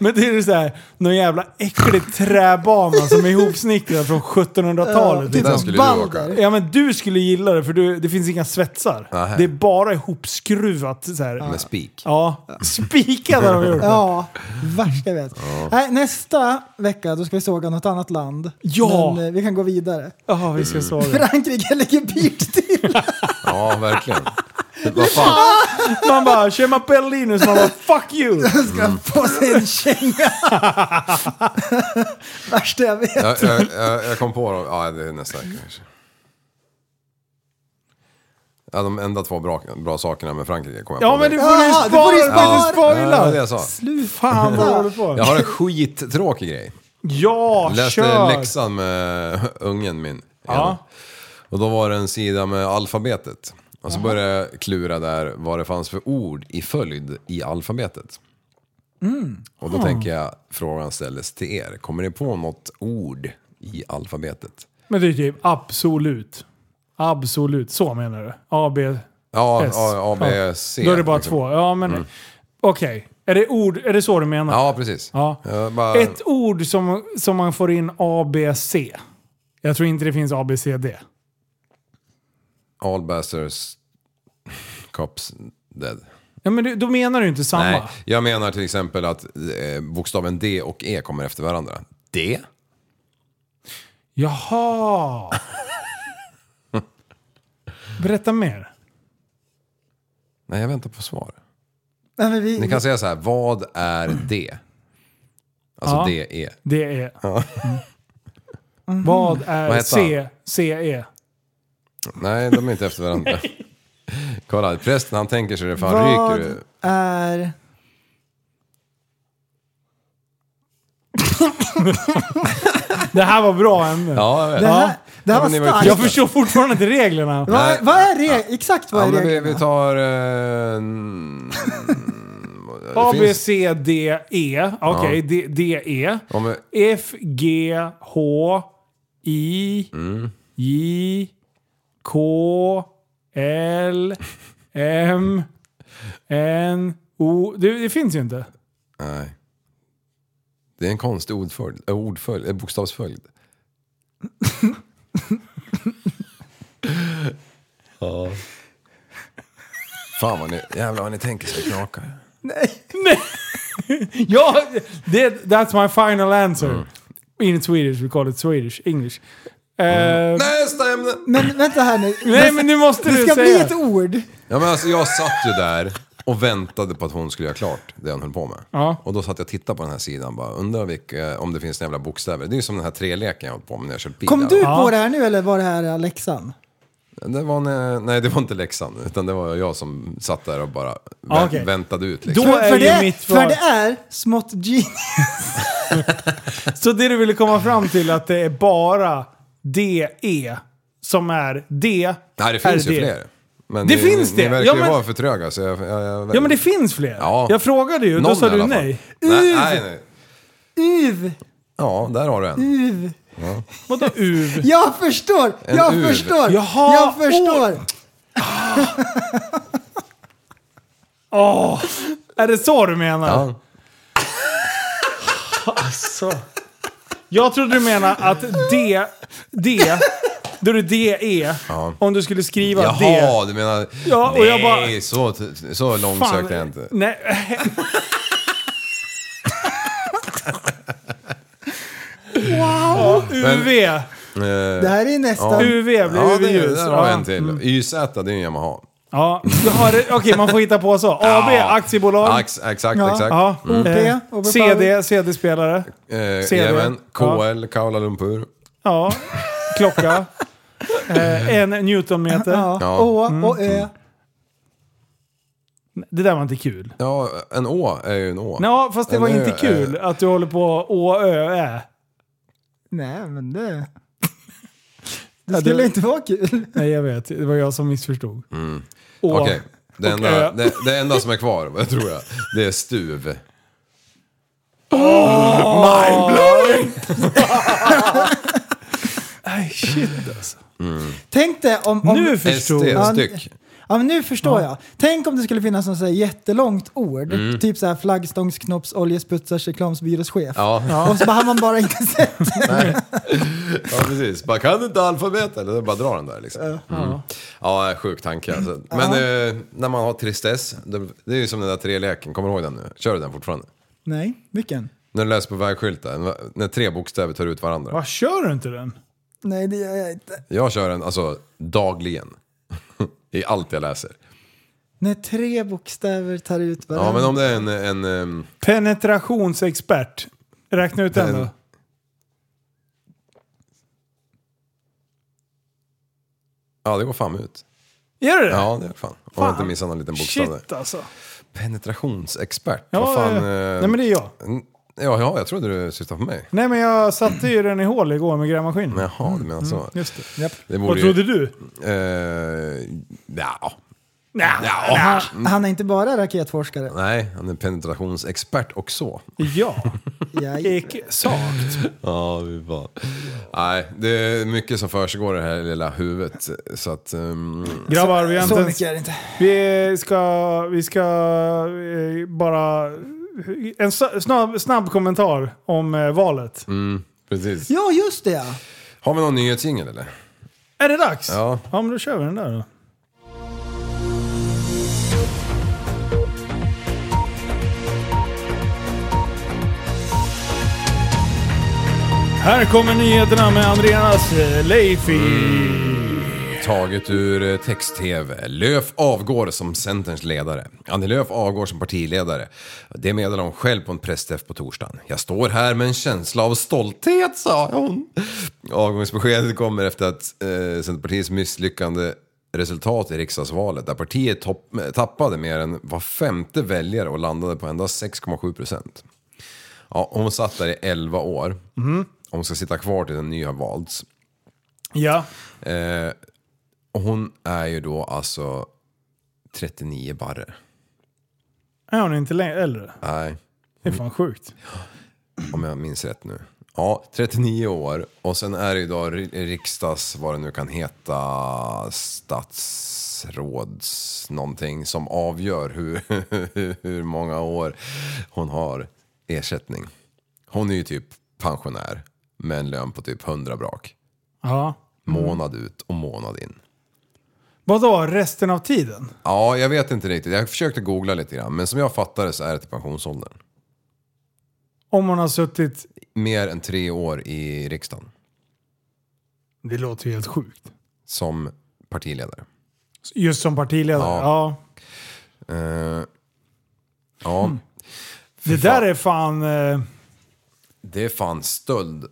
Speaker 5: men det är så här, någon jävla äcklig träbana som är ihopsnickrad från 1700-talet.
Speaker 6: Ja,
Speaker 5: liksom.
Speaker 7: Där
Speaker 6: typ
Speaker 7: skulle du åka.
Speaker 6: Balder.
Speaker 5: Ja men du skulle gilla det för du, det finns inga svetsar.
Speaker 7: Nähä.
Speaker 5: Det är bara ihopskruvat så här.
Speaker 7: Med spik.
Speaker 5: Ja, spikade har de gjort. det.
Speaker 6: Ja, värsta jag vet. Nej, nästa vecka då ska vi såga något annat land.
Speaker 5: Ja.
Speaker 6: Men eh, vi kan gå vidare.
Speaker 5: Ja, vi ska såga.
Speaker 6: Frankrike ligger pyrt till.
Speaker 7: Ja verkligen. vad fan?
Speaker 5: Man bara “Tje Linus” man bara “Fuck you”.
Speaker 7: Mm.
Speaker 6: På sig en känga. Värsta jag vet.
Speaker 7: Jag, jag, jag, jag kom på dem. Ja det är nästa vecka kanske. Ja, de enda två bra, bra sakerna med Frankrike kom jag
Speaker 5: Ja
Speaker 7: på.
Speaker 5: men
Speaker 7: nu.
Speaker 5: du får ju
Speaker 6: Ja, du får
Speaker 5: spara!
Speaker 6: ju spara.
Speaker 5: Ja, du får ju
Speaker 7: Ja, det var det
Speaker 5: spoila!
Speaker 7: jag sa.
Speaker 6: Sluta.
Speaker 5: Fan vad håller du på?
Speaker 7: Jag har en skittråkig grej.
Speaker 5: Ja,
Speaker 7: Jag läste
Speaker 5: kör!
Speaker 7: läxan med ungen min.
Speaker 5: Ja.
Speaker 7: Och då var det en sida med alfabetet. Och så började jag klura där vad det fanns för ord i följd i alfabetet.
Speaker 5: Mm.
Speaker 7: Och då tänker jag, frågan ställdes till er. Kommer ni på något ord i alfabetet?
Speaker 5: Men det är typ absolut. Absolut, så menar du? A, B,
Speaker 7: Ja,
Speaker 5: S.
Speaker 7: A, A, B, C.
Speaker 5: Då är det bara
Speaker 7: liksom.
Speaker 5: två. Ja men okej. Är det ord, är det så du menar?
Speaker 7: Ja, precis.
Speaker 5: Ja.
Speaker 7: Jag bara,
Speaker 5: Ett ord som, som man får in A, B, C. Jag tror inte det finns A, B, C, D.
Speaker 7: All bastards cops dead.
Speaker 5: Ja, men du, då menar du inte samma.
Speaker 7: Nej, jag menar till exempel att eh, bokstaven D och E kommer efter varandra. D?
Speaker 5: Jaha! Berätta mer.
Speaker 7: Nej, jag väntar på svar.
Speaker 6: Nej, men vi,
Speaker 7: Ni kan säga så här, vad är D? Alltså
Speaker 5: Ja.
Speaker 7: DE.
Speaker 5: Det är... Mm. Vad är
Speaker 7: Vad heter
Speaker 5: C, E. CE?
Speaker 7: Nej, de är inte efter varandra. Kolla, prästen han tänker sig det för han
Speaker 6: vad
Speaker 7: ryker.
Speaker 6: är...
Speaker 5: Det här var bra ämne.
Speaker 7: Ja, jag vet.
Speaker 6: Det här, det här
Speaker 7: Ja, men ni
Speaker 6: var
Speaker 7: var ju
Speaker 6: starkt.
Speaker 5: Jag förstår fortfarande inte reglerna.
Speaker 7: Nej.
Speaker 6: Vad, vad är det? Exakt vad
Speaker 7: Ja,
Speaker 6: är
Speaker 7: men vi,
Speaker 6: reglerna?
Speaker 7: vi tar... Eh, mm, det
Speaker 5: A, B,
Speaker 7: finns-
Speaker 5: C, D, E. Okej, D, D, E.
Speaker 7: Ja, men,
Speaker 5: F, G, H, I,
Speaker 7: Mm.
Speaker 5: J, K, L, M, N, O. Det, det finns ju inte.
Speaker 7: nej. Det är en konstig ordföljd, eh, ordföljd, eh, bokstavsföljd. ja. Fan vad ni, jävlar vad ni tänker så knakar.
Speaker 5: Ja, det, that's my final answer. In Swedish, we call it Swedish, English. Eh,
Speaker 7: Nästa ämne!
Speaker 6: Men vänta här nu.
Speaker 5: Nej men nu måste
Speaker 6: Mm. Det
Speaker 5: du
Speaker 6: ska bli
Speaker 5: säga.
Speaker 6: ett ord.
Speaker 7: Ja men alltså jag satt ju där och väntade på att hon skulle göra klart det hon höll på med.
Speaker 5: Ja.
Speaker 7: Och då satt jag och tittade på den här sidan bara, undrar vilka, om det finns några jävla bokstäver. Det är ju som den här treleken jag höll på med när jag körde bil.
Speaker 6: Kom du
Speaker 7: Ja.
Speaker 6: på det här nu eller var det här eh, läxan?
Speaker 7: Det var när, nej, det var inte läxan. Utan det var jag som satt där och bara vä-
Speaker 6: Ah, okej.
Speaker 7: väntade ut. liksom.
Speaker 5: Då är
Speaker 6: för,
Speaker 5: ju
Speaker 6: det,
Speaker 5: mitt svar-
Speaker 6: för det är smått genius.
Speaker 5: Så det du ville komma fram till att det är bara DE som är D.
Speaker 7: Nej, det finns
Speaker 5: är
Speaker 7: ju fler. Men
Speaker 5: Det
Speaker 7: ni,
Speaker 5: finns
Speaker 7: ni,
Speaker 5: det.
Speaker 7: Ni verkar
Speaker 5: Ja,
Speaker 7: ju
Speaker 5: men-
Speaker 7: vara för tröga. Så jag, jag, jag,
Speaker 5: Ja men det finns fler.
Speaker 7: Ja.
Speaker 5: Jag frågade ju, då
Speaker 7: Någon
Speaker 5: sa
Speaker 7: i alla
Speaker 5: du
Speaker 7: fall.
Speaker 5: nej.
Speaker 7: Nej,
Speaker 5: Uv.
Speaker 7: nej, nej.
Speaker 6: Uv,
Speaker 7: Ja, där har du en.
Speaker 6: uv.
Speaker 7: Ja.
Speaker 5: Vadå uv?
Speaker 6: Jag förstår,
Speaker 7: En
Speaker 6: jag
Speaker 7: uv.
Speaker 6: förstår,
Speaker 5: Jaha,
Speaker 6: jag förstår.
Speaker 5: Åh! Är det så du menar?
Speaker 7: Ja.
Speaker 5: Alltså. Jag trodde du menade att D, D, då är det DE,
Speaker 7: Ja.
Speaker 5: om du skulle skriva D.
Speaker 7: Jaha, du menar...
Speaker 5: Ja, och
Speaker 7: nej,
Speaker 5: jag bara-
Speaker 7: så, så långt
Speaker 5: Fan.
Speaker 7: sökte jag inte.
Speaker 5: Nej. wow! UV.
Speaker 6: Det här är nästa.
Speaker 5: UV blir
Speaker 7: Eh, Ja, det,
Speaker 5: UV-ljus.
Speaker 7: där har
Speaker 5: Ja. Mm.
Speaker 7: jag en till. YZ, det är en Yamaha.
Speaker 5: Ja, jag har det. Okej, man får hitta på så. AB,
Speaker 7: Ja.
Speaker 5: aktiebolag.
Speaker 7: Ax, exakt,
Speaker 6: Ja.
Speaker 7: exakt. Mm.
Speaker 5: Ja.
Speaker 6: OP,
Speaker 5: Eh,
Speaker 6: Overpower.
Speaker 5: CD, CD-spelare.
Speaker 7: Eh,
Speaker 5: CD.
Speaker 7: Jajamän.
Speaker 5: Ja.
Speaker 7: KL, Kuala Lumpur.
Speaker 5: Ja. Klocka. Eh, en Newtonmeter.
Speaker 6: Ja.
Speaker 7: Ja.
Speaker 6: Å och Ö.
Speaker 5: Det där var inte kul.
Speaker 7: Ja, en å är ju en å.
Speaker 5: Ja, fast det
Speaker 7: En
Speaker 5: var
Speaker 7: ö
Speaker 5: inte
Speaker 7: är-
Speaker 5: kul
Speaker 6: Eh.
Speaker 5: att du håller på å, ö, ä.
Speaker 6: Nej men det...
Speaker 5: det-
Speaker 6: Det skulle inte vara kul.
Speaker 5: Nej, jag vet. Det var jag som missförstod. Å.
Speaker 7: Mm. Okej. Det,
Speaker 5: Och
Speaker 7: enda,
Speaker 5: ö.
Speaker 7: det, det enda som är kvar, vad tror jag, det är stuv.
Speaker 5: Nej, shit alltså.
Speaker 6: Tänk dig om... om
Speaker 5: Nu förstod
Speaker 7: Mm. ST,
Speaker 5: jag.
Speaker 7: styck.
Speaker 6: Ja, men nu förstår jag. Tänk om det skulle finnas något så här jättelångt ord.
Speaker 7: Mm.
Speaker 6: Typ så här flaggstångsknopps, oljesputsars, reklamsbyråschef.
Speaker 7: Ja.
Speaker 6: Och så bara har man bara inte sett.
Speaker 7: ja, precis. Bara, kan du inte alfabet? Eller bara dra den där liksom. Mm. Ja, sjuk tanke alltså. Men eh, när man har tristess, det, det är ju som den där treleken, kommer du ihåg den nu? Kör du den fortfarande?
Speaker 6: Nej, vilken?
Speaker 7: När du läser på vägskylten, när tre bokstäver tar ut varandra.
Speaker 5: Vad kör du inte den?
Speaker 6: Nej, det gör jag inte.
Speaker 7: Jag kör den alltså dagligen. I allt jag läser.
Speaker 6: När tre bokstäver tar ut varandra.
Speaker 7: Ja, men om det är en... en, ehm,
Speaker 5: Penetrationsexpert. Räkna ut den då.
Speaker 7: En- ja, det går fan ut.
Speaker 5: Gör du det?
Speaker 7: Ja, det är fan. Om jag inte missar någon liten bokstav där.
Speaker 5: Shit alltså.
Speaker 7: Penetrationsexpert,
Speaker 5: Ja,
Speaker 7: vad fan...
Speaker 5: ja.
Speaker 7: eh,
Speaker 5: Nej men det är jag.
Speaker 7: n- ja, ja, jag trodde du syftade på mig.
Speaker 5: Nej men jag satte ju den i hål igår med grävmaskinen.
Speaker 7: Jaha, du menar så.
Speaker 5: Mm, Just det.
Speaker 7: Det
Speaker 5: Vad
Speaker 7: borde
Speaker 5: trodde
Speaker 7: ju...
Speaker 5: du?
Speaker 7: Eh, ja.
Speaker 6: han,
Speaker 7: Mm.
Speaker 6: han är inte bara raketforskare.
Speaker 7: Nej, han är penetrationsexpert och så.
Speaker 5: Ja,
Speaker 6: Jag,
Speaker 5: exakt.
Speaker 7: Ja, vi fan. Nej, det är mycket som försiggår i det här lilla huvudet. Så att... ehm,
Speaker 5: Grabbar, vi har inte
Speaker 6: så
Speaker 5: ens
Speaker 6: mycket är det inte.
Speaker 5: Vi ska, vi ska eh, bara... En s- snabb, snabb kommentar om eh, valet.
Speaker 7: mm, precis.
Speaker 6: Ja, just det ja.
Speaker 7: Har vi någon nyhetsjingel eller?
Speaker 5: Är det dags?
Speaker 7: Ja.
Speaker 5: ja, men då kör vi den där då. Här kommer nyheterna med Andreas eh, Leifi.
Speaker 7: Mm. Taget ur eh, text-tv. Löf avgår som Centerns ledare. Annie Lööf avgår som partiledare. Det meddelade hon själv på en pressträff på torsdagen. Jag står här med en känsla av stolthet, sa hon. Avgångsbeskedet kommer efter att eh, Centerpartiets misslyckande resultat i riksdagsvalet där partiet topp, eh, tappade mer än var femte väljare och landade på endast 6,7 procent. Ja, hon satt där i 11 år. Hon ska sitta kvar tills en ny har valts.
Speaker 5: Ja.
Speaker 7: Eh, och hon är ju då alltså 39 barre.
Speaker 5: Är hon inte längre äldre?
Speaker 7: Nej,
Speaker 5: Det är fan sjukt.
Speaker 7: om jag minns rätt nu. Ja, 39 år och sen är det ju då ri- riksdags, vad det nu kan heta, statsråds någonting som avgör hur, hur många år hon har ersättning. Hon är ju typ pensionär med en lön på typ 100 brak.
Speaker 5: Ja.
Speaker 7: Månad ut och månad in.
Speaker 5: Vadå, resten av tiden?
Speaker 7: Ja, jag vet inte riktigt. Jag försökte googla lite grann, men som jag fattade så är det till pensionsåldern.
Speaker 5: Om hon har suttit...
Speaker 7: Mer än tre år i riksdagen
Speaker 5: Det låter ju helt sjukt.
Speaker 7: som partiledare.
Speaker 5: Just som partiledare?
Speaker 7: Ja.
Speaker 5: ja.
Speaker 7: Eh, ja,
Speaker 5: Det där är fan... Eh,
Speaker 7: det är fan stöld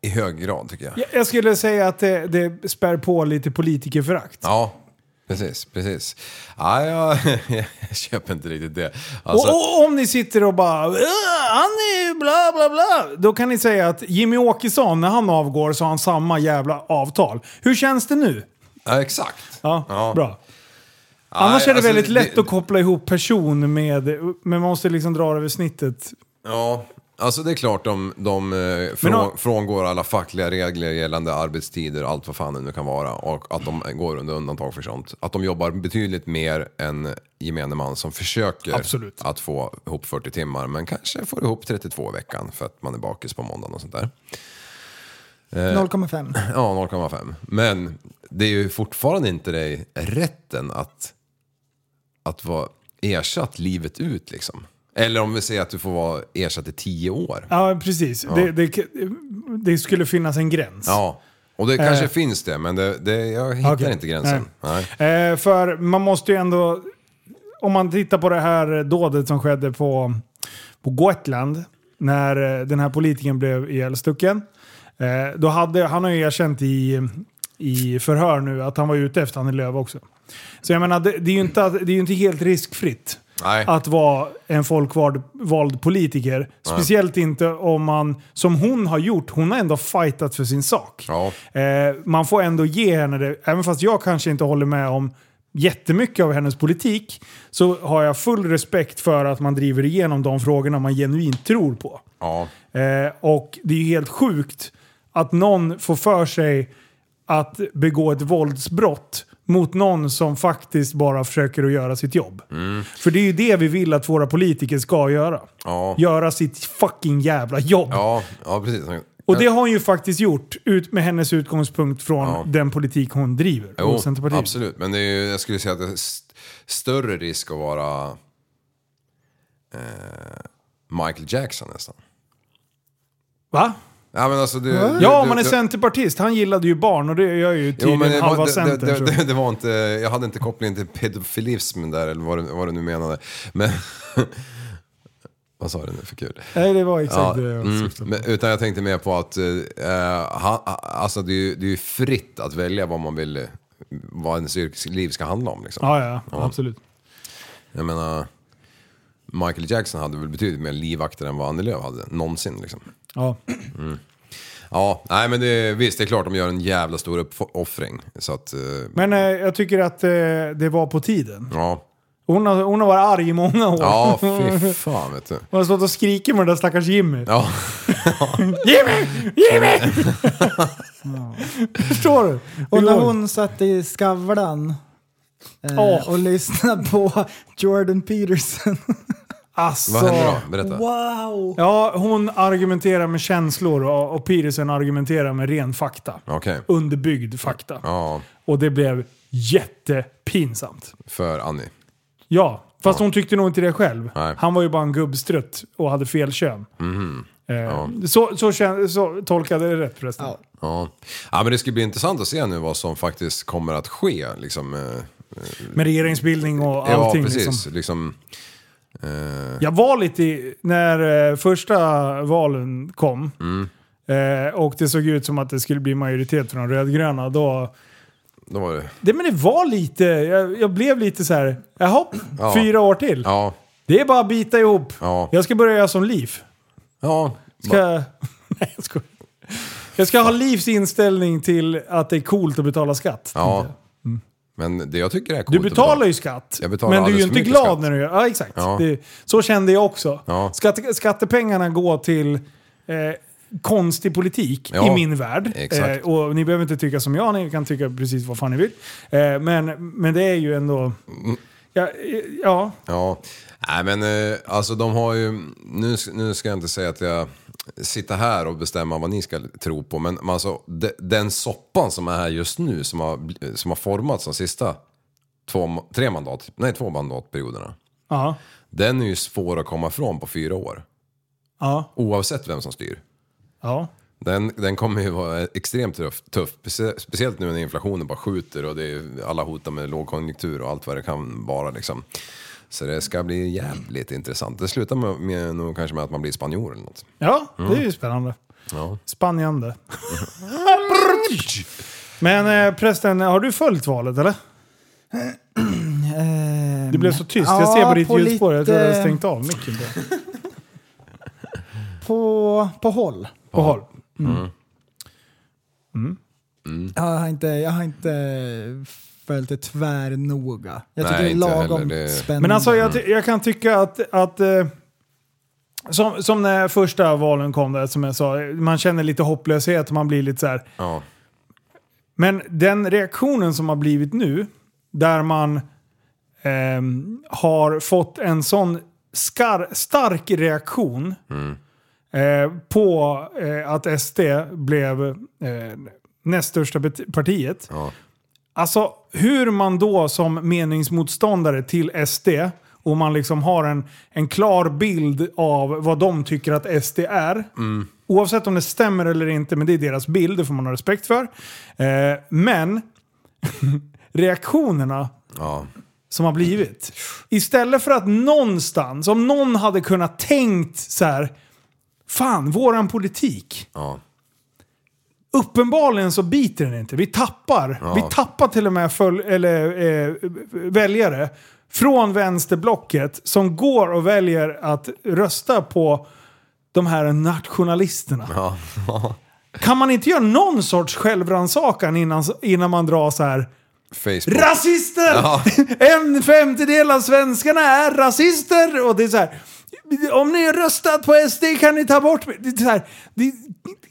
Speaker 7: i hög grad tycker jag.
Speaker 5: Jag- Jag skulle säga att det, det spär på lite politikerförakt.
Speaker 7: Ja, precis, precis. Ja, jag, jag köper inte riktigt det. Alltså,
Speaker 5: och, och om ni sitter och bara "Äh, han är ju bla bla bla. Då kan ni säga att Jimmy Åkesson, när han avgår så har han samma jävla avtal. Hur känns det nu?
Speaker 7: ja, exakt.
Speaker 5: Ja,
Speaker 7: Ja.
Speaker 5: bra. Annars
Speaker 7: Nej,
Speaker 5: är det
Speaker 7: alltså,
Speaker 5: väldigt lätt
Speaker 7: det-
Speaker 5: att koppla ihop person med... Men man måste liksom dra det över snittet.
Speaker 7: Ja, alltså det är klart de, de eh, från,
Speaker 5: om-
Speaker 7: frångår alla fackliga regler gällande arbetstider och allt vad fan det nu kan vara. Och att de går under undantag för sånt. Att de jobbar betydligt mer än gemene man som försöker
Speaker 5: Absolut.
Speaker 7: att få ihop 40 timmar men kanske får ihop 32 i veckan för att man är bakis på måndagen och sånt där. Eh.
Speaker 6: 0,5.
Speaker 7: Ja, 0,5. Men det är ju fortfarande inte dig rätten att, att vara ersatt livet ut liksom. Eller om vi säger att du får vara ersatt i 10 år.
Speaker 5: Ja, precis. Det, det, det skulle finnas en gräns.
Speaker 7: Ja, och det kanske
Speaker 5: Eh.
Speaker 7: finns det, men det, det, jag hittar
Speaker 5: Okej.
Speaker 7: inte gränsen. Nej.
Speaker 5: Eh, för man måste ju ändå... Om man tittar på det här dådet som skedde på, på Gotland när eh, den här politikern blev ihjälstucken. Eh, då hade, han har ju erkänt i, i förhör nu att han var ute efter Annie Lööf också. Så jag menar, det, det, är ju inte, att- det är ju inte helt riskfritt
Speaker 7: Nej.
Speaker 5: att vara en folkvald vald politiker. Speciellt inte om man, som hon har gjort, hon har ändå fightat för sin sak.
Speaker 7: Ja.
Speaker 5: Eh, man får ändå ge henne det, även fast jag kanske inte håller med om jättemycket av hennes politik, så har jag full respekt för att man driver igenom de frågorna man genuint tror på.
Speaker 7: Ja.
Speaker 5: Eh, och det är ju helt sjukt att någon får för sig att begå ett våldsbrott mot någon som faktiskt bara försöker att göra sitt jobb.
Speaker 7: Mm.
Speaker 5: För det är ju det vi vill att våra politiker ska göra.
Speaker 7: Ja.
Speaker 5: Göra sitt fucking jävla jobb.
Speaker 7: Ja, ja, precis.
Speaker 5: Och det har hon ju faktiskt gjort ut med hennes utgångspunkt från
Speaker 7: Ja.
Speaker 5: den politik hon driver.
Speaker 7: jo,
Speaker 5: och Centerpartiet.
Speaker 7: absolut. Men det är ju, jag skulle säga att det är st- större risk att vara eh, Michael Jackson nästan.
Speaker 5: Va?
Speaker 7: Ja, men alltså, det, det-
Speaker 5: Ja,
Speaker 7: det-
Speaker 5: om man är
Speaker 7: det-
Speaker 5: centerpartist. Han gillade ju barn och det gör ju
Speaker 7: Jo,
Speaker 5: tydligen
Speaker 7: men det,
Speaker 5: halva
Speaker 7: var, det,
Speaker 5: centern.
Speaker 7: det,
Speaker 5: så.
Speaker 7: det, det, det var inte, jag hade inte kopplingen till pedofilism där eller vad, du- vad du nu menade. Men, vad sa du nu för kul?
Speaker 5: Nej, det var exakt
Speaker 7: Ja,
Speaker 5: det jag
Speaker 7: mm,
Speaker 5: syftade på.
Speaker 7: men, utan jag tänkte mer på att eh, han, alltså det, är ju, det är ju fritt att välja vad man vill, eh, vad ens yrkesliv ska handla om. Liksom.
Speaker 5: Ja, ja, absolut.
Speaker 7: Jag menar, Michael Jackson hade väl betydligt mer livvakter än vad Annie Lööf hade någonsin. Liksom.
Speaker 5: Ja.
Speaker 7: Ja, nej men det, visst det är klart de gör en jävla stor uppoffring. Så att, eh,
Speaker 5: Men eh, jag tycker att eh, det var på tiden.
Speaker 7: ja.
Speaker 5: Hon har, hon har varit arg i många år.
Speaker 7: Ja, fy fan vet du.
Speaker 5: Hon har stått och skrikit med den där stackars Jimmy.
Speaker 7: Ja,
Speaker 5: Jimmy! Jimmy! Förstår du?
Speaker 6: Och
Speaker 5: Det
Speaker 6: när
Speaker 5: går.
Speaker 6: hon satt i Skavlan eh,
Speaker 5: Åh.
Speaker 6: och lyssnade på Jordan Peterson.
Speaker 5: Alltså,
Speaker 7: vad hände då? Berätta.
Speaker 6: Wow!
Speaker 5: Ja, hon argumenterar med känslor och, och Peterson argumenterar med ren fakta.
Speaker 7: Okej.
Speaker 5: Underbyggd fakta.
Speaker 7: Ja,
Speaker 5: Och det blev jättepinsamt.
Speaker 7: för Annie.
Speaker 5: Ja, fast hon tyckte nog inte det själv.
Speaker 7: Nej. Mm-hmm.
Speaker 5: Han var ju bara en gubbstrutt och hade fel kön. Eh, så, så, kän- så tolkade jag det rätt förresten.
Speaker 6: Ja.
Speaker 7: Ja. ja, men det ska bli intressant att se nu vad som faktiskt kommer att ske. Liksom, eh,
Speaker 5: Med regeringsbildning och
Speaker 7: ja,
Speaker 5: allting.
Speaker 7: precis.
Speaker 5: liksom.
Speaker 7: Liksom. eh,
Speaker 5: Jag var lite i, när eh, första valen kom
Speaker 7: Mm.
Speaker 5: eh, och det såg ut som att det skulle bli majoritet för de rödgröna. Då,
Speaker 7: då var det...
Speaker 5: det, men det var lite, jag, jag blev lite så här. jaha,
Speaker 7: Ja.
Speaker 5: fyra år till.
Speaker 7: Ja,
Speaker 5: Det är bara att bita ihop.
Speaker 7: ja,
Speaker 5: Jag ska börja göra som Liv.
Speaker 7: ja.
Speaker 5: Ska, nej, jag skojar. Jag ska ha Livs inställning till att det är coolt att betala skatt.
Speaker 7: ja. Men det jag tycker är coolt
Speaker 5: Mm. Du
Speaker 7: att
Speaker 5: betalar
Speaker 7: betala-
Speaker 5: ju skatt,
Speaker 7: Jag betalar
Speaker 5: men du är ju
Speaker 7: alldeles för
Speaker 5: inte
Speaker 7: mycket
Speaker 5: glad
Speaker 7: skatt.
Speaker 5: när du gör Ja, exakt.
Speaker 7: Ja.
Speaker 5: Det, så kände jag också.
Speaker 7: Ja.
Speaker 5: Skatte, skattepengarna går till eh, konstig politik
Speaker 7: Ja,
Speaker 5: i min värld.
Speaker 7: exakt.
Speaker 5: Eh, och ni behöver inte tycka som jag, ni kan tycka precis vad fan ni vill. Eh, men, men det är ju ändå...
Speaker 7: Mm.
Speaker 5: Ja, eh, ja.
Speaker 7: Ja, nej men eh, alltså de har ju, nu, nu ska jag inte säga att jag sitter här och bestämmer vad ni ska tro på, men men alltså de, den soppan som är här just nu som har, bl- som har formats de sista två, tre mandat, nej två mandatperioderna,
Speaker 5: ja,
Speaker 7: den är ju svår att komma ifrån på fyra år.
Speaker 5: ja,
Speaker 7: Oavsett vem som styr.
Speaker 5: ja.
Speaker 7: Den, den kommer ju vara extremt tuff, tuff, specie- speciellt nu när inflationen bara skjuter och det är, alla hotar med lågkonjunktur och allt vad det kan vara liksom. Så det ska bli jävligt intressant. Det slutar med, med, nog kanske med att man blir spanjor eller något.
Speaker 5: Ja, det är ju spännande.
Speaker 7: Mm. Ja.
Speaker 5: Spanjande. Men eh, prästen, har du följt valet eller? Det blev så tyst. Jag ser på ditt ljudspår. Jag tror jag har stängt av micken. där.
Speaker 6: På, på håll.
Speaker 5: På håll.
Speaker 7: Mm.
Speaker 6: Jag har inte, jag har inte följt det tvärnoga. Jag tycker
Speaker 7: Nej,
Speaker 6: det är
Speaker 7: inte
Speaker 6: lagom
Speaker 7: heller. Det-
Speaker 6: spännande.
Speaker 5: Men alltså jag, ty- jag kan tycka att... att eh, som, som när första valen kom där, som jag sa. Man känner lite hopplöshet. Man blir lite så här.
Speaker 7: Ja.
Speaker 5: Men den reaktionen som har blivit nu, där man ehm, har fått en sån skar, stark reaktion eh, på eh, att SD blev eh, näst största bet- partiet. Alltså hur man då som meningsmotståndare till SD och man liksom har en, en klar bild av vad de tycker att SD är. Oavsett om det stämmer eller inte, men det är deras bild, det får man ha respekt för. Eh, men reaktionerna
Speaker 7: Ja.
Speaker 5: som har blivit. Istället för att någonstans, om någon hade kunnat tänkt så här. Fan, våran politik.
Speaker 7: Ja.
Speaker 5: Uppenbarligen så biter den inte. Vi tappar.
Speaker 7: Ja.
Speaker 5: Vi tappar till och med följ- eller, eh, väljare från vänsterblocket som går och väljer att rösta på de här nationalisterna.
Speaker 7: Ja. Ja.
Speaker 5: Kan man inte göra någon sorts självrannsakan innan, innan man drar så här
Speaker 7: Facebook.
Speaker 5: Rasister!
Speaker 7: Ja.
Speaker 5: En femtedel av svenskarna är rasister! Och det är så här. Om ni har röstat på SD kan ni ta bort mig. Det är så här, det,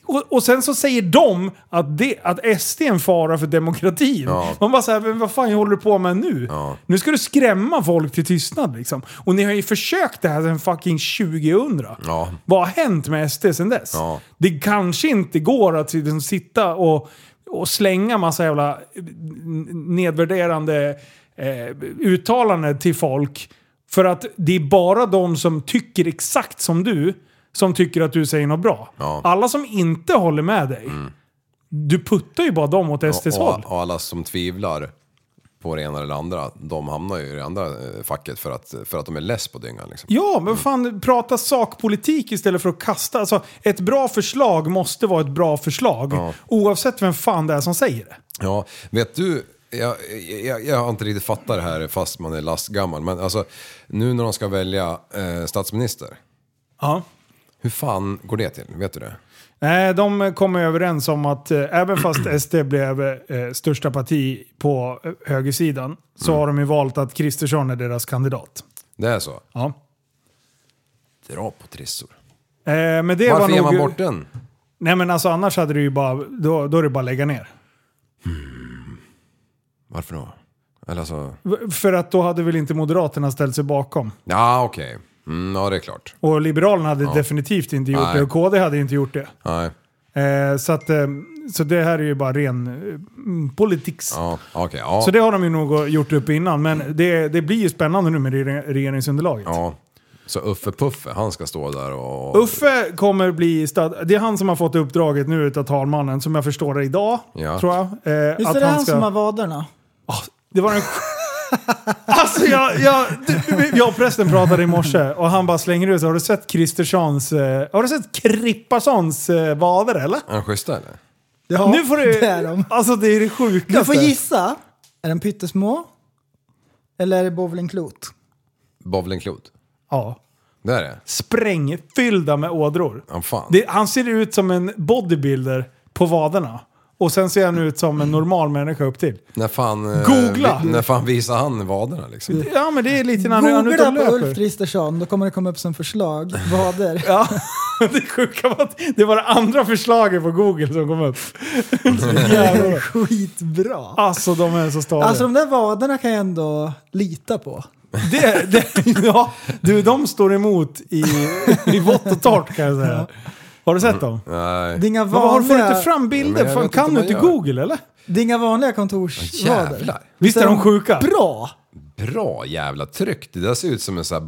Speaker 5: och, och sen så säger de att, det, att SD är en fara för demokratin.
Speaker 7: Ja.
Speaker 5: Man bara såhär, vad fan håller du på med nu?
Speaker 7: Ja.
Speaker 5: Nu ska du skrämma folk till tystnad liksom. Och ni har ju försökt det här sedan fucking 2000.
Speaker 7: Ja.
Speaker 5: Vad har hänt med SD sedan dess?
Speaker 7: Ja.
Speaker 5: Det kanske inte går att liksom sitta och, och slänga massa jävla n- nedvärderande eh, uttalanden till folk. För att det är bara de som tycker exakt som du som tycker att du säger något bra.
Speaker 7: Ja. Mm.
Speaker 5: Alla som inte håller med dig, du puttar ju bara dem åt SDs
Speaker 7: och,
Speaker 5: håll.
Speaker 7: och, och alla som tvivlar på det ena eller det andra, de hamnar ju i det andra eh, facket för att, för att de är less på dyngan. Liksom.
Speaker 5: Ja, men fan, prata sakpolitik istället för att kasta. Alltså, ett bra förslag måste vara ett bra förslag. Oavsett vem fan det är som säger det.
Speaker 7: Ja, vet du, jag, jag, jag har inte riktigt fattat det här fast man är lastgammal, men alltså nu när de ska välja eh, statsminister,
Speaker 5: Ja.
Speaker 7: hur fan går det till? Vet du det?
Speaker 5: Nej, de kom överens om att eh, även fast SD blev eh, största parti på eh, högersidan så
Speaker 7: Mm.
Speaker 5: har de ju valt att Kristersson är deras kandidat.
Speaker 7: Det är så?
Speaker 5: Ja.
Speaker 7: Dra på trissor.
Speaker 5: Eh, men det var
Speaker 7: Varför ger
Speaker 5: nog...
Speaker 7: man bort den?
Speaker 5: Nej men alltså annars hade du ju bara... Då, då är det bara att lägga ner.
Speaker 7: Varför då? Eller alltså...
Speaker 5: V- För att då hade väl inte Moderaterna ställt sig bakom.
Speaker 7: Ja, okej. Mm, ja, det är klart.
Speaker 5: Och Liberalerna hade definitivt inte gjort
Speaker 7: Nej.
Speaker 5: det och KD hade inte gjort det.
Speaker 7: Nej.
Speaker 5: Eh, så, att, eh, så det här är ju bara ren eh, politics.
Speaker 7: Ja, okej. ja.
Speaker 5: Så det har de ju nog gjort upp innan, men det, det blir ju spännande nu med re- regeringsunderlaget.
Speaker 7: ja. Så Uffe Puffe, han ska stå där och...
Speaker 5: Uffe kommer bli stad... Det är han som har fått uppdraget nu utav talmannen, som jag förstår det idag,
Speaker 7: Ja.
Speaker 5: tror jag. Eh,
Speaker 6: Visst är det han som har vaderna?
Speaker 5: Det var en... Alltså jag, jag, du- jag och prästen pratade i morse och han bara slänger ut så har du sett Kristerssons, eh, har du sett Kripparssons eh, vader eller?
Speaker 7: Är han schyssta eller?
Speaker 6: Ja,
Speaker 5: nu får du,
Speaker 6: det är de.
Speaker 5: Alltså det är det sjukaste.
Speaker 6: Du får gissa. Är de pyttesmå? Eller är det bowlingklot?
Speaker 7: Bowlingklot.
Speaker 5: Ja.
Speaker 7: Det är det?
Speaker 5: Sprängfyllda med ådror.
Speaker 7: Ja, fan.
Speaker 5: Det, han ser ut som en bodybuilder på vaderna. Och sen ser han ut som en normal människa upp till.
Speaker 7: När fan... eh,
Speaker 5: Googla!
Speaker 7: vi- När fan visar han vaderna liksom?
Speaker 5: Ja men det är lite när han är ute
Speaker 6: Googla
Speaker 5: och
Speaker 6: på Ulf
Speaker 5: löper.
Speaker 6: Kristersson, då kommer det komma upp som förslag. Vader.
Speaker 5: Ja, det sjuka var att det var det andra förslaget på Google som kom upp. Jävlar.
Speaker 6: Skitbra.
Speaker 5: Alltså de är så stadiga.
Speaker 6: Alltså de där vaderna kan jag ändå lita på.
Speaker 5: det, det, ja, du, de står emot i, i vått och torrt kan jag säga. Har du sett dem?
Speaker 7: Nej.
Speaker 6: Det är inga
Speaker 5: Vad har du
Speaker 6: vanliga,
Speaker 5: inte fram
Speaker 7: Men
Speaker 5: bilder?
Speaker 7: jag
Speaker 5: Fan,
Speaker 7: vet
Speaker 5: kan
Speaker 7: inte
Speaker 5: du
Speaker 7: vad
Speaker 5: inte
Speaker 7: jag gör.
Speaker 5: Google eller?
Speaker 6: det är inga vanliga kontorsvader.
Speaker 7: Jävlar.
Speaker 5: Visst är de sjuka?
Speaker 6: Bra!
Speaker 7: Bra jävla tryck. Det där ser ut som en sån här